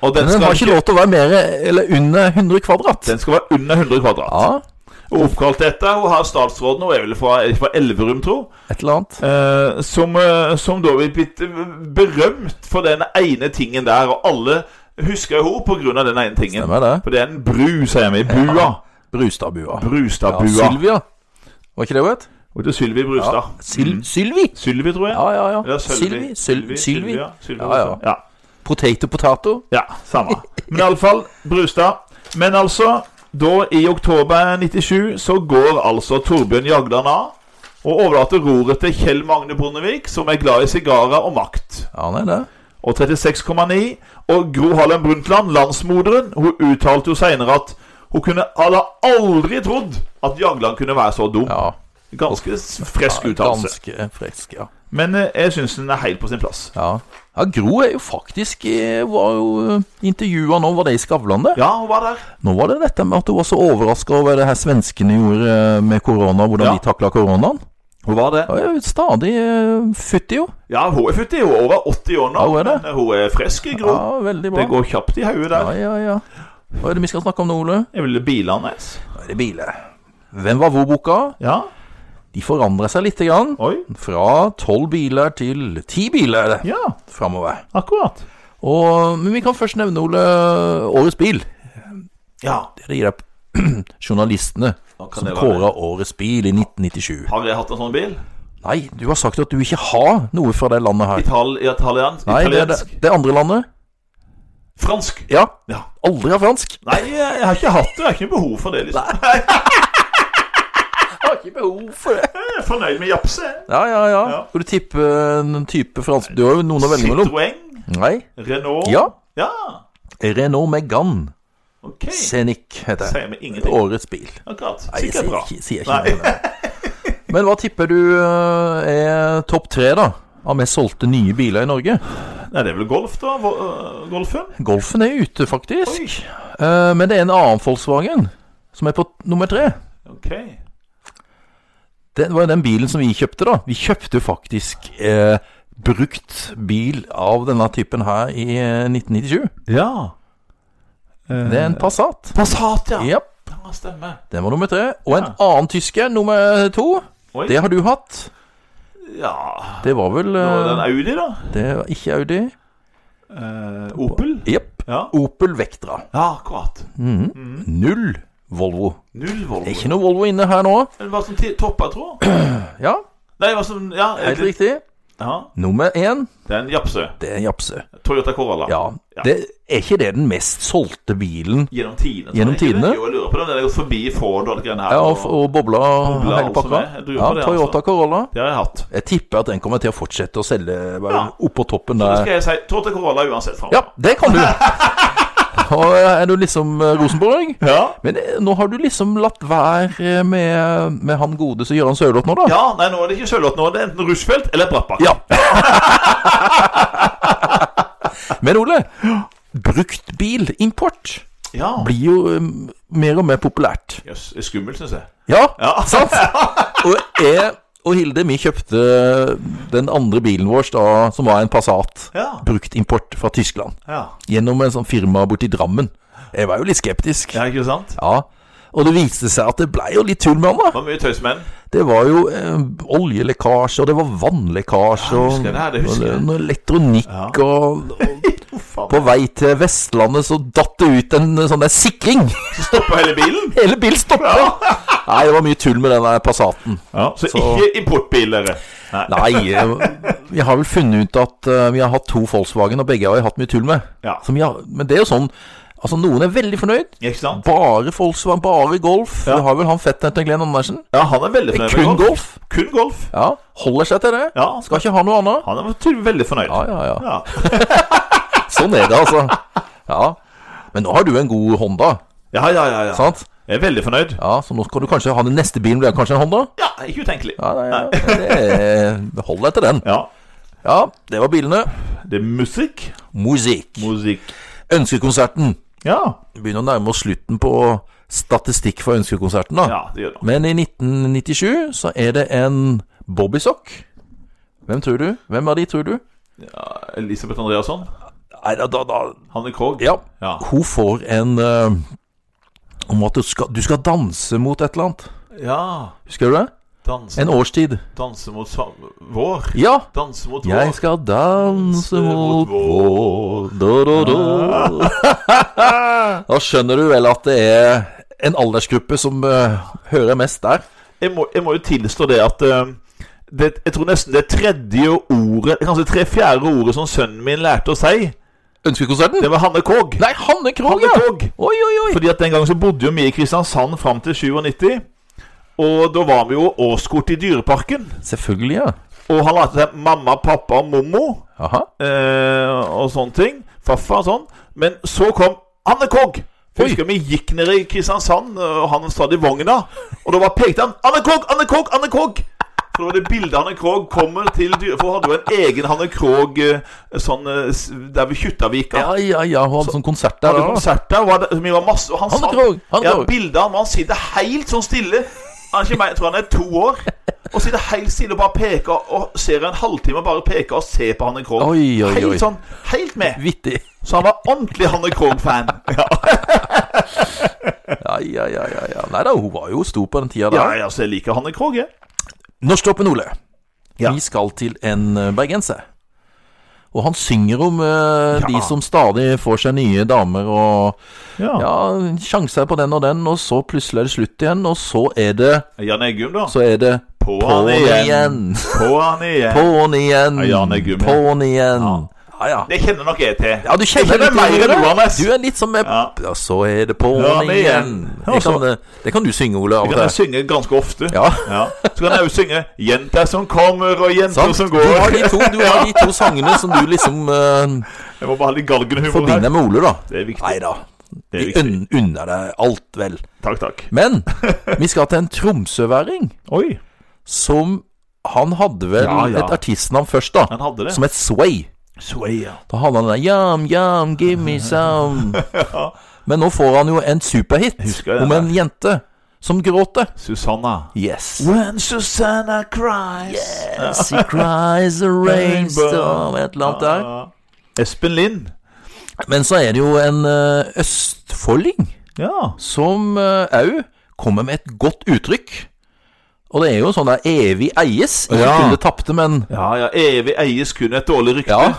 Speaker 2: Og den
Speaker 1: Men den
Speaker 2: skal,
Speaker 1: har ikke lov til å være mer eller under 100 kvadrat.
Speaker 2: den skal være under 100 kvadrat.
Speaker 1: Ja,
Speaker 2: Og Oppkalt etter hun har statsråden, hun er vel fra, fra Elverum, tro,
Speaker 1: et eller annet.
Speaker 2: eh, som, eh, som da blir blitt eh, berømt for den ene tingen der. Og alle husker henne pga. den ene tingen.
Speaker 1: Stemmer det.
Speaker 2: For det er en bru, sier vi. Bua.
Speaker 1: Brustadbua. Ja,
Speaker 2: Brustadbua.
Speaker 1: Sylvia. Var ikke det hun het?
Speaker 2: Og til Sylvi Brustad.
Speaker 1: Syl Sylvi?
Speaker 2: Sylvi, tror jeg.
Speaker 1: Ja, ja, ja.
Speaker 2: Eller
Speaker 1: Sylvi.
Speaker 2: Sølvi.
Speaker 1: Syl Sylvi.
Speaker 2: Sylvia. Sylvi
Speaker 1: Ja, ja.
Speaker 2: Brustad. ja.
Speaker 1: Potato, potato.
Speaker 2: Ja, samme. Men iallfall Brustad. Men altså Da, i oktober 97, så går altså Torbjørn Jagland av og overlater roret til Kjell Magne Bondevik, som er glad i sigarer og makt.
Speaker 1: Ja, nei, det.
Speaker 2: Og 36,9. Og Gro Harlem Brundtland, landsmoderen, hun uttalte jo seinere at hun kunne hadde aldri trodd at Jagland kunne være så dum.
Speaker 1: Ja.
Speaker 2: Ganske s- fresk
Speaker 1: Ja,
Speaker 2: uttalelse.
Speaker 1: Ganske frisk, ja.
Speaker 2: Men eh, jeg syns den er helt på sin plass.
Speaker 1: ja. Ja, Gro er jo faktisk eh, Var jo intervjua nå, var det i Skavlan, det?
Speaker 2: Ja, hun var der.
Speaker 1: Nå var det dette med at du var så overraska over det her svenskene gjorde eh, med korona, hvordan
Speaker 2: Ja.
Speaker 1: de takla koronaen.
Speaker 2: Hun var det.
Speaker 1: Ja, jeg er jo stadig eh, futt i jo.
Speaker 2: Ja, hun er fytti. Hun er over 80 år nå.
Speaker 1: Ja, hun er det.
Speaker 2: Men eh, hun er frisk i Gro.
Speaker 1: Ja, veldig bra.
Speaker 2: det går kjapt i hodet
Speaker 1: Ja,
Speaker 2: der.
Speaker 1: ja, ja. Hva er det vi skal snakke om nå, Ole?
Speaker 2: Jeg ville bilene hennes.
Speaker 1: Nå er det biler. Hvem var hvor-boka?
Speaker 2: Ja.
Speaker 1: De forandrer seg lite grann.
Speaker 2: Oi.
Speaker 1: Fra tolv biler til ti biler
Speaker 2: Ja,
Speaker 1: framover.
Speaker 2: akkurat.
Speaker 1: Og, men vi kan først nevne, Ole, årets bil.
Speaker 2: Ja.
Speaker 1: Det gir deg (clears throat) journalistene
Speaker 2: Hva kan
Speaker 1: som
Speaker 2: det være?
Speaker 1: kåra årets bil i 1997.
Speaker 2: Har jeg hatt en sånn bil?
Speaker 1: Nei, du har sagt at du ikke har noe fra det landet her.
Speaker 2: Ital italiensk?
Speaker 1: Nei, det, er det,
Speaker 2: italiensk?
Speaker 1: det andre landet.
Speaker 2: Fransk?
Speaker 1: Ja.
Speaker 2: Ja.
Speaker 1: Aldri har fransk.
Speaker 2: Nei, eh, jeg har ikke hatt det. Jeg har ikke behov for det. liksom
Speaker 1: Jeg har ikke behov for det.
Speaker 2: Jeg er fornøyd med japse.
Speaker 1: Ja, ja, ja.
Speaker 2: Ja.
Speaker 1: Skal du tippe en type fransk Du har jo noen å velge mellom.
Speaker 2: Citroën,
Speaker 1: Nei.
Speaker 2: Renault
Speaker 1: Ja.
Speaker 2: ja.
Speaker 1: Renault Megane
Speaker 2: Ok.
Speaker 1: Scenic heter det.
Speaker 2: Sier meg ingenting.
Speaker 1: Årets bil.
Speaker 2: Akkurat.
Speaker 1: Nei, jeg
Speaker 2: Sikkert
Speaker 1: sier
Speaker 2: bra.
Speaker 1: ikke, sier ikke
Speaker 2: Nei.
Speaker 1: noe om det. Men hva tipper du eh, er topp tre, da? Av mest solgte nye biler i Norge?
Speaker 2: Nei, det er vel golf, da? Vo- øh, Golfen?
Speaker 1: Golfen er ute, faktisk.
Speaker 2: Oi.
Speaker 1: Eh, men det er en annen Volkswagen som er på t- nummer tre.
Speaker 2: Ok.
Speaker 1: Det var jo den bilen som vi kjøpte, da. Vi kjøpte faktisk eh, brukt bil av denne typen her i eh, 1997.
Speaker 2: Ja. Eh.
Speaker 1: Det er en Passat.
Speaker 2: Passat, ja.
Speaker 1: Ja,
Speaker 2: Ja, stemmer.
Speaker 1: den var nummer tre. Og en
Speaker 2: Ja.
Speaker 1: annen tysker, nummer to.
Speaker 2: Oi.
Speaker 1: Det har du hatt.
Speaker 2: Ja
Speaker 1: Det var vel
Speaker 2: Det var den
Speaker 1: eh,
Speaker 2: Audi, da.
Speaker 1: Det var ikke Audi.
Speaker 2: Eh, Opel.
Speaker 1: Jepp.
Speaker 2: Ja.
Speaker 1: Opel Vectra.
Speaker 2: ja, akkurat.
Speaker 1: Null Volvo.
Speaker 2: Null
Speaker 1: Det er
Speaker 2: Volvo.
Speaker 1: ikke noe Volvo inne her nå.
Speaker 2: Men hva som ti- toppa, tror jeg?
Speaker 1: Ja,
Speaker 2: Nei, hva som Ja,
Speaker 1: helt riktig.
Speaker 2: Ja.
Speaker 1: Nummer én,
Speaker 2: Det er en japse.
Speaker 1: det er en Japse.
Speaker 2: Toyota Corolla.
Speaker 1: Ja.
Speaker 2: Ja.
Speaker 1: Det, er ikke det den mest solgte bilen?
Speaker 2: Gjennom tidene.
Speaker 1: Gjennom
Speaker 2: tror jeg. Jeg vet
Speaker 1: tidene?
Speaker 2: ikke, Jeg lurer på om den har gått forbi Ford og det greiene her.
Speaker 1: Ja, og, og bobla og
Speaker 2: Bobla,
Speaker 1: hele pakka.
Speaker 2: altså, jeg tror
Speaker 1: Ja,
Speaker 2: på det, altså.
Speaker 1: Toyota Corolla.
Speaker 2: Det har jeg hatt.
Speaker 1: Jeg tipper at den kommer til å fortsette å selge bare
Speaker 2: Ja.
Speaker 1: oppå toppen
Speaker 2: Så
Speaker 1: der.
Speaker 2: skal jeg si Toyota Corolla uansett
Speaker 1: Eh. Ja, det kan du! (laughs) Og er du liksom eh, Rosenborg?
Speaker 2: ja.
Speaker 1: Men eh, nå har du liksom latt være eh, med, med han gode som Gøran Sørloth nå, da.
Speaker 2: Ja, nei, nå er det ikke Sørloth nå. Det er enten Roosevelt eller Brattbakk.
Speaker 1: Ja. (laughs) Men Ole, brukt bil, import,
Speaker 2: ja.
Speaker 1: blir jo um, mer og mer populært.
Speaker 2: Jøss, det er skummelt, syns jeg.
Speaker 1: Ja,
Speaker 2: Ja.
Speaker 1: sant? Og jeg og Hilde, vi kjøpte den andre bilen vår, da, som var en Passat,
Speaker 2: Ja.
Speaker 1: brukt import fra Tyskland,
Speaker 2: Ja,
Speaker 1: gjennom en sånn firma borti Drammen. Jeg var jo litt skeptisk.
Speaker 2: ja ikke sant?
Speaker 1: Ja. Og det viste seg at det blei jo litt tull med han,
Speaker 2: Det
Speaker 1: da.
Speaker 2: var mye tøys med den.
Speaker 1: Det var jo eh, oljelekkasje, og det var vannlekkasje,
Speaker 2: Ja, jeg
Speaker 1: og,
Speaker 2: husker det her, det
Speaker 1: og
Speaker 2: husker jeg.
Speaker 1: noe elektronikk og,
Speaker 2: (laughs)
Speaker 1: og
Speaker 2: Faen,
Speaker 1: På vei til Vestlandet så datt det ut en eh, sånn der sikring.
Speaker 2: Stoppa hele bilen!
Speaker 1: Hele bilen stoppa. Nei, det var mye tull med den der Passaten.
Speaker 2: Ja, så,
Speaker 1: Så-
Speaker 2: ikke importbil, dere. Nei.
Speaker 1: Nei, eh, vi har vel funnet ut at eh, vi har hatt to Volkswagen, og begge har vi hatt mye tull med.
Speaker 2: Ja.
Speaker 1: Som vi har, men det er jo sånn Altså, noen er veldig fornøyd.
Speaker 2: Ikke sant?
Speaker 1: Bare Volkswagen, bare Golf.
Speaker 2: Ja.
Speaker 1: Du har vel han fetteren til Glenn Andersen?
Speaker 2: Ja, han er veldig fornøyd
Speaker 1: Kun Golf.
Speaker 2: Kun golf.
Speaker 1: Ja, Holder seg til det.
Speaker 2: Ja,
Speaker 1: Skal ikke ha noe annet.
Speaker 2: han er tydeligvis veldig fornøyd.
Speaker 1: Ja, ja, ja.
Speaker 2: Ja.
Speaker 1: Sånn er det, altså. Ja. Men nå har du en god Honda,
Speaker 2: Ja, ja, ja, ja.
Speaker 1: sant?
Speaker 2: Jeg er veldig fornøyd.
Speaker 1: Sånn. Ja, Så nå skal du kanskje ha den neste bilen, blir det kanskje en Honda?
Speaker 2: Ja, ikke utenkelig.
Speaker 1: Ja, nei, ja, det er- hold deg til den.
Speaker 2: Ja.
Speaker 1: Ja, det var bilene.
Speaker 2: Det er musikk.
Speaker 1: Musikk.
Speaker 2: Musikk.
Speaker 1: Ønskekonserten.
Speaker 2: Ja.
Speaker 1: Begynner å nærme oss slutten på statistikk for ønskekonserten, da.
Speaker 2: ja, det gjør det.
Speaker 1: Men i 1997 så er det en Bobbysock. Hvem tror du? Hvem av de tror du?
Speaker 2: Elisabeth Andreasson.
Speaker 1: Nei, da, da, da
Speaker 2: Hanne Krogh.
Speaker 1: Ja.
Speaker 2: Ja.
Speaker 1: Hun får en eh, om at du skal, du skal danse mot et eller annet.
Speaker 2: ja.
Speaker 1: Husker du det?
Speaker 2: Danse,
Speaker 1: En årstid.
Speaker 2: danse mot sam- vår.
Speaker 1: Ja!
Speaker 2: Danse mot vår.
Speaker 1: Jeg skal danse mot vår Ah. da, da, da. (laughs) da skjønner du vel at det er en aldersgruppe som eh, hører mest der.
Speaker 2: Jeg, må, jeg må jo tilstå det at eh, det, Jeg tror nesten det tredje ordet Kanskje det tre fjerde ordet som sønnen min lærte å si,
Speaker 1: Ønskekonserten?
Speaker 2: Det var Hanne Krogh.
Speaker 1: Nei, Hanne Krogh,
Speaker 2: Hanne
Speaker 1: ja!
Speaker 2: Krogh.
Speaker 1: Oi, oi, oi.
Speaker 2: Fordi at den gangen så bodde jo vi i Kristiansand fram til 97. Og da var vi jo årskort i Dyreparken.
Speaker 1: Selvfølgelig, ja.
Speaker 2: Og han lærte seg mamma, pappa og mommo
Speaker 1: Aha.
Speaker 2: eh, og sånne ting. Faffa og sånn. Men så kom Anne Krogh. For Jeg
Speaker 1: Oi.
Speaker 2: husker vi gikk ned i Kristiansand, eh, og han satt i vogna. Og da var pekte han 'Anne Krogh! Anne Krogh! Anne Krogh!' For det var det bildet Anne Krogh kommer til dyre... For hun hadde jo en egen Hanne Krogh eh, sånn eh, s- der ved Kjuttaviga.
Speaker 1: Ja, ja, ja. Hun hadde sånn konsert der.
Speaker 2: hadde
Speaker 1: da.
Speaker 2: konsert der. Var det, vi var masse, og han
Speaker 1: Hanne
Speaker 2: satt-
Speaker 1: Krogh, Hanne
Speaker 2: ja,
Speaker 1: Krogh.
Speaker 2: bildet av ham, han sitter helt sånn stille. Han er ikke meg, jeg tror han er to år. Og sitter helt stille og bare peker og ser en halvtime og bare peker og ser på Hanne Krogh.
Speaker 1: Oi, oi, oi.
Speaker 2: Helt sånn, helt med.
Speaker 1: Vittig.
Speaker 2: Så han var ordentlig Hanne
Speaker 1: (laughs)
Speaker 2: Krogh-fan. Ja,
Speaker 1: Ja, ja, ja, ja, ja. Nei da, hun var jo stor på den tida
Speaker 2: ja,
Speaker 1: der.
Speaker 2: altså, jeg liker Hanne Krogh, jeg.
Speaker 1: Norsktoppen, Ole.
Speaker 2: Ja.
Speaker 1: Vi skal til en eh, bergenser. Og han synger om eh, de
Speaker 2: Ja.
Speaker 1: som stadig får seg nye damer og
Speaker 2: Ja.
Speaker 1: Ja, sjanser på den og den, og så plutselig er det slutt igjen, og så er det
Speaker 2: Jan Eggum, da.
Speaker 1: Så er det
Speaker 2: På
Speaker 1: på'n
Speaker 2: han
Speaker 1: igjen.
Speaker 2: igjen. På han igjen.
Speaker 1: På'n igjen.
Speaker 2: Ja, Jan Eggum, ja.
Speaker 1: På'n igjen. Ja, ja.
Speaker 2: Det kjenner nok jeg til.
Speaker 1: Ja, du kjenner
Speaker 2: Jeg kjenner
Speaker 1: litt
Speaker 2: meg
Speaker 1: til
Speaker 2: igjen,
Speaker 1: det.
Speaker 2: Johannes.
Speaker 1: Du er litt som med
Speaker 2: Ja.
Speaker 1: Ja, så er det på'n
Speaker 2: Ja, men
Speaker 1: igjen.
Speaker 2: igjen. Ja,
Speaker 1: Det kan,
Speaker 2: så-
Speaker 1: eh, det kan du synge, Ole. Av og
Speaker 2: Det kan jeg
Speaker 1: til.
Speaker 2: synge ganske ofte.
Speaker 1: Ja.
Speaker 2: Så kan jeg jo synge 'Jenter som kommer og jenter
Speaker 1: Sant?
Speaker 2: som
Speaker 1: Du
Speaker 2: går'.
Speaker 1: har, de to, du har de to sangene som
Speaker 2: (laughs)
Speaker 1: du liksom eh,
Speaker 2: Jeg må bare ha litt galgenhumor her.
Speaker 1: forbinder med Ole, da.
Speaker 2: Det er viktig.
Speaker 1: Nei da.
Speaker 2: Det er
Speaker 1: Vi
Speaker 2: viktig.
Speaker 1: unn, unner deg alt, vel.
Speaker 2: Takk, takk.
Speaker 1: Men vi skal til en tromsøværing
Speaker 2: Oi.
Speaker 1: som Han hadde vel
Speaker 2: Ja, ja.
Speaker 1: et artistnavn først, da.
Speaker 2: Han hadde det.
Speaker 1: Som het Sway.
Speaker 2: Sway, ja.
Speaker 1: Da hadde han den der Yum, yum, give me
Speaker 2: (laughs)
Speaker 1: some. Men nå får han jo en superhit
Speaker 2: Husker jeg den
Speaker 1: om en jente som gråter.
Speaker 2: Susanna.
Speaker 1: Yes.
Speaker 2: When Susanna cries
Speaker 1: She
Speaker 2: (laughs)
Speaker 1: cries a rainstorm Et eller annet der.
Speaker 2: Ja. Espen Lind.
Speaker 1: Men så er det jo en eh, østfolding
Speaker 2: Ja.
Speaker 1: som òg kommer med et godt uttrykk. Og det er jo sånn der evig eies. Ikke
Speaker 2: Ja.
Speaker 1: kunne tapte, men
Speaker 2: ja, ja. Evig eies kun et dårlig rykte.
Speaker 1: Ja.
Speaker 2: Han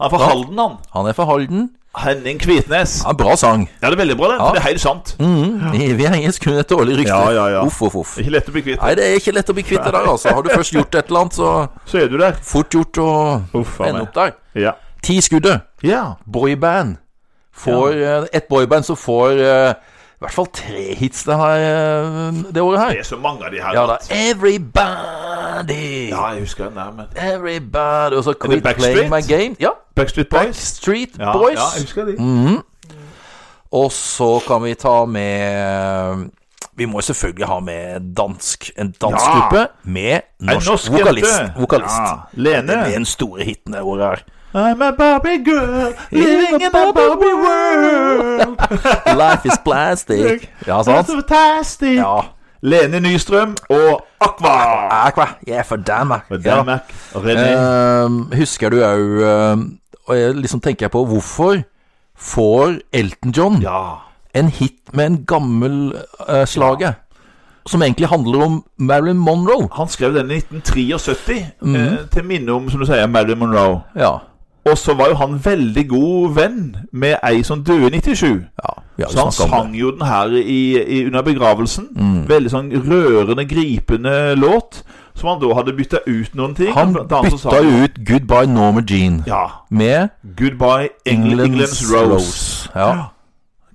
Speaker 2: er fra Halden, han.
Speaker 1: han er fra Halden.
Speaker 2: Henning Kvitnes.
Speaker 1: Ja, bra sang.
Speaker 2: Ja, det er veldig bra, det. For det er helt sant. Det
Speaker 1: Mm, evig eies kunne et dårlig rykte.
Speaker 2: Ja, ja, ja.
Speaker 1: Uff, uff, uff.
Speaker 2: er ikke lett å bli kvitt.
Speaker 1: Nei, det er ikke lett å bli kvitt det der, altså. Har du først gjort et eller annet, så
Speaker 2: Så er du der.
Speaker 1: fort gjort å
Speaker 2: Uff a
Speaker 1: ende
Speaker 2: meg.
Speaker 1: opp der.
Speaker 2: Ja.
Speaker 1: Ti skuddet.
Speaker 2: ja.
Speaker 1: Boyband. Får eh, Et boyband som får eh, i hvert fall tre hits det, her, eh, det året
Speaker 2: Det
Speaker 1: her.
Speaker 2: er så mange av de her.
Speaker 1: Ja da.
Speaker 2: vet du.
Speaker 1: Everybody.
Speaker 2: ja jeg husker den der, men
Speaker 1: Everybody. Og så Quit
Speaker 2: Backstreet?
Speaker 1: Playing My Game. Ja.
Speaker 2: Backstreet Boys.
Speaker 1: Street
Speaker 2: Ja,
Speaker 1: Boys. Mm.
Speaker 2: Ja, jeg husker de.
Speaker 1: Og så kan vi ta med vi må jo selvfølgelig ha med dansk En dansk
Speaker 2: Ja.
Speaker 1: gruppe med
Speaker 2: En
Speaker 1: norsk,
Speaker 2: norsk
Speaker 1: vokalist.
Speaker 2: jente.
Speaker 1: vokalist.
Speaker 2: Ja. Lene.
Speaker 1: Det er den store hiten det året her.
Speaker 2: I'm a Barbie girl living in a Barbie world.
Speaker 1: Life is
Speaker 2: (laughs)
Speaker 1: plastic. (laughs) Ja, sant?
Speaker 2: Fantastic.
Speaker 1: Ja.
Speaker 2: Lene Nystrøm og Aqua.
Speaker 1: Aqua, jeg er fra Danmark.
Speaker 2: Fra
Speaker 1: Ja.
Speaker 2: Danmark. René.
Speaker 1: Ehm, husker du òg Og jeg liksom tenker jeg på hvorfor får Elton John
Speaker 2: Ja.
Speaker 1: en hit med en gammel uh, slage? Som egentlig handler om Marilyn Monroe.
Speaker 2: Han skrev den i 1973
Speaker 1: Mm.
Speaker 2: eh, til minne om, som du sier, Marilyn Monroe.
Speaker 1: Ja.
Speaker 2: Og så var jo han veldig god venn med ei som døde i 97.
Speaker 1: ja vi har jo
Speaker 2: Så han
Speaker 1: snakket om
Speaker 2: sang
Speaker 1: det. Mm.
Speaker 2: jo den her i, i, under begravelsen. Veldig sånn rørende, gripende låt. Som han da hadde bytta ut noen ting.
Speaker 1: Han
Speaker 2: Blant annet så sa
Speaker 1: bytta jo ut 'Goodbye Norma Jean'
Speaker 2: Ja.
Speaker 1: med
Speaker 2: Goodbye England, England's Rose.
Speaker 1: Ja.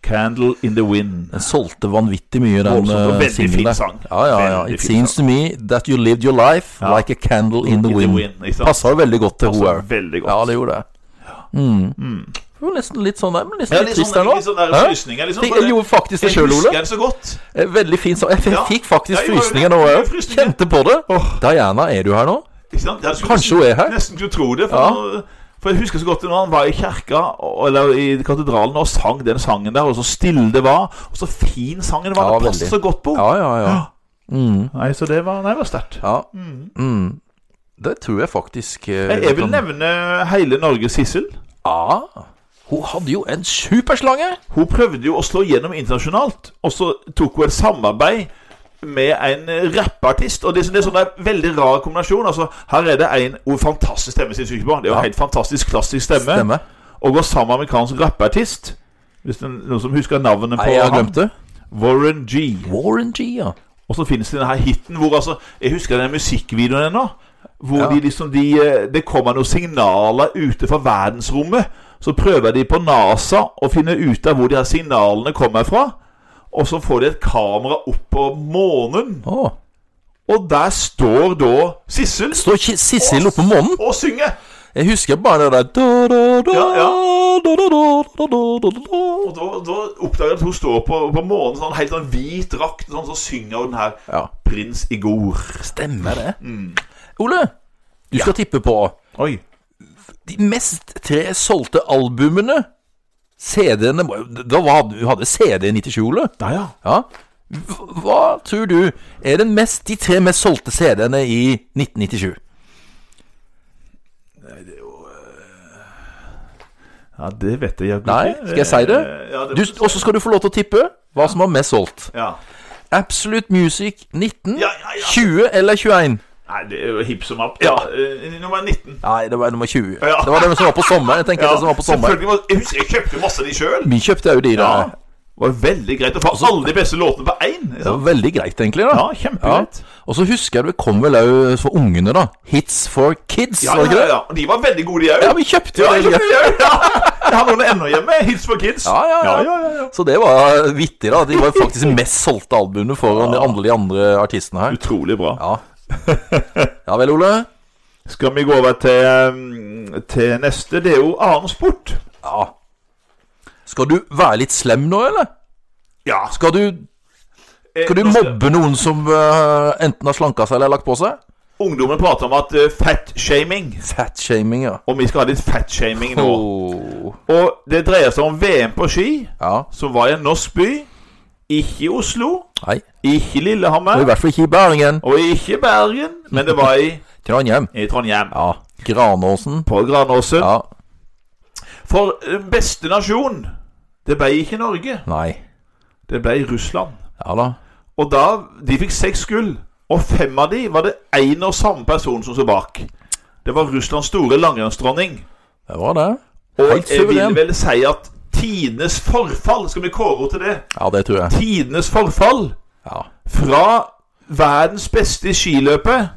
Speaker 2: Candle in the Wind.
Speaker 1: Den solgte vanvittig mye, den
Speaker 2: Voldsomt, og
Speaker 1: eh,
Speaker 2: veldig fin
Speaker 1: singelen. der.
Speaker 2: sang.
Speaker 1: Ja, ja, ja.
Speaker 2: Veldig
Speaker 1: It
Speaker 2: fin
Speaker 1: seems to me that you lived your life
Speaker 2: Ja.
Speaker 1: like a candle in the wind.
Speaker 2: ikke sant?
Speaker 1: Passa jo veldig godt til
Speaker 2: Passer
Speaker 1: henne.
Speaker 2: veldig godt.
Speaker 1: Ja, det gjorde det. Mm. Det var nesten litt sånn der, men nesten
Speaker 2: Ja,
Speaker 1: litt
Speaker 2: litt
Speaker 1: trist
Speaker 2: sånn,
Speaker 1: der nå.
Speaker 2: litt sånn der
Speaker 1: Hæ?
Speaker 2: frysninger, liksom.
Speaker 1: Jeg gjorde faktisk det sjøl,
Speaker 2: Jeg
Speaker 1: Ole.
Speaker 2: husker den så godt.
Speaker 1: Eh, Veldig fin sang. Jeg
Speaker 2: Ja.
Speaker 1: fikk faktisk
Speaker 2: Ja, jeg gjorde
Speaker 1: frysninger
Speaker 2: det.
Speaker 1: nå
Speaker 2: Jeg
Speaker 1: òg.
Speaker 2: gjorde frysninger.
Speaker 1: Kjente på det.
Speaker 2: Åh.
Speaker 1: Diana, er du her nå?
Speaker 2: Ikke sant? Jeg skulle
Speaker 1: Kanskje hun er her?
Speaker 2: Nesten kunne tro det. For,
Speaker 1: Ja.
Speaker 2: nå- for jeg husker så godt når han var i kirka, og- eller i katedralen, og sang den sangen der, og så stille det var, og så fin sangen var.
Speaker 1: Ja,
Speaker 2: det passet
Speaker 1: veldig.
Speaker 2: så godt på.
Speaker 1: Ja, ja, ja.
Speaker 2: Nei, så det var, nei, det var sterkt.
Speaker 1: ja. Mm. Det tror jeg faktisk eh,
Speaker 2: Jeg, jeg vil
Speaker 1: kan-
Speaker 2: nevne hele Norges Sissel.
Speaker 1: Ah, Hun hadde jo en superslange!
Speaker 2: Hun prøvde jo å slå gjennom internasjonalt, og så tok hun et samarbeid med en eh, rappartist. Og det, det er sånn det er en veldig rar kombinasjon. Altså, her er det en oh, fantastisk stemme, syns du ikke? bare? Det er jo en helt fantastisk klassisk stemme.
Speaker 1: Stemme.
Speaker 2: Og går sammen med amerikansk rappartist. Hvis det er noen som husker navnet på
Speaker 1: Nei, jeg har
Speaker 2: han.
Speaker 1: glemt det.
Speaker 2: Warren G.
Speaker 1: Warren G, ja.
Speaker 2: Og så finnes det denne her hiten hvor altså Jeg husker den musikkvideoen ennå. Hvor
Speaker 1: Ja.
Speaker 2: de liksom de, eh, det kommer noen signaler ute fra verdensrommet Så prøver de på NASA å finne ut av hvor de her signalene kommer fra. Og så får de et kamera opp på månen,
Speaker 1: Å.
Speaker 2: og der står da Sissel
Speaker 1: Står Ki- Sissel oppe på månen?
Speaker 2: og synger.
Speaker 1: Jeg husker bare det der da, da, da,
Speaker 2: Ja, ja.
Speaker 1: da, da, da, da, da, da, da.
Speaker 2: Og da, da oppdager jeg at hun står på, på månen sånn helt sånn hvit drakt, sånn, så synger hun den her
Speaker 1: Ja.
Speaker 2: Prins Igor.
Speaker 1: Stemmer det.
Speaker 2: Mm.
Speaker 1: Ole, du skal tippe på
Speaker 2: Oi.
Speaker 1: de mest tre solgte albumene. CD-ene var- Da var, du hadde CD i 97, Ole.
Speaker 2: Ja, ja.
Speaker 1: Ja. Hva- Hva tror du er den mest, de tre mest solgte CD-ene i 1997?
Speaker 2: Ja, det vet jeg jaggu
Speaker 1: Nei,
Speaker 2: ikke.
Speaker 1: skal jeg si det?
Speaker 2: Eh, Ja, det
Speaker 1: Du- Og så skal du få lov til å tippe hva som var mest solgt.
Speaker 2: ja.
Speaker 1: Absolute Music 19,
Speaker 2: Ja, ja, ja.
Speaker 1: 20 eller 21?
Speaker 2: Nei, det er jo hipp som app.
Speaker 1: Ja.
Speaker 2: Eh, Nummer 19.
Speaker 1: Nei, det var nummer 20.
Speaker 2: Ja.
Speaker 1: Det var den som var på sommeren. Jeg tenker
Speaker 2: Ja,
Speaker 1: det som var på sommeren
Speaker 2: selvfølgelig må- Jeg husker jeg kjøpte masse av de sjøl.
Speaker 1: Vi kjøpte jo de da.
Speaker 2: Ja. Det var veldig greit å få
Speaker 1: Altså-
Speaker 2: alle de beste låtene på én.
Speaker 1: Det var veldig greit, egentlig. da
Speaker 2: Ja, kjempegreit.
Speaker 1: Og så husker jeg det kom vel òg for ungene, da. Hits for kids,
Speaker 2: Ja,
Speaker 1: var det
Speaker 2: ja,
Speaker 1: ikke det?
Speaker 2: ja. Og De var veldig gode, de òg.
Speaker 1: Ja, vi kjøpte jo
Speaker 2: jeg
Speaker 1: det.
Speaker 2: kjøpte de òg. Jeg har noen ennå hjemme. Hils for kids.
Speaker 1: Ja ja ja. Så det var vittig, da. De var faktisk de mest solgte albumene foran de andre, de andre artistene her.
Speaker 2: Utrolig bra.
Speaker 1: (laughs) Ja. ja vel, Ole?
Speaker 2: Skal vi gå over til, um, til neste? Det er jo annen sport.
Speaker 1: Ja. Skal du være litt slem nå, eller?
Speaker 2: Ja.
Speaker 1: Skal du, skal du
Speaker 2: Eh,
Speaker 1: mobbe noen som eh, enten har slanka seg eller lagt på seg?
Speaker 2: Ungdommen prater om at eh, fat-shaming.
Speaker 1: Fatshaming, ja.
Speaker 2: Og vi skal ha litt fat-shaming nå.
Speaker 1: Oh.
Speaker 2: Og det dreier seg om VM på ski,
Speaker 1: Ja.
Speaker 2: som var i en norsk by. Ikke i Oslo,
Speaker 1: Nei.
Speaker 2: ikke i
Speaker 1: Og
Speaker 2: Lillehammer,
Speaker 1: I hvert fall ikke i Bergen.
Speaker 2: og ikke i Bergen, men det var i,
Speaker 1: Trondheim.
Speaker 2: i Trondheim.
Speaker 1: Ja. Granåsen.
Speaker 2: På Granåsen.
Speaker 1: Ja.
Speaker 2: For eh, beste nasjon Det ble ikke Norge,
Speaker 1: Nei.
Speaker 2: det ble Russland.
Speaker 1: Ja da.
Speaker 2: Og da De fikk seks gull, og fem av de var det én og samme person som sto bak. Det var Russlands store langrennsdronning.
Speaker 1: Det var det.
Speaker 2: Og
Speaker 1: Helt
Speaker 2: jeg vil
Speaker 1: suveren.
Speaker 2: vel si at tidenes forfall Skal vi kåre henne til det?
Speaker 1: Ja, det tror jeg.
Speaker 2: Tidenes forfall
Speaker 1: Ja.
Speaker 2: fra verdens beste i skiløpet,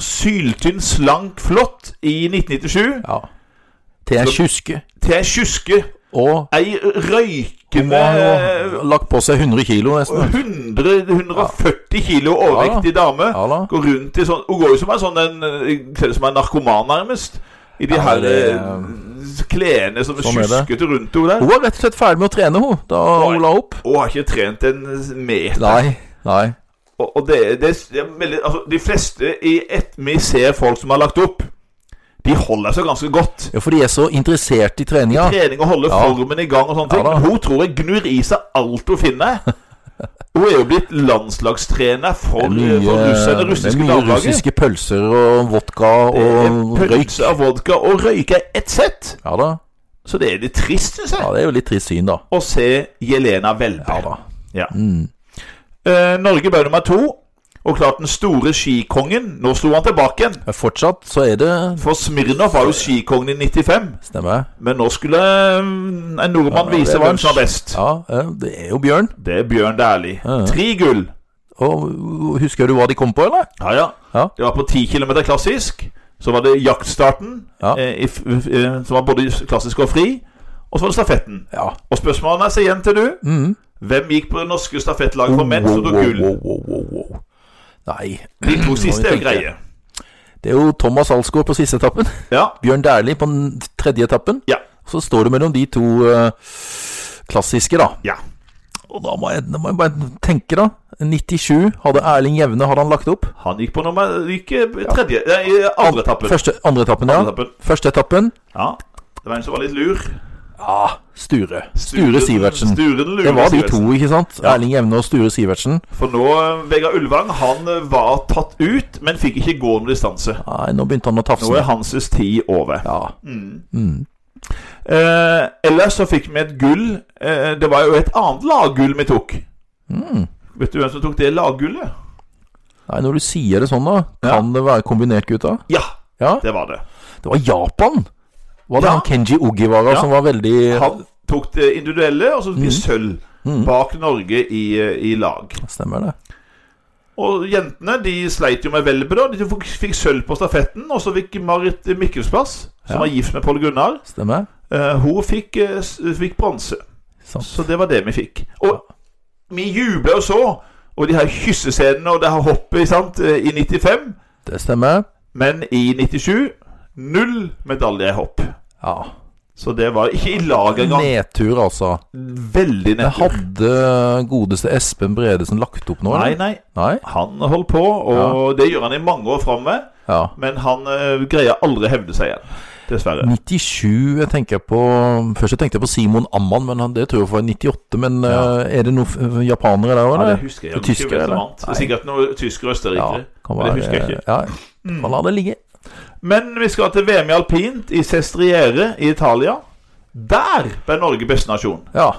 Speaker 2: syltynn, slank, flott, i 1997,
Speaker 1: ja. Til en tjuske.
Speaker 2: til ei kjuske,
Speaker 1: Og
Speaker 2: ei
Speaker 1: hun
Speaker 2: røykende
Speaker 1: må ha
Speaker 2: Eh,
Speaker 1: jo lagt på seg 100 kilo, nesten.
Speaker 2: 100, 140 kilo overvektig dame.
Speaker 1: Ja da.
Speaker 2: Går rundt i sånn Hun går jo som en sånn en, Kler seg som en narkoman, nærmest. I de
Speaker 1: Ja,
Speaker 2: her
Speaker 1: det-
Speaker 2: eh, klærne som er
Speaker 1: Sånn er det.
Speaker 2: kjuskete rundt henne der.
Speaker 1: Hun var rett og slett ferdig med å trene, hun, da hun la opp.
Speaker 2: Og har ikke trent en meter.
Speaker 1: Nei. Nei.
Speaker 2: Og, og det, det, det er veldig, altså, De fleste i ett vi ser folk som har lagt opp, de holder seg ganske godt.
Speaker 1: Ja, for de er så interessert i treninga.
Speaker 2: Trening og holde
Speaker 1: Ja.
Speaker 2: formen i gang og sånne ting.
Speaker 1: Ja da.
Speaker 2: Men hun tror jeg gnur i seg alt hun finner. Hun er jo blitt landslagstrener for,
Speaker 1: Mye,
Speaker 2: for russen, det
Speaker 1: det er
Speaker 2: russiske
Speaker 1: mye
Speaker 2: damelaget.
Speaker 1: russiske pølser og vodka og røyk.
Speaker 2: Pølse av vodka og røyke er ett sett.
Speaker 1: Ja da.
Speaker 2: Så det er litt trist, syns
Speaker 1: Ja,
Speaker 2: jeg,
Speaker 1: Det er jo litt trist syn, da.
Speaker 2: å se Jelena Welbe.
Speaker 1: Ja da. Mm.
Speaker 2: Ja. Eh, Norge ble nummer to. Og klart den store skikongen. Nå slo han tilbake igjen.
Speaker 1: Men fortsatt så er det
Speaker 2: For Smirnov var jo skikongen i 95.
Speaker 1: Stemmer.
Speaker 2: Men nå skulle eh, en nordmann
Speaker 1: det
Speaker 2: vise
Speaker 1: er
Speaker 2: hvem som er
Speaker 1: lunsj.
Speaker 2: best.
Speaker 1: Ja, eh, det er jo Bjørn.
Speaker 2: Det er Bjørn Dæhlie.
Speaker 1: ja.
Speaker 2: Tre gull.
Speaker 1: Og Husker du hva de kom på, eller?
Speaker 2: Ja, ja.
Speaker 1: Ja.
Speaker 2: Det var på 10 km klassisk. Så var det jaktstarten,
Speaker 1: Ja.
Speaker 2: eh, i, f- f- eh, som var både klassisk og fri. Og så var det stafetten.
Speaker 1: Ja.
Speaker 2: Og spørsmålene er seg igjen til du. Hvem gikk på det norske stafettlaget for menn som tok gull?
Speaker 1: Mm. Wow, wow, wow, wow, wow. Nei.
Speaker 2: De to siste er jo
Speaker 1: tenker jeg.
Speaker 2: greie.
Speaker 1: Det er jo Thomas Alsgaard på siste etappen. (laughs)
Speaker 2: Ja.
Speaker 1: Bjørn Dæhlie på den tredje etappen.
Speaker 2: Ja.
Speaker 1: Så står det mellom de to eh, klassiske, da.
Speaker 2: ja.
Speaker 1: Og da må, jeg, da må jeg bare tenke, da. 97 hadde Erling Jevne hadde han lagt opp.
Speaker 2: Han gikk på nummer gikk eh, tredje Nei, eh, andre etappen.
Speaker 1: Første, andre etappen, ja.
Speaker 2: Andre etappen.
Speaker 1: Første etappen
Speaker 2: Ja. Det var en som var litt lur.
Speaker 1: ah, Sture. Sture Sivertsen.
Speaker 2: Sture den lure
Speaker 1: Det var de to,
Speaker 2: Sivertsen.
Speaker 1: ikke sant? Erling Jevne og Sture Sivertsen.
Speaker 2: For nå, eh, Vegard Ulvang, han eh, var tatt ut, men fikk ikke gå noen distanse.
Speaker 1: Nei, nå begynte han å
Speaker 2: Nå
Speaker 1: tafse.
Speaker 2: er Hanses tid over.
Speaker 1: Ja.
Speaker 2: Eh, ellers så fikk vi et gull. Eh, det var jo et annet laggull vi tok.
Speaker 1: Mm.
Speaker 2: Vet du hvem som tok det laggullet?
Speaker 1: Nei, når du sier det sånn, da,
Speaker 2: Ja.
Speaker 1: kan det være kombinert, gutta?
Speaker 2: Ja,
Speaker 1: Ja.
Speaker 2: det var det.
Speaker 1: Det var Japan! Var det
Speaker 2: Ja.
Speaker 1: han Kenji Ogiwara
Speaker 2: Ja.
Speaker 1: som var veldig
Speaker 2: Han tok det
Speaker 1: Mm.
Speaker 2: individuelle, og så tok de sølv bak Norge eh, i, i lag.
Speaker 1: Stemmer det.
Speaker 2: Og jentene de sleit jo med velbe. da De fikk, fikk sølv på stafetten, og så fikk Marit Mikkelsplass, som
Speaker 1: Ja.
Speaker 2: var gift med Pål Gunnar,
Speaker 1: Stemmer?
Speaker 2: eh, hun fikk, eh, s- fikk bronse.
Speaker 1: Sant.
Speaker 2: Så det var det vi fikk. Og vi jubla og så. Og de her kyssescenene og det her hoppet sant, eh, i 95,
Speaker 1: Det stemmer.
Speaker 2: men i 97 null medalje i hopp.
Speaker 1: Ja.
Speaker 2: Så det var ikke i lag engang.
Speaker 1: Nedtur, altså.
Speaker 2: Veldig
Speaker 1: Det
Speaker 2: nettopp.
Speaker 1: hadde godeste Espen Bredesen lagt opp nå?
Speaker 2: Nei,
Speaker 1: eller?
Speaker 2: nei.
Speaker 1: Nei?
Speaker 2: Han holdt på, og det gjør han i mange år framover.
Speaker 1: Ja.
Speaker 2: Men han eh, greier aldri hevde seg igjen, dessverre.
Speaker 1: 97 jeg tenker på Først jeg tenkte jeg på Simon Amman, men han, det tror jeg var i 98. Men
Speaker 2: Ja.
Speaker 1: eh, er det noen f- japanere der òg,
Speaker 2: Ja, det
Speaker 1: eller?
Speaker 2: husker jeg.
Speaker 1: Og
Speaker 2: ikke
Speaker 1: tyskere,
Speaker 2: hvem som
Speaker 1: eller?
Speaker 2: vant. Det er Sikkert noe tyskere og østerrikere.
Speaker 1: kan
Speaker 2: men det husker jeg ikke. Mm.
Speaker 1: Ja, kan la det ligge.
Speaker 2: Men vi skal til VM i alpint i Sestriere i Italia. Der ble Norge beste nasjon.
Speaker 1: Ja.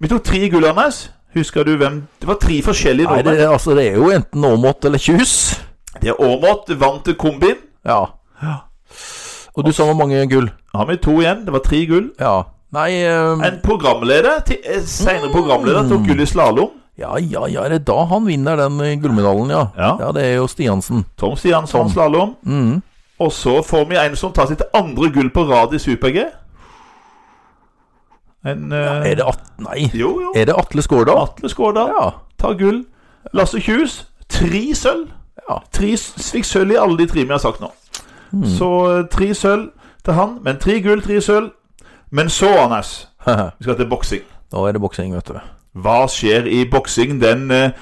Speaker 2: Vi tok tre gull, Anders. Husker du hvem Det var tre forskjellige
Speaker 1: Nei, det,
Speaker 2: nordmenn.
Speaker 1: altså, det er jo enten Aamodt eller Kjus.
Speaker 2: Det er Aamodt vant til kombin.
Speaker 1: Ja. Og du sa hvor mange gull?
Speaker 2: Nå har vi to igjen. Det var tre gull.
Speaker 1: Ja. Nei eh,
Speaker 2: En programleder, ti- eh, senere programleder, tok gull i slalåm.
Speaker 1: Ja, ja, ja, det er da han vinner den eh, gullmedaljen, ja.
Speaker 2: Ja.
Speaker 1: det er jo Stiansen.
Speaker 2: Tom Stiansson slalåm.
Speaker 1: Mm.
Speaker 2: Og så får vi en som tar sitt andre gull på rad i Super-G. En eh,
Speaker 1: Er det at... Nei.
Speaker 2: Jo, jo.
Speaker 1: Er det Atle Skårdal?
Speaker 2: Atle Skårdal
Speaker 1: Ja. (laughs)
Speaker 2: tar gull. Lasse Kjus tre sølv.
Speaker 1: Ja.
Speaker 2: Tre s- fikk sølv i alle de tre vi har sagt nå. Så eh, tre sølv til han, men tre gull, tre sølv. Men så, Anders, vi skal til boksing.
Speaker 1: da er det boksing, vet du.
Speaker 2: Hva skjer i boksing den eh,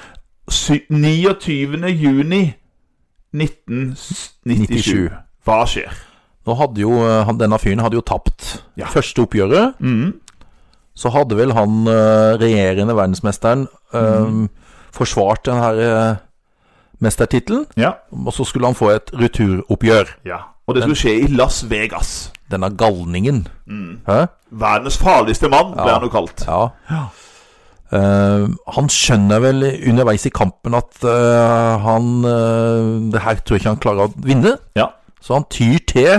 Speaker 2: sy- 29. juni 1997?
Speaker 1: 97.
Speaker 2: Hva skjer?
Speaker 1: Nå hadde jo eh, han, denne fyren hadde jo tapt
Speaker 2: Ja.
Speaker 1: første oppgjøret.
Speaker 2: Mhm.
Speaker 1: Så hadde vel han eh, regjerende verdensmesteren eh,
Speaker 2: Mm.
Speaker 1: forsvart den her eh, mestertittelen.
Speaker 2: Ja.
Speaker 1: Og så skulle han få et returoppgjør.
Speaker 2: ja. Og det skulle skje i Las Vegas.
Speaker 1: Denne galningen.
Speaker 2: Mm.
Speaker 1: Hæ?
Speaker 2: Verdens farligste mann, ble han jo kalt.
Speaker 1: Ja. Eh, han skjønner vel underveis i kampen at eh, han eh, Det her tror jeg ikke han klarer å vinne.
Speaker 2: Ja.
Speaker 1: Så han tyr til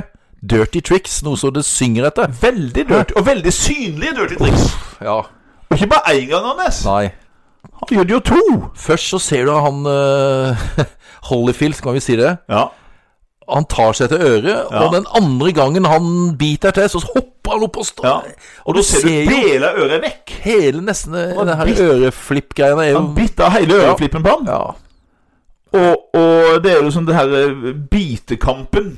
Speaker 1: dirty tricks, noe så det synger etter.
Speaker 2: Veldig dirty, og veldig synlige dirty triks.
Speaker 1: Ja,
Speaker 2: Og ikke bare én gang, Anders.
Speaker 1: nei
Speaker 2: Han gjør det jo to.
Speaker 1: Først så ser du han eh, (laughs) Holyfield, skal vi si det.
Speaker 2: Ja.
Speaker 1: Han tar seg til øret,
Speaker 2: Ja.
Speaker 1: og den andre gangen han biter til, så hopper han opp og står
Speaker 2: ja.
Speaker 1: Og du ser
Speaker 2: du
Speaker 1: jo
Speaker 2: deler øret vekk.
Speaker 1: hele nesten eh,
Speaker 2: Han
Speaker 1: Det her
Speaker 2: bit-
Speaker 1: øreflipp-greiene er jo
Speaker 2: Han bitt av hele øreflippen på han.
Speaker 1: Ja.
Speaker 2: Og, og det er jo sånn det her eh, bitekampen.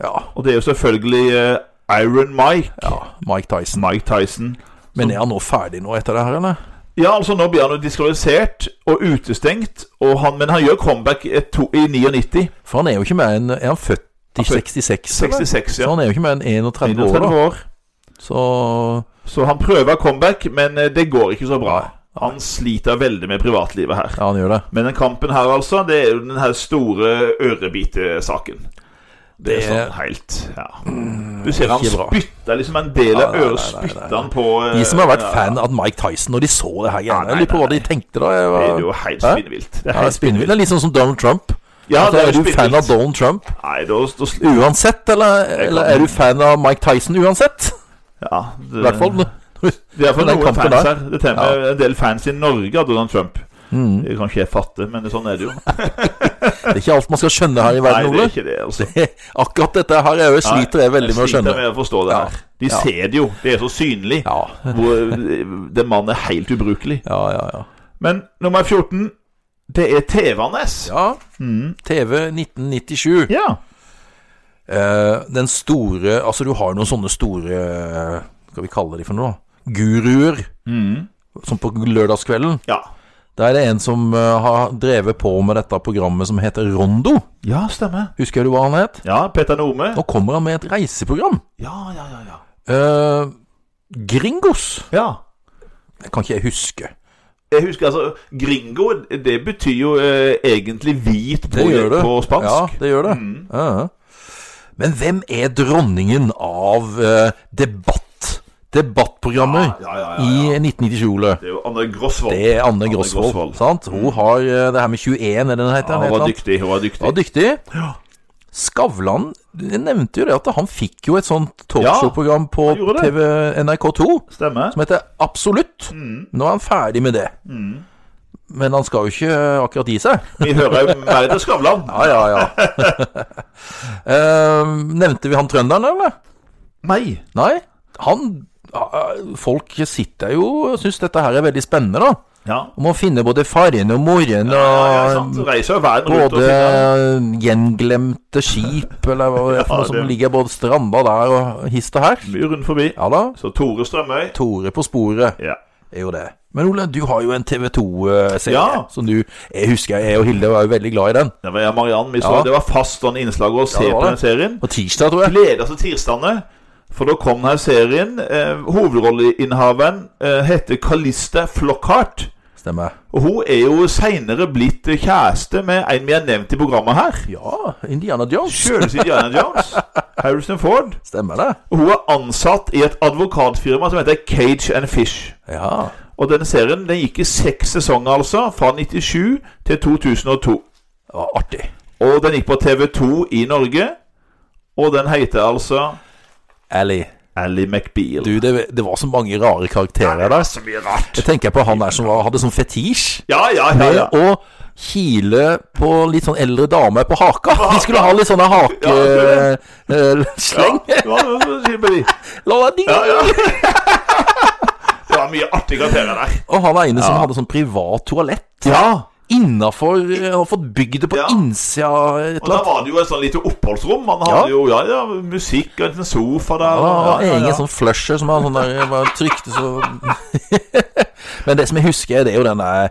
Speaker 1: ja.
Speaker 2: Og det er jo selvfølgelig eh, Iron Mike.
Speaker 1: Ja, Mike Tyson.
Speaker 2: Mike Tyson.
Speaker 1: Men er han nå ferdig nå etter det her, eller?
Speaker 2: Ja, altså nå blir han jo diskvalifisert og utestengt, og han, men han gjør comeback et to, i 99.
Speaker 1: For han er jo ikke mer enn Er han født i
Speaker 2: Han er
Speaker 1: 66? eller?
Speaker 2: 66,
Speaker 1: Så
Speaker 2: ja.
Speaker 1: han er jo ikke mer enn 31 år,
Speaker 2: 31
Speaker 1: da.
Speaker 2: år.
Speaker 1: Så
Speaker 2: Så han prøver comeback, men eh, det går ikke så bra.
Speaker 1: Nei,
Speaker 2: Han sliter veldig med privatlivet her.
Speaker 1: ja, han gjør det.
Speaker 2: Men den kampen her, altså, det er jo den her store ørebitesaken. Det er
Speaker 1: Det-
Speaker 2: sånn helt Ja. Du ser han
Speaker 1: ikke bra.
Speaker 2: spytta liksom en del av
Speaker 1: Nei, nei,
Speaker 2: øret
Speaker 1: nei, nei,
Speaker 2: spytta
Speaker 1: nei.
Speaker 2: han på
Speaker 1: De som har vært
Speaker 2: Eh, ja,
Speaker 1: fan av Mike Tyson når de så det her
Speaker 2: Ja,
Speaker 1: greiene. Jeg
Speaker 2: nei,
Speaker 1: lurer på
Speaker 2: nei,
Speaker 1: hva de tenkte da. Jeg
Speaker 2: Det
Speaker 1: var...
Speaker 2: er jo helt
Speaker 1: Hæ?
Speaker 2: spinnvilt. Det er
Speaker 1: Ja, det
Speaker 2: helt
Speaker 1: er spinnvilt. Det er litt sånn som Donald Trump.
Speaker 2: Ja,
Speaker 1: altså,
Speaker 2: det
Speaker 1: er,
Speaker 2: er jo
Speaker 1: du fan av
Speaker 2: spinnvilt.
Speaker 1: Donald Trump
Speaker 2: Nei, da, da sl-
Speaker 1: uansett, eller,
Speaker 2: kan-
Speaker 1: eller er du fan av Mike Tyson uansett?
Speaker 2: Ja.
Speaker 1: I hvert fall.
Speaker 2: Eh. Det er for
Speaker 1: den
Speaker 2: noen
Speaker 1: kampen
Speaker 2: fans
Speaker 1: der.
Speaker 2: her. Det er med en del fans i Norge av Donald Trump.
Speaker 1: Mm.
Speaker 2: Det kan ikke jeg fatte, men sånn er det jo.
Speaker 1: (laughs) Det er ikke alt man skal skjønne her i
Speaker 2: Nei,
Speaker 1: verden,
Speaker 2: det er
Speaker 1: Ole. (laughs)
Speaker 2: ikke det, altså.
Speaker 1: Akkurat dette her er jo, sliter jeg veldig med å skjønne.
Speaker 2: Sliter med å forstå det
Speaker 1: Ja.
Speaker 2: her. De
Speaker 1: Ja.
Speaker 2: ser det jo. Det er så synlig.
Speaker 1: Ja,
Speaker 2: Hvor den mannen er helt ubrukelig.
Speaker 1: ja, ja. ja.
Speaker 2: Men nummer 14, det er TV-Nes.
Speaker 1: ja
Speaker 2: Mm.
Speaker 1: TV 1997.
Speaker 2: Ja.
Speaker 1: Eh, den store Altså, du har noen sånne store eh, Skal vi kalle de for noe? Guruer.
Speaker 2: Mm.
Speaker 1: Som på lørdagskvelden.
Speaker 2: ja.
Speaker 1: Der er det en som eh, har drevet på med dette programmet som heter Rondo.
Speaker 2: Ja, stemmer.
Speaker 1: Husker du hva han het?
Speaker 2: Ja, Petter Nome.
Speaker 1: Nå kommer han med et reiseprogram.
Speaker 2: Ja, ja, ja, ja.
Speaker 1: Eh, Gringos.
Speaker 2: ja.
Speaker 1: Det kan ikke jeg huske.
Speaker 2: Jeg husker altså Gringo, det betyr jo eh, egentlig hvit på, på spansk. Mm.
Speaker 1: Ja, det gjør det. Ja. Men hvem er dronningen av eh, debatt? Debattprogrammer
Speaker 2: Ja, ja, ja, ja, ja.
Speaker 1: i 1997, Ole.
Speaker 2: Det er jo Anne Grosvold.
Speaker 1: Det er Anne
Speaker 2: Anne Grosvold. Mm.
Speaker 1: Grosvold. Sant? Hun har eh, det her med 21, er det den heter? den
Speaker 2: ja, hun
Speaker 1: heter
Speaker 2: var
Speaker 1: han?
Speaker 2: dyktig. Hun var dyktig.
Speaker 1: Var dyktig. Skavlan jeg nevnte jo det at han fikk jo et sånt talkshow-program på
Speaker 2: han gjorde det.
Speaker 1: TV NRK2
Speaker 2: Stemmer. Mm.
Speaker 1: som heter Absolutt. Nå er han ferdig med det. Men han skal jo ikke eh, akkurat gi seg. (laughs)
Speaker 2: Vi hører jo mer til Skavlan.
Speaker 1: Ja, ja, (laughs) ja. Eh, nevnte vi han trønderen, eller?
Speaker 2: Nei.
Speaker 1: Nei. Han ah, Folk sitter jo og syns dette her er veldig spennende, da.
Speaker 2: Ja.
Speaker 1: Om å finne både faren og moren og
Speaker 2: Ja, ja, sant. Reiser jo verden rundt og
Speaker 1: Både
Speaker 2: finner
Speaker 1: gjenglemte skip, eller hva det er for
Speaker 2: Ja,
Speaker 1: noe som
Speaker 2: det-
Speaker 1: ligger både stranda der og hist og her.
Speaker 2: mye rundt forbi.
Speaker 1: Ja da.
Speaker 2: Så Tore Strømøy
Speaker 1: Tore på sporet
Speaker 2: Ja.
Speaker 1: er jo det. Men Ole, du har jo en TV2-serie
Speaker 2: Ja.
Speaker 1: som du Jeg husker jeg og Hilde var jo veldig glad i den.
Speaker 2: Det var jeg og Marianne vi så.
Speaker 1: Ja.
Speaker 2: Det var fast sånn innslag å se
Speaker 1: det var
Speaker 2: på den
Speaker 1: det.
Speaker 2: serien.
Speaker 1: På tirsdag, tror jeg.
Speaker 2: Gleder oss til tirsdagene, for da kom denne serien. Eh, Hovedrolleinnehaveren eh, heter Kalista Flockhart.
Speaker 1: Stemmer.
Speaker 2: Og hun er jo seinere blitt kjæreste med en vi har nevnt i programmet her.
Speaker 1: Ja, Indiana Jones.
Speaker 2: Sjøleste Diana
Speaker 1: (laughs)
Speaker 2: Jones. Harrison Ford.
Speaker 1: Stemmer det.
Speaker 2: Og hun er ansatt i et advokatfirma som heter Cage and Fish.
Speaker 1: Ja.
Speaker 2: Og denne serien den gikk i seks sesonger, altså. Fra 97 til 2002.
Speaker 1: Det var artig.
Speaker 2: Og den gikk på TV2 i Norge. Og den heter altså
Speaker 1: Ally.
Speaker 2: Ally McBeal.
Speaker 1: Du, det, det var så mange rare karakterer der.
Speaker 2: så mye rart.
Speaker 1: Jeg tenker på han der som var, hadde sånn fetisj.
Speaker 2: Ja, ja, ja.
Speaker 1: med
Speaker 2: ja.
Speaker 1: å kile på litt sånn eldre damer på
Speaker 2: (laughs)
Speaker 1: haka. De skulle ha litt sånne
Speaker 2: Ja,
Speaker 1: hakesleng.
Speaker 2: Ja, det var- det var sikkert på de.
Speaker 1: (laughs) La deg digge.
Speaker 2: Ja, ja. Det var mye artige karakterer der.
Speaker 1: Og han ene som hadde sånn privat toalett
Speaker 2: Ja.
Speaker 1: innafor Han har fått bygd det på
Speaker 2: Ja.
Speaker 1: innsida et
Speaker 2: Og da
Speaker 1: eller annet.
Speaker 2: var det jo et sånn lite oppholdsrom. Man hadde
Speaker 1: Ja.
Speaker 2: jo ja, ja, musikk og en sofa der.
Speaker 1: Ja,
Speaker 2: og-
Speaker 1: og egen sånn flusher som han sånn der bare trykte så (laughs) Men det som jeg husker, det er jo den der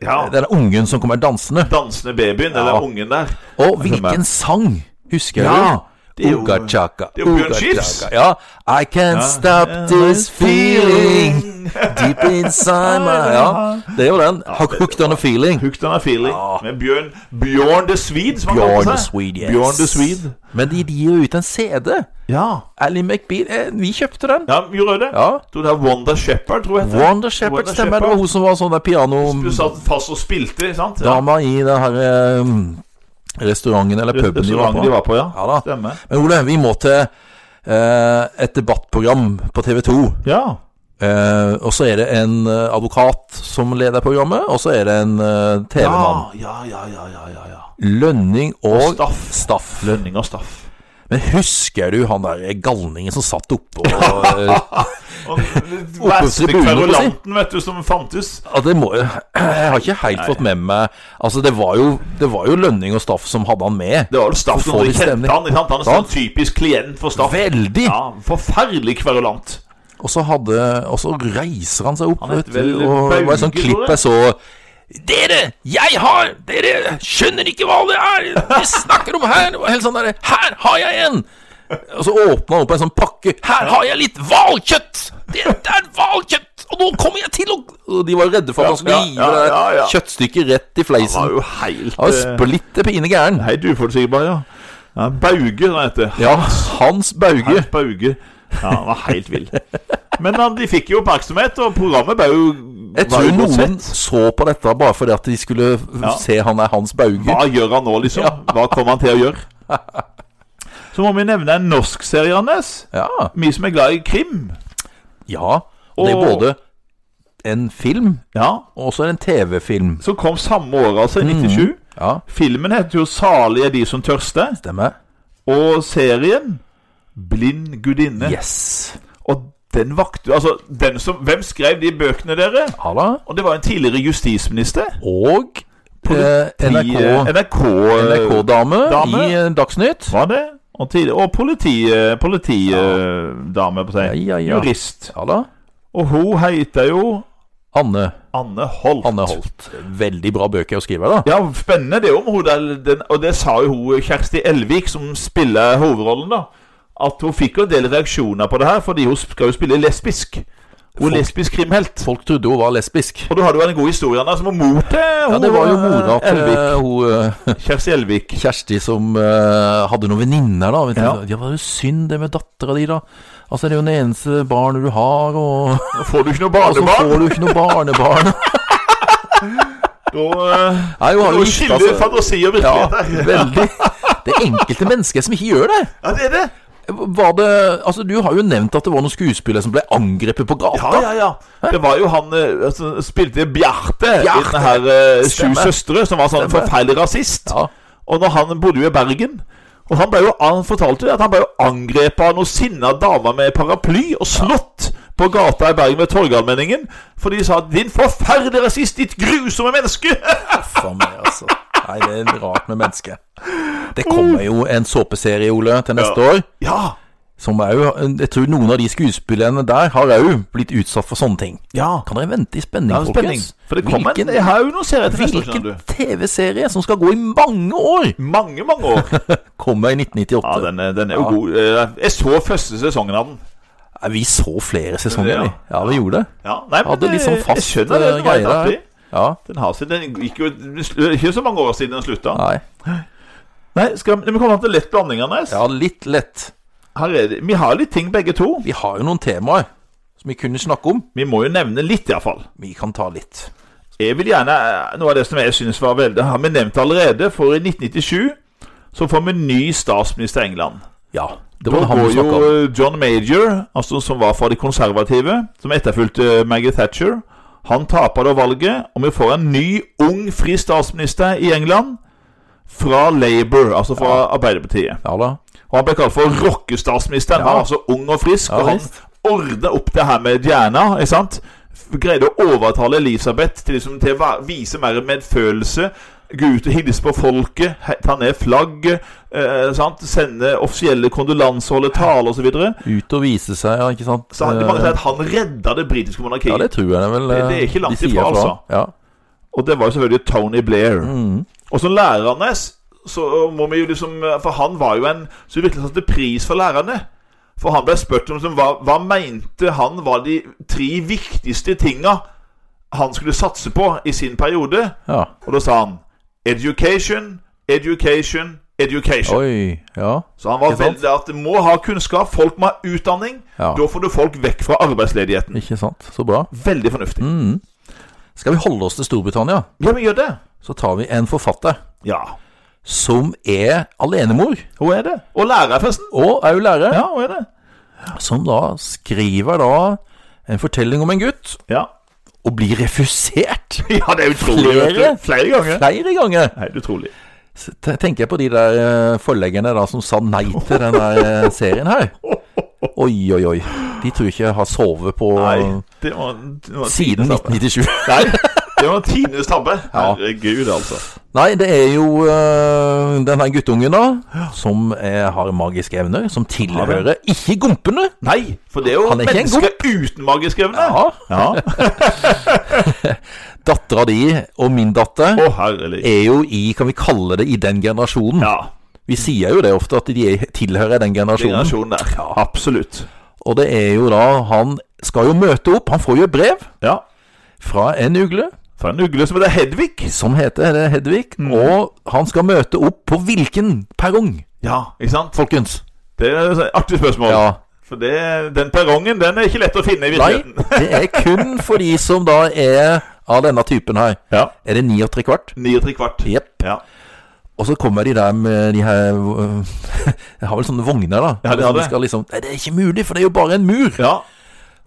Speaker 2: Ja.
Speaker 1: den der ungen som kommer dansende.
Speaker 2: Dansende babyen, eller
Speaker 1: Ja.
Speaker 2: ungen der. Eh,
Speaker 1: Og hvilken sang husker
Speaker 2: Altså, Ja,
Speaker 1: du?
Speaker 2: det er jo-
Speaker 1: Uga chaka,
Speaker 2: det er jo Bjørn
Speaker 1: uga
Speaker 2: Skifs.
Speaker 1: chaka. Ja. I can't stop this feeling deep inside
Speaker 2: (laughs)
Speaker 1: my Ja, det er jo den. Hooked on a feeling.
Speaker 2: Hooked on a feeling.
Speaker 1: Ja.
Speaker 2: Med Bjørn Bjørn the Swede, som han
Speaker 1: Bjørn
Speaker 2: kalte
Speaker 1: the
Speaker 2: seg.
Speaker 1: Swede, yes.
Speaker 2: Bjørn the Swede.
Speaker 1: Men de de gir jo ut en CD.
Speaker 2: Ja.
Speaker 1: Ally McBeal eh, Vi kjøpte den.
Speaker 2: ja, gjorde det?
Speaker 1: Ja.
Speaker 2: Tror det er Wanda Shepherd, tror jeg. heter.
Speaker 1: Wanda Shepherd,
Speaker 2: Wanda
Speaker 1: stemmer. Det var
Speaker 2: Shepherd.
Speaker 1: hun som var sånn der
Speaker 2: Du
Speaker 1: pianodama
Speaker 2: satt fast og spilte, sant? Ja.
Speaker 1: i den her eh, restauranten eller puben de var
Speaker 2: Restauranten
Speaker 1: på.
Speaker 2: de var på, ja.
Speaker 1: Ja da.
Speaker 2: Stemmer.
Speaker 1: Men Ole, vi må til eh, et debattprogram på TV 2.
Speaker 2: Ja.
Speaker 1: Eh, og så er det en eh, advokat som leder programmet, og så er det en eh,
Speaker 2: Ja,
Speaker 1: TV-mann.
Speaker 2: Ah, ja, ja, ja, ja, ja, ja.
Speaker 1: Lønning og
Speaker 2: Staff.
Speaker 1: Staff.
Speaker 2: Lønning og staff.
Speaker 1: Men husker du han der galningen som satt
Speaker 2: (laughs)
Speaker 1: oppå eh,
Speaker 2: Og
Speaker 1: på
Speaker 2: verste
Speaker 1: tribunen,
Speaker 2: kverulanten, vet du, som fantes.
Speaker 1: ja, det må, (clears throat) Jeg har ikke helt fått med meg Altså, det var, jo, det var jo Lønning og Staff som hadde han med.
Speaker 2: Det var vel Staff
Speaker 1: Så
Speaker 2: som
Speaker 1: får vi
Speaker 2: kjente
Speaker 1: stemning.
Speaker 2: han. Ikke sant? Han er
Speaker 1: Sant.
Speaker 2: sånn typisk klient for Staff.
Speaker 1: Veldig!
Speaker 2: Ja, Forferdelig kverulant.
Speaker 1: Og så hadde Og så reiser han seg opp,
Speaker 2: Han het
Speaker 1: vet
Speaker 2: vel
Speaker 1: du. Og det var et sånt
Speaker 2: Bauge,
Speaker 1: klipp
Speaker 2: tror jeg.
Speaker 1: jeg så Dere! Jeg har Dere skjønner ikke hva det er! Vi snakker om her! Og helt sånn derre Her har jeg en! Og så åpna han opp en sånn pakke. Her har jeg litt hvalkjøtt! Dette er hvalkjøtt! Og nå kommer jeg til å Og de var redde for at han skulle
Speaker 2: Ja, ja,
Speaker 1: hive
Speaker 2: ja, ja, ja.
Speaker 1: det kjøttstykket rett i
Speaker 2: Han var
Speaker 1: fleisen.
Speaker 2: jo helt
Speaker 1: Han var
Speaker 2: eh,
Speaker 1: splitter pine gæren.
Speaker 2: Helt uforutsigbar, ja. ja Bauge, han heter.
Speaker 1: Ja, Hans Bauge.
Speaker 2: Hans Bauge. Ja, han var helt vill. Men han, de fikk jo oppmerksomhet, og programmet ble jo
Speaker 1: Jeg
Speaker 2: var
Speaker 1: tror
Speaker 2: jo godt
Speaker 1: noen
Speaker 2: sett.
Speaker 1: så på dette bare fordi at de skulle
Speaker 2: Ja.
Speaker 1: se han er Hans Bauge.
Speaker 2: Hva gjør han nå, liksom? Hva kommer han til å
Speaker 1: (laughs)
Speaker 2: gjøre? Så må vi nevne en norsk serie, Anders.
Speaker 1: Ja.
Speaker 2: Vi som er glad i krim.
Speaker 1: Ja, og det er
Speaker 2: Og-
Speaker 1: både en film
Speaker 2: Ja,
Speaker 1: og så er det en TV-film.
Speaker 2: Som kom samme år, altså,
Speaker 1: Mm.
Speaker 2: i 97.
Speaker 1: Ja,
Speaker 2: Filmen heter jo 'Salig er de som tørster',
Speaker 1: stemmer.
Speaker 2: og serien 'Blind gudinne'.
Speaker 1: Yes.
Speaker 2: Og den vakte Altså, den som Hvem skrev de bøkene, dere?
Speaker 1: Ha det.
Speaker 2: Og det var en tidligere justisminister.
Speaker 1: Og eh,
Speaker 2: Ti-
Speaker 1: NRK,
Speaker 2: NRK, eh,
Speaker 1: NRK-dame i
Speaker 2: Dame.
Speaker 1: eh, Dagsnytt.
Speaker 2: Var det? Og, tidlig, og politi, politidame, på seg.
Speaker 1: Ja, ja, ja.
Speaker 2: Jurist.
Speaker 1: Ja da.
Speaker 2: Og hun heter jo
Speaker 1: Anne,
Speaker 2: Anne Holt.
Speaker 1: Anne Holt. Veldig bra bøker å skrive, da.
Speaker 2: Ja, spennende det om hun der, den, Og det sa jo hun Kjersti Elvik, som spiller hovedrollen, da. At hun fikk jo en del reaksjoner på det her, fordi hun skal jo spille lesbisk. Hun
Speaker 1: Folk-
Speaker 2: er lesbisk krimhelt.
Speaker 1: Folk trodde hun var lesbisk.
Speaker 2: Og du hadde jo en god historie Anna, som var mor til
Speaker 1: Ja, det var jo mora til
Speaker 2: Elvik.
Speaker 1: eh, hun eh,
Speaker 2: Kjersti
Speaker 1: (laughs)
Speaker 2: Elvik.
Speaker 1: Kjersti som eh, hadde noen venninner, da. Vet du.
Speaker 2: Ja.
Speaker 1: Ja, det var jo synd det med dattera di, da. Altså, det er jo den eneste barnet du har, og,
Speaker 2: Nå får du ikke noe
Speaker 1: (laughs) og så får
Speaker 2: barnebarn.
Speaker 1: du ikke noe barnebarn.
Speaker 2: (laughs) Da eh,
Speaker 1: Nei, hun har jo
Speaker 2: Nå
Speaker 1: gifta
Speaker 2: skiller
Speaker 1: seg.
Speaker 2: fantasi og
Speaker 1: altså. Ja, (laughs)
Speaker 2: virkelighet her.
Speaker 1: veldig. Det er enkelte mennesker som ikke gjør det.
Speaker 2: Ja, det er det.
Speaker 1: Var det Altså, du har jo nevnt at det var noen skuespillere som ble angrepet på gata.
Speaker 2: Ja, ja, ja. Det var jo han eh, altså, spilte Bjarte, i
Speaker 1: Bjarte.
Speaker 2: den her eh, Sju
Speaker 1: Stemmer.
Speaker 2: søstre, som var sånn
Speaker 1: Stemmer.
Speaker 2: forferdelig rasist.
Speaker 1: Ja.
Speaker 2: Og når han bodde jo i Bergen og han, ble jo, han fortalte jo at han ble jo angrepet av noen sinna damer med paraply og slått på gata i Bergen ved Torgallmenningen. For de sa 'din forferdelige rasist, ditt grusomme menneske'! (laughs)
Speaker 1: Faen meg, altså. Nei, det er rart med mennesket. Det kommer jo en såpeserie, Ole, til neste år.
Speaker 2: Ja,
Speaker 1: Som er jo, jeg tror noen av de skuespillerne der har òg blitt utsatt for sånne ting.
Speaker 2: ja.
Speaker 1: Kan dere vente i spenning,
Speaker 2: Det er en spenning.
Speaker 1: folkens?
Speaker 2: For det kommer en
Speaker 1: hvilken,
Speaker 2: Jeg har jo noen serier til neste år, skjønner
Speaker 1: hvilken
Speaker 2: du.
Speaker 1: TV-serie som skal gå i mange år,
Speaker 2: Mange, mange år.
Speaker 1: kommer i 1998?
Speaker 2: (laughs) Ja, den, er- den er jo
Speaker 1: Ja.
Speaker 2: god. Eh, Jeg så første sesongen av den.
Speaker 1: Nei, Vi så flere sesonger,
Speaker 2: Ja.
Speaker 1: vi. Ja, vi gjorde det.
Speaker 2: Ja, nei, men
Speaker 1: Hadde
Speaker 2: det-
Speaker 1: litt sånn
Speaker 2: jeg
Speaker 1: fast
Speaker 2: skjønner det,
Speaker 1: eh,
Speaker 2: det var
Speaker 1: greie
Speaker 2: litt
Speaker 1: der.
Speaker 2: artig.
Speaker 1: Ja,
Speaker 2: Den har sin, den gikk jo det er ikke så mange år siden den slutta.
Speaker 1: nei.
Speaker 2: Nei, skal vi, vi kommer til lett blanding, Anders.
Speaker 1: Ja, litt lett.
Speaker 2: Her er det, vi har litt ting begge to.
Speaker 1: Vi har jo noen temaer som vi kunne snakke om.
Speaker 2: Vi må jo nevne litt, iallfall.
Speaker 1: Vi kan ta litt.
Speaker 2: Jeg vil gjerne eh, Noe av det som jeg syns var veldig Har vi nevnt allerede, for i 1997 så får vi ny statsminister i England.
Speaker 1: Ja, det
Speaker 2: Da
Speaker 1: var det han
Speaker 2: går
Speaker 1: vi
Speaker 2: jo
Speaker 1: snakka om.
Speaker 2: John Major, altså som var fra de konservative, som etterfulgte eh, Maggie Thatcher. Han taper da valget, og vi får en ny, ung, fri statsminister i England. Fra Labour, altså fra Arbeiderpartiet.
Speaker 1: Ja da.
Speaker 2: Og Han ble kalt for rockestatsministeren.
Speaker 1: Ja.
Speaker 2: Han var altså ung og frisk,
Speaker 1: Ja,
Speaker 2: og han
Speaker 1: visst.
Speaker 2: ordna opp det her med hjerna. ikke sant? F- Greide å overtale Elisabeth til, liksom, til å væ- vise mer medfølelse. Gå ut og hilse på folket, he- ta ned flagget, eh, sant? sende offisielle kondolanser, holde taler osv. Så, videre.
Speaker 1: Ut og vise seg, ja, ikke sant. Eh,
Speaker 2: så han, mange sier at han redda det britiske monarkiet.
Speaker 1: ja, det tror jeg det vel.
Speaker 2: Det- det er
Speaker 1: eh,
Speaker 2: ikke langt
Speaker 1: de sier
Speaker 2: ifra, altså.
Speaker 1: Ja.
Speaker 2: Og det var jo selvfølgelig Tony Blair.
Speaker 1: Mm.
Speaker 2: Og som lærerne så må vi jo liksom For han var jo en som virkelig satte pris for lærerne. For han ble spurt om som, hva, hva mente han var de tre viktigste tinga han skulle satse på i sin periode.
Speaker 1: ja.
Speaker 2: Og da sa han education, education, education.
Speaker 1: Oi. Ja.
Speaker 2: Så han var
Speaker 1: Ikke sant?
Speaker 2: veldig at du må ha kunnskap, folk må ha utdanning.
Speaker 1: Ja.
Speaker 2: Da får du folk vekk fra arbeidsledigheten.
Speaker 1: Ikke sant. Så bra.
Speaker 2: Veldig fornuftig.
Speaker 1: Mm. Skal vi holde oss til Storbritannia,
Speaker 2: Ja, men gjør det.
Speaker 1: så tar vi en forfatter
Speaker 2: Ja.
Speaker 1: som er alenemor,
Speaker 2: Hun er det. Og lærer, forresten.
Speaker 1: og er jo lærer,
Speaker 2: Ja, hun er det.
Speaker 1: som da skriver da en fortelling om en gutt,
Speaker 2: Ja.
Speaker 1: og blir refusert
Speaker 2: (laughs) Ja, det er utrolig.
Speaker 1: Flere?
Speaker 2: vet du. Flere ganger.
Speaker 1: flere ganger.
Speaker 2: Helt utrolig.
Speaker 1: Så te- tenker jeg på de der eh, forleggerne da som sa nei til den der eh, serien her. Oi, oi, oi. De tror ikke jeg har sovet på eh,
Speaker 2: Nei, det var, det var
Speaker 1: siden
Speaker 2: tidenes
Speaker 1: 1997.
Speaker 2: tabbe. (laughs) Nei, det var tidenes
Speaker 1: (laughs)
Speaker 2: tabbe. Herregud, altså.
Speaker 1: Nei, det er jo uh, denne guttungen, da, som eh, har magiske evner, som tilhører ikke gompene.
Speaker 2: Nei, for det er jo
Speaker 1: Han er ikke en
Speaker 2: mennesker uten magiske evne.
Speaker 1: Ja.
Speaker 2: Ja.
Speaker 1: Dattera di og min datter
Speaker 2: Å, herlig.
Speaker 1: er jo i, kan vi kalle det, i den generasjonen.
Speaker 2: Ja.
Speaker 1: Vi sier jo det ofte, at de er, tilhører den generasjonen.
Speaker 2: Generasjonen der. Ja, absolutt.
Speaker 1: Og det er jo da Han skal jo møte opp. Han får jo et brev
Speaker 2: Ja.
Speaker 1: fra en ugle.
Speaker 2: For en ugle som heter Hedvig.
Speaker 1: som heter det, Hedvig, og han skal møte opp på hvilken perrong,
Speaker 2: Ja, ikke sant?
Speaker 1: folkens?
Speaker 2: Det er et artig spørsmål.
Speaker 1: Ja.
Speaker 2: For det, den perrongen den er ikke lett å finne
Speaker 1: Nei,
Speaker 2: i (laughs) virkeligheten.
Speaker 1: det er kun for de som da er av denne typen her.
Speaker 2: Ja.
Speaker 1: Er det ni og tre kvart?
Speaker 2: Ni og tre kvart.
Speaker 1: Jepp.
Speaker 2: Ja.
Speaker 1: Og så kommer de der med de her øh, (laughs) Jeg har vel sånne vogner, da.
Speaker 2: Ja, de har det.
Speaker 1: Skal liksom, Nei, det er ikke mulig, for det er jo bare en mur.
Speaker 2: ja.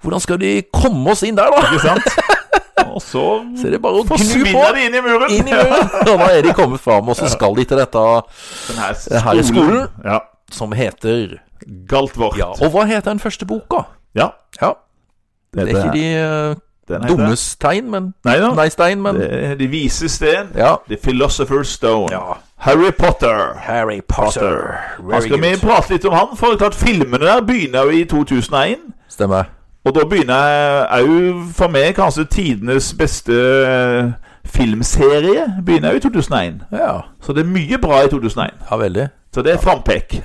Speaker 1: Hvordan skal de komme oss inn der, da?
Speaker 2: Ikke sant? Og så
Speaker 1: (laughs) Så er det bare å gnu på.
Speaker 2: forsvinner de inn i muren.
Speaker 1: Inn i
Speaker 2: (laughs)
Speaker 1: muren. Og da er de kommet fram, og så skal de til dette
Speaker 2: Den her
Speaker 1: Den her er skolen.
Speaker 2: Ja.
Speaker 1: som heter
Speaker 2: Galtvort.
Speaker 1: Ja, og hva heter den første boka?
Speaker 2: Ja,
Speaker 1: Ja,
Speaker 2: det
Speaker 1: det er ikke de øh,
Speaker 2: den heter-
Speaker 1: Dummes tegn, men
Speaker 2: Nei da.
Speaker 1: Nei, stein, men
Speaker 2: Det er De vises sten.
Speaker 1: Ja.
Speaker 2: The Philosopher's Stone.
Speaker 1: Ja.
Speaker 2: Harry Potter.
Speaker 1: Harry
Speaker 2: Da skal vi prate litt om han, for det er klart filmene der begynner jo i 2001.
Speaker 1: Stemmer.
Speaker 2: Og da begynner òg for meg kanskje tidenes beste eh, filmserie. Begynner jo i 2001.
Speaker 1: Ja,
Speaker 2: Så det er mye bra i 2001.
Speaker 1: ja veldig.
Speaker 2: Så det er frampek.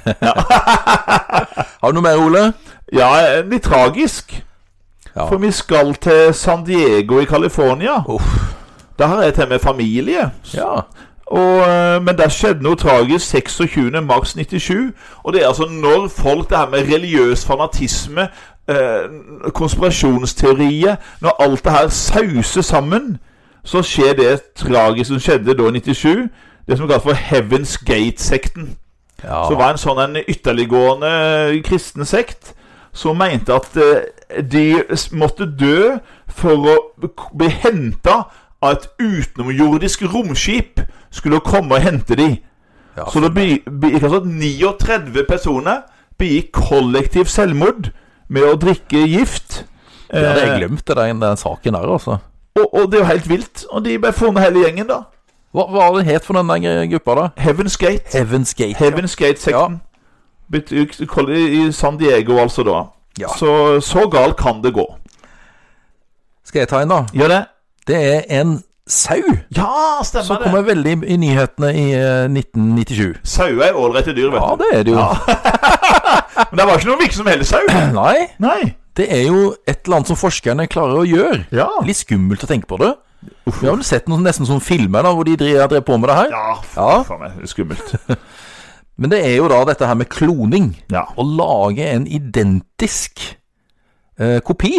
Speaker 1: (laughs) Har du noe mer, Ole?
Speaker 2: Ja, eh, litt tragisk.
Speaker 1: Ja.
Speaker 2: For vi skal til San Diego i California. Der har jeg til med familie.
Speaker 1: Ja.
Speaker 2: Og, eh, men der skjedde noe tragisk 26. mars 97. Og det er altså når folk Det her med religiøs fanatisme, eh, konspirasjonsteorier Når alt det her sauser sammen, så skjer det tragiske som skjedde da i 97. Det som kalles for Heaven's Gate-sekten.
Speaker 1: Ja.
Speaker 2: Så var en sånn en ytterliggående eh, kristen sekt som mente at eh, de s- måtte dø for å k- bli henta av et utenomjordisk romskip skulle komme og hente de.
Speaker 1: Ja,
Speaker 2: Så det be- begikk altså 39 personer begikk kollektiv selvmord med å drikke gift.
Speaker 1: Det hadde jeg
Speaker 2: Eh,
Speaker 1: glemt, det der- den saken der, altså.
Speaker 2: og, og det er jo helt vilt. Og de ble funnet hele gjengen, da.
Speaker 1: Hva hva var det het for den der gruppa, da?
Speaker 2: Heaven's Gate.
Speaker 1: Heaven's Gate.
Speaker 2: Heaven's Gate-sekten. Betyr- koll- I i San Diego, altså, da.
Speaker 1: Ja.
Speaker 2: Så, så galt kan det gå.
Speaker 1: Skal jeg ta en, da?
Speaker 2: Gjør det?
Speaker 1: Det er en sau
Speaker 2: Ja,
Speaker 1: som
Speaker 2: stemmer det.
Speaker 1: kommer veldig i nyhetene i eh, 1997.
Speaker 2: Sauer er ålreite dyr, vet
Speaker 1: Ja,
Speaker 2: du.
Speaker 1: det er det jo.
Speaker 2: Men det var ikke noen hvilken som helst sau.
Speaker 1: (clears throat) Nei,
Speaker 2: Nei.
Speaker 1: det er jo et eller annet som forskerne klarer å gjøre.
Speaker 2: Ja.
Speaker 1: Litt skummelt å tenke på det. Vi har vel sett noen, nesten sånn filmer da, hvor de drev, drev på med det her.
Speaker 2: Ja,
Speaker 1: Ja.
Speaker 2: faen meg. det er
Speaker 1: (laughs)
Speaker 2: Skummelt.
Speaker 1: Men det er jo da dette her med kloning.
Speaker 2: Ja.
Speaker 1: Å lage en identisk eh, kopi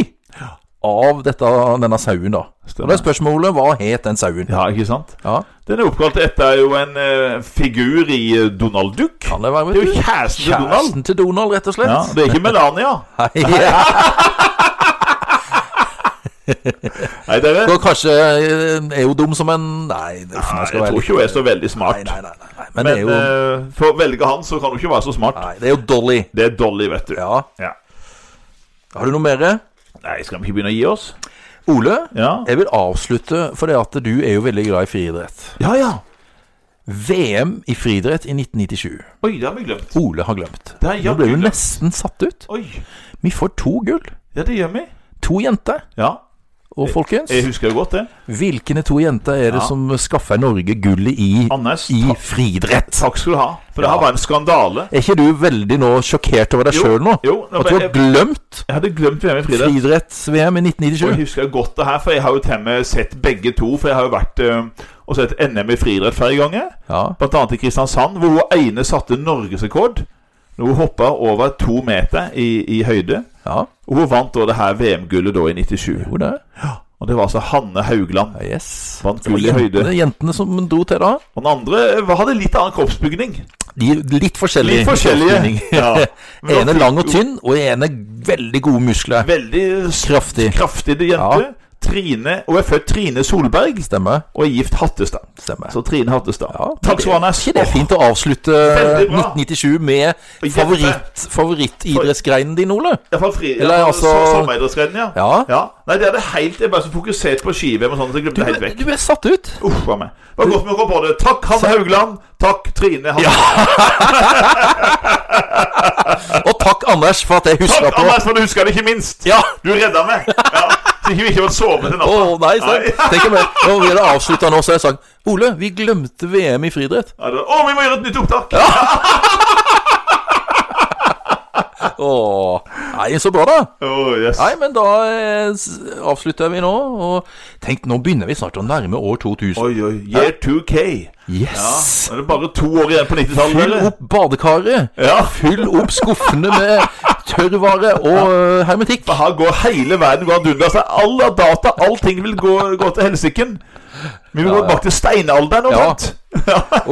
Speaker 1: av dette, denne sauen, da. Og det er spørsmålet hva het den sauen?
Speaker 2: ja, ikke sant?
Speaker 1: Ja,
Speaker 2: Den er oppkalt etter jo en eh, figur i eh, Donald Duck.
Speaker 1: kan det være,
Speaker 2: Det er jo
Speaker 1: vet du?
Speaker 2: kjæresten til Donald.
Speaker 1: Kjæresten til Donald, rett og slett.
Speaker 2: Ja,
Speaker 1: (laughs)
Speaker 2: det er ikke Melania.
Speaker 1: Hei.
Speaker 2: Nei, dere.
Speaker 1: Og kanskje eh, er jo dum som en Nei, det,
Speaker 2: Nei,
Speaker 1: jeg
Speaker 2: jeg tror ikke hun er så veldig
Speaker 1: Nei,
Speaker 2: smart.
Speaker 1: nei, nei, nei, nei. Men, det
Speaker 2: Men
Speaker 1: er jo
Speaker 2: eh, for å velge han, så kan hun ikke være så smart.
Speaker 1: Nei, det er jo Dolly.
Speaker 2: Det er Dolly, vet du.
Speaker 1: Ja.
Speaker 2: Ja.
Speaker 1: Har du noe mer?
Speaker 2: Nei, skal vi ikke begynne å gi oss?
Speaker 1: Ole,
Speaker 2: Ja.
Speaker 1: jeg vil avslutte for det at du er jo veldig glad i friidrett.
Speaker 2: Ja, ja.
Speaker 1: VM i friidrett i 1997.
Speaker 2: Oi, det har vi glemt.
Speaker 1: Ole har glemt.
Speaker 2: Det har jeg
Speaker 1: Nå ble du
Speaker 2: glemt.
Speaker 1: nesten satt ut.
Speaker 2: Oi.
Speaker 1: Vi får to gull.
Speaker 2: Ja, det gjør vi.
Speaker 1: To jenter.
Speaker 2: Ja.
Speaker 1: Og folkens,
Speaker 2: Jeg husker jo godt det.
Speaker 1: hvilke to jenter er det
Speaker 2: Eh, Ja.
Speaker 1: som skaffer Norge gullet i,
Speaker 2: Anders,
Speaker 1: i
Speaker 2: ta-
Speaker 1: friidrett?
Speaker 2: takk skal du ha. For det
Speaker 1: Ja.
Speaker 2: her var en skandale.
Speaker 1: Er ikke du veldig nå sjokkert over deg
Speaker 2: Jo,
Speaker 1: sjøl nå?
Speaker 2: jo, nå
Speaker 1: At du har
Speaker 2: ble jeg-
Speaker 1: glemt
Speaker 2: Jeg hadde glemt VM i friidrett.
Speaker 1: friidretts-VM i
Speaker 2: Og jeg
Speaker 1: 1997?
Speaker 2: husker godt det her, for jeg har jo til og med sett begge to. For jeg har jo vært eh, og sett NM i friidrett flere ganger.
Speaker 1: Ja.
Speaker 2: Blant annet i Kristiansand, hvor hun ene satte norgesrekord. Når hun hoppa over to meter i, i høyde.
Speaker 1: ja.
Speaker 2: Og hun vant da det her VM-gullet da i 97.
Speaker 1: Jo, det.
Speaker 2: Og det var altså Hanne Haugland.
Speaker 1: Ja, yes.
Speaker 2: Vant
Speaker 1: Så det var
Speaker 2: gull i høyde.
Speaker 1: Jentene, jentene som dro til da.
Speaker 2: Og den andre var- hadde litt annen kroppsbygning.
Speaker 1: De litt forskjellige.
Speaker 2: Litt forskjellige.
Speaker 1: kroppsbygning.
Speaker 2: (laughs) Ja. Men
Speaker 1: (laughs) ene
Speaker 2: hun
Speaker 1: lang og
Speaker 2: fikk
Speaker 1: tynn, og ene veldig gode muskler.
Speaker 2: jo Veldig
Speaker 1: Kraftig.
Speaker 2: kraftig jente.
Speaker 1: Ja.
Speaker 2: Trine, Hun er født Trine Solberg
Speaker 1: Stemmer.
Speaker 2: og er gift Hattestad.
Speaker 1: Stemmer.
Speaker 2: Så Trine Hattestad.
Speaker 1: Ja,
Speaker 2: Takk skal du ha, Nes.
Speaker 1: Ikke det er fint å avslutte
Speaker 2: Veldig bra.
Speaker 1: 1997 med
Speaker 2: jente.
Speaker 1: favoritt, favorittidrettsgreinen din, Ole?
Speaker 2: Iallfall fri.
Speaker 1: Eller
Speaker 2: ja,
Speaker 1: altså-
Speaker 2: så- Sommeridrettsgrenn, ja.
Speaker 1: Ja.
Speaker 2: ja. Nei, det er det helt Jeg er bare så fokusert på ski-VM og sånn at jeg glemte det helt vekk.
Speaker 1: Du er satt
Speaker 2: (laughs)
Speaker 1: ut.
Speaker 2: Uff a meg. Det var godt vi kom på det. Takk, Hanne Haugland. Takk, Trine Hanne.
Speaker 1: Og takk, Anders, for at jeg huska
Speaker 2: Takk,
Speaker 1: på.
Speaker 2: Anders, for du husker det ikke minst.
Speaker 1: Ja.
Speaker 2: Du redda meg. Ja. Så ikke vi ikke måtte sove til
Speaker 1: Å,
Speaker 2: natta.
Speaker 1: nei, sant.
Speaker 2: Nei. (laughs)
Speaker 1: Tenk om jeg Nå vil jeg avslutte nå, så har jeg sagt Ole, vi glemte VM i friidrett.
Speaker 2: Ja, det- Å, vi må gjøre et nytt opptak.
Speaker 1: Å, nei, så bra, da.
Speaker 2: Å, yes.
Speaker 1: Nei, men da eh, s- avslutter vi nå. Og tenk, nå begynner vi snart å nærme år 2000.
Speaker 2: Oi, oi. Year 2K.
Speaker 1: Yes!
Speaker 2: Nå er det bare to år igjen på 90-tallet.
Speaker 1: Fyll
Speaker 2: dere.
Speaker 1: opp badekaret.
Speaker 2: Ja.
Speaker 1: Fyll opp skuffene med tørrvare og eh, hermetikk.
Speaker 2: For her går hele verden går ad undas. All av data, allting vil gå, gå til helsiken. Vi vil gå bak til steinalderen og
Speaker 1: Ja.
Speaker 2: sånt.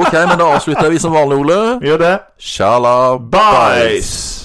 Speaker 1: Ok, men da avslutter vi som vanlig, Ole.
Speaker 2: Vi gjør det.
Speaker 1: Shalabais.
Speaker 2: Bæsj!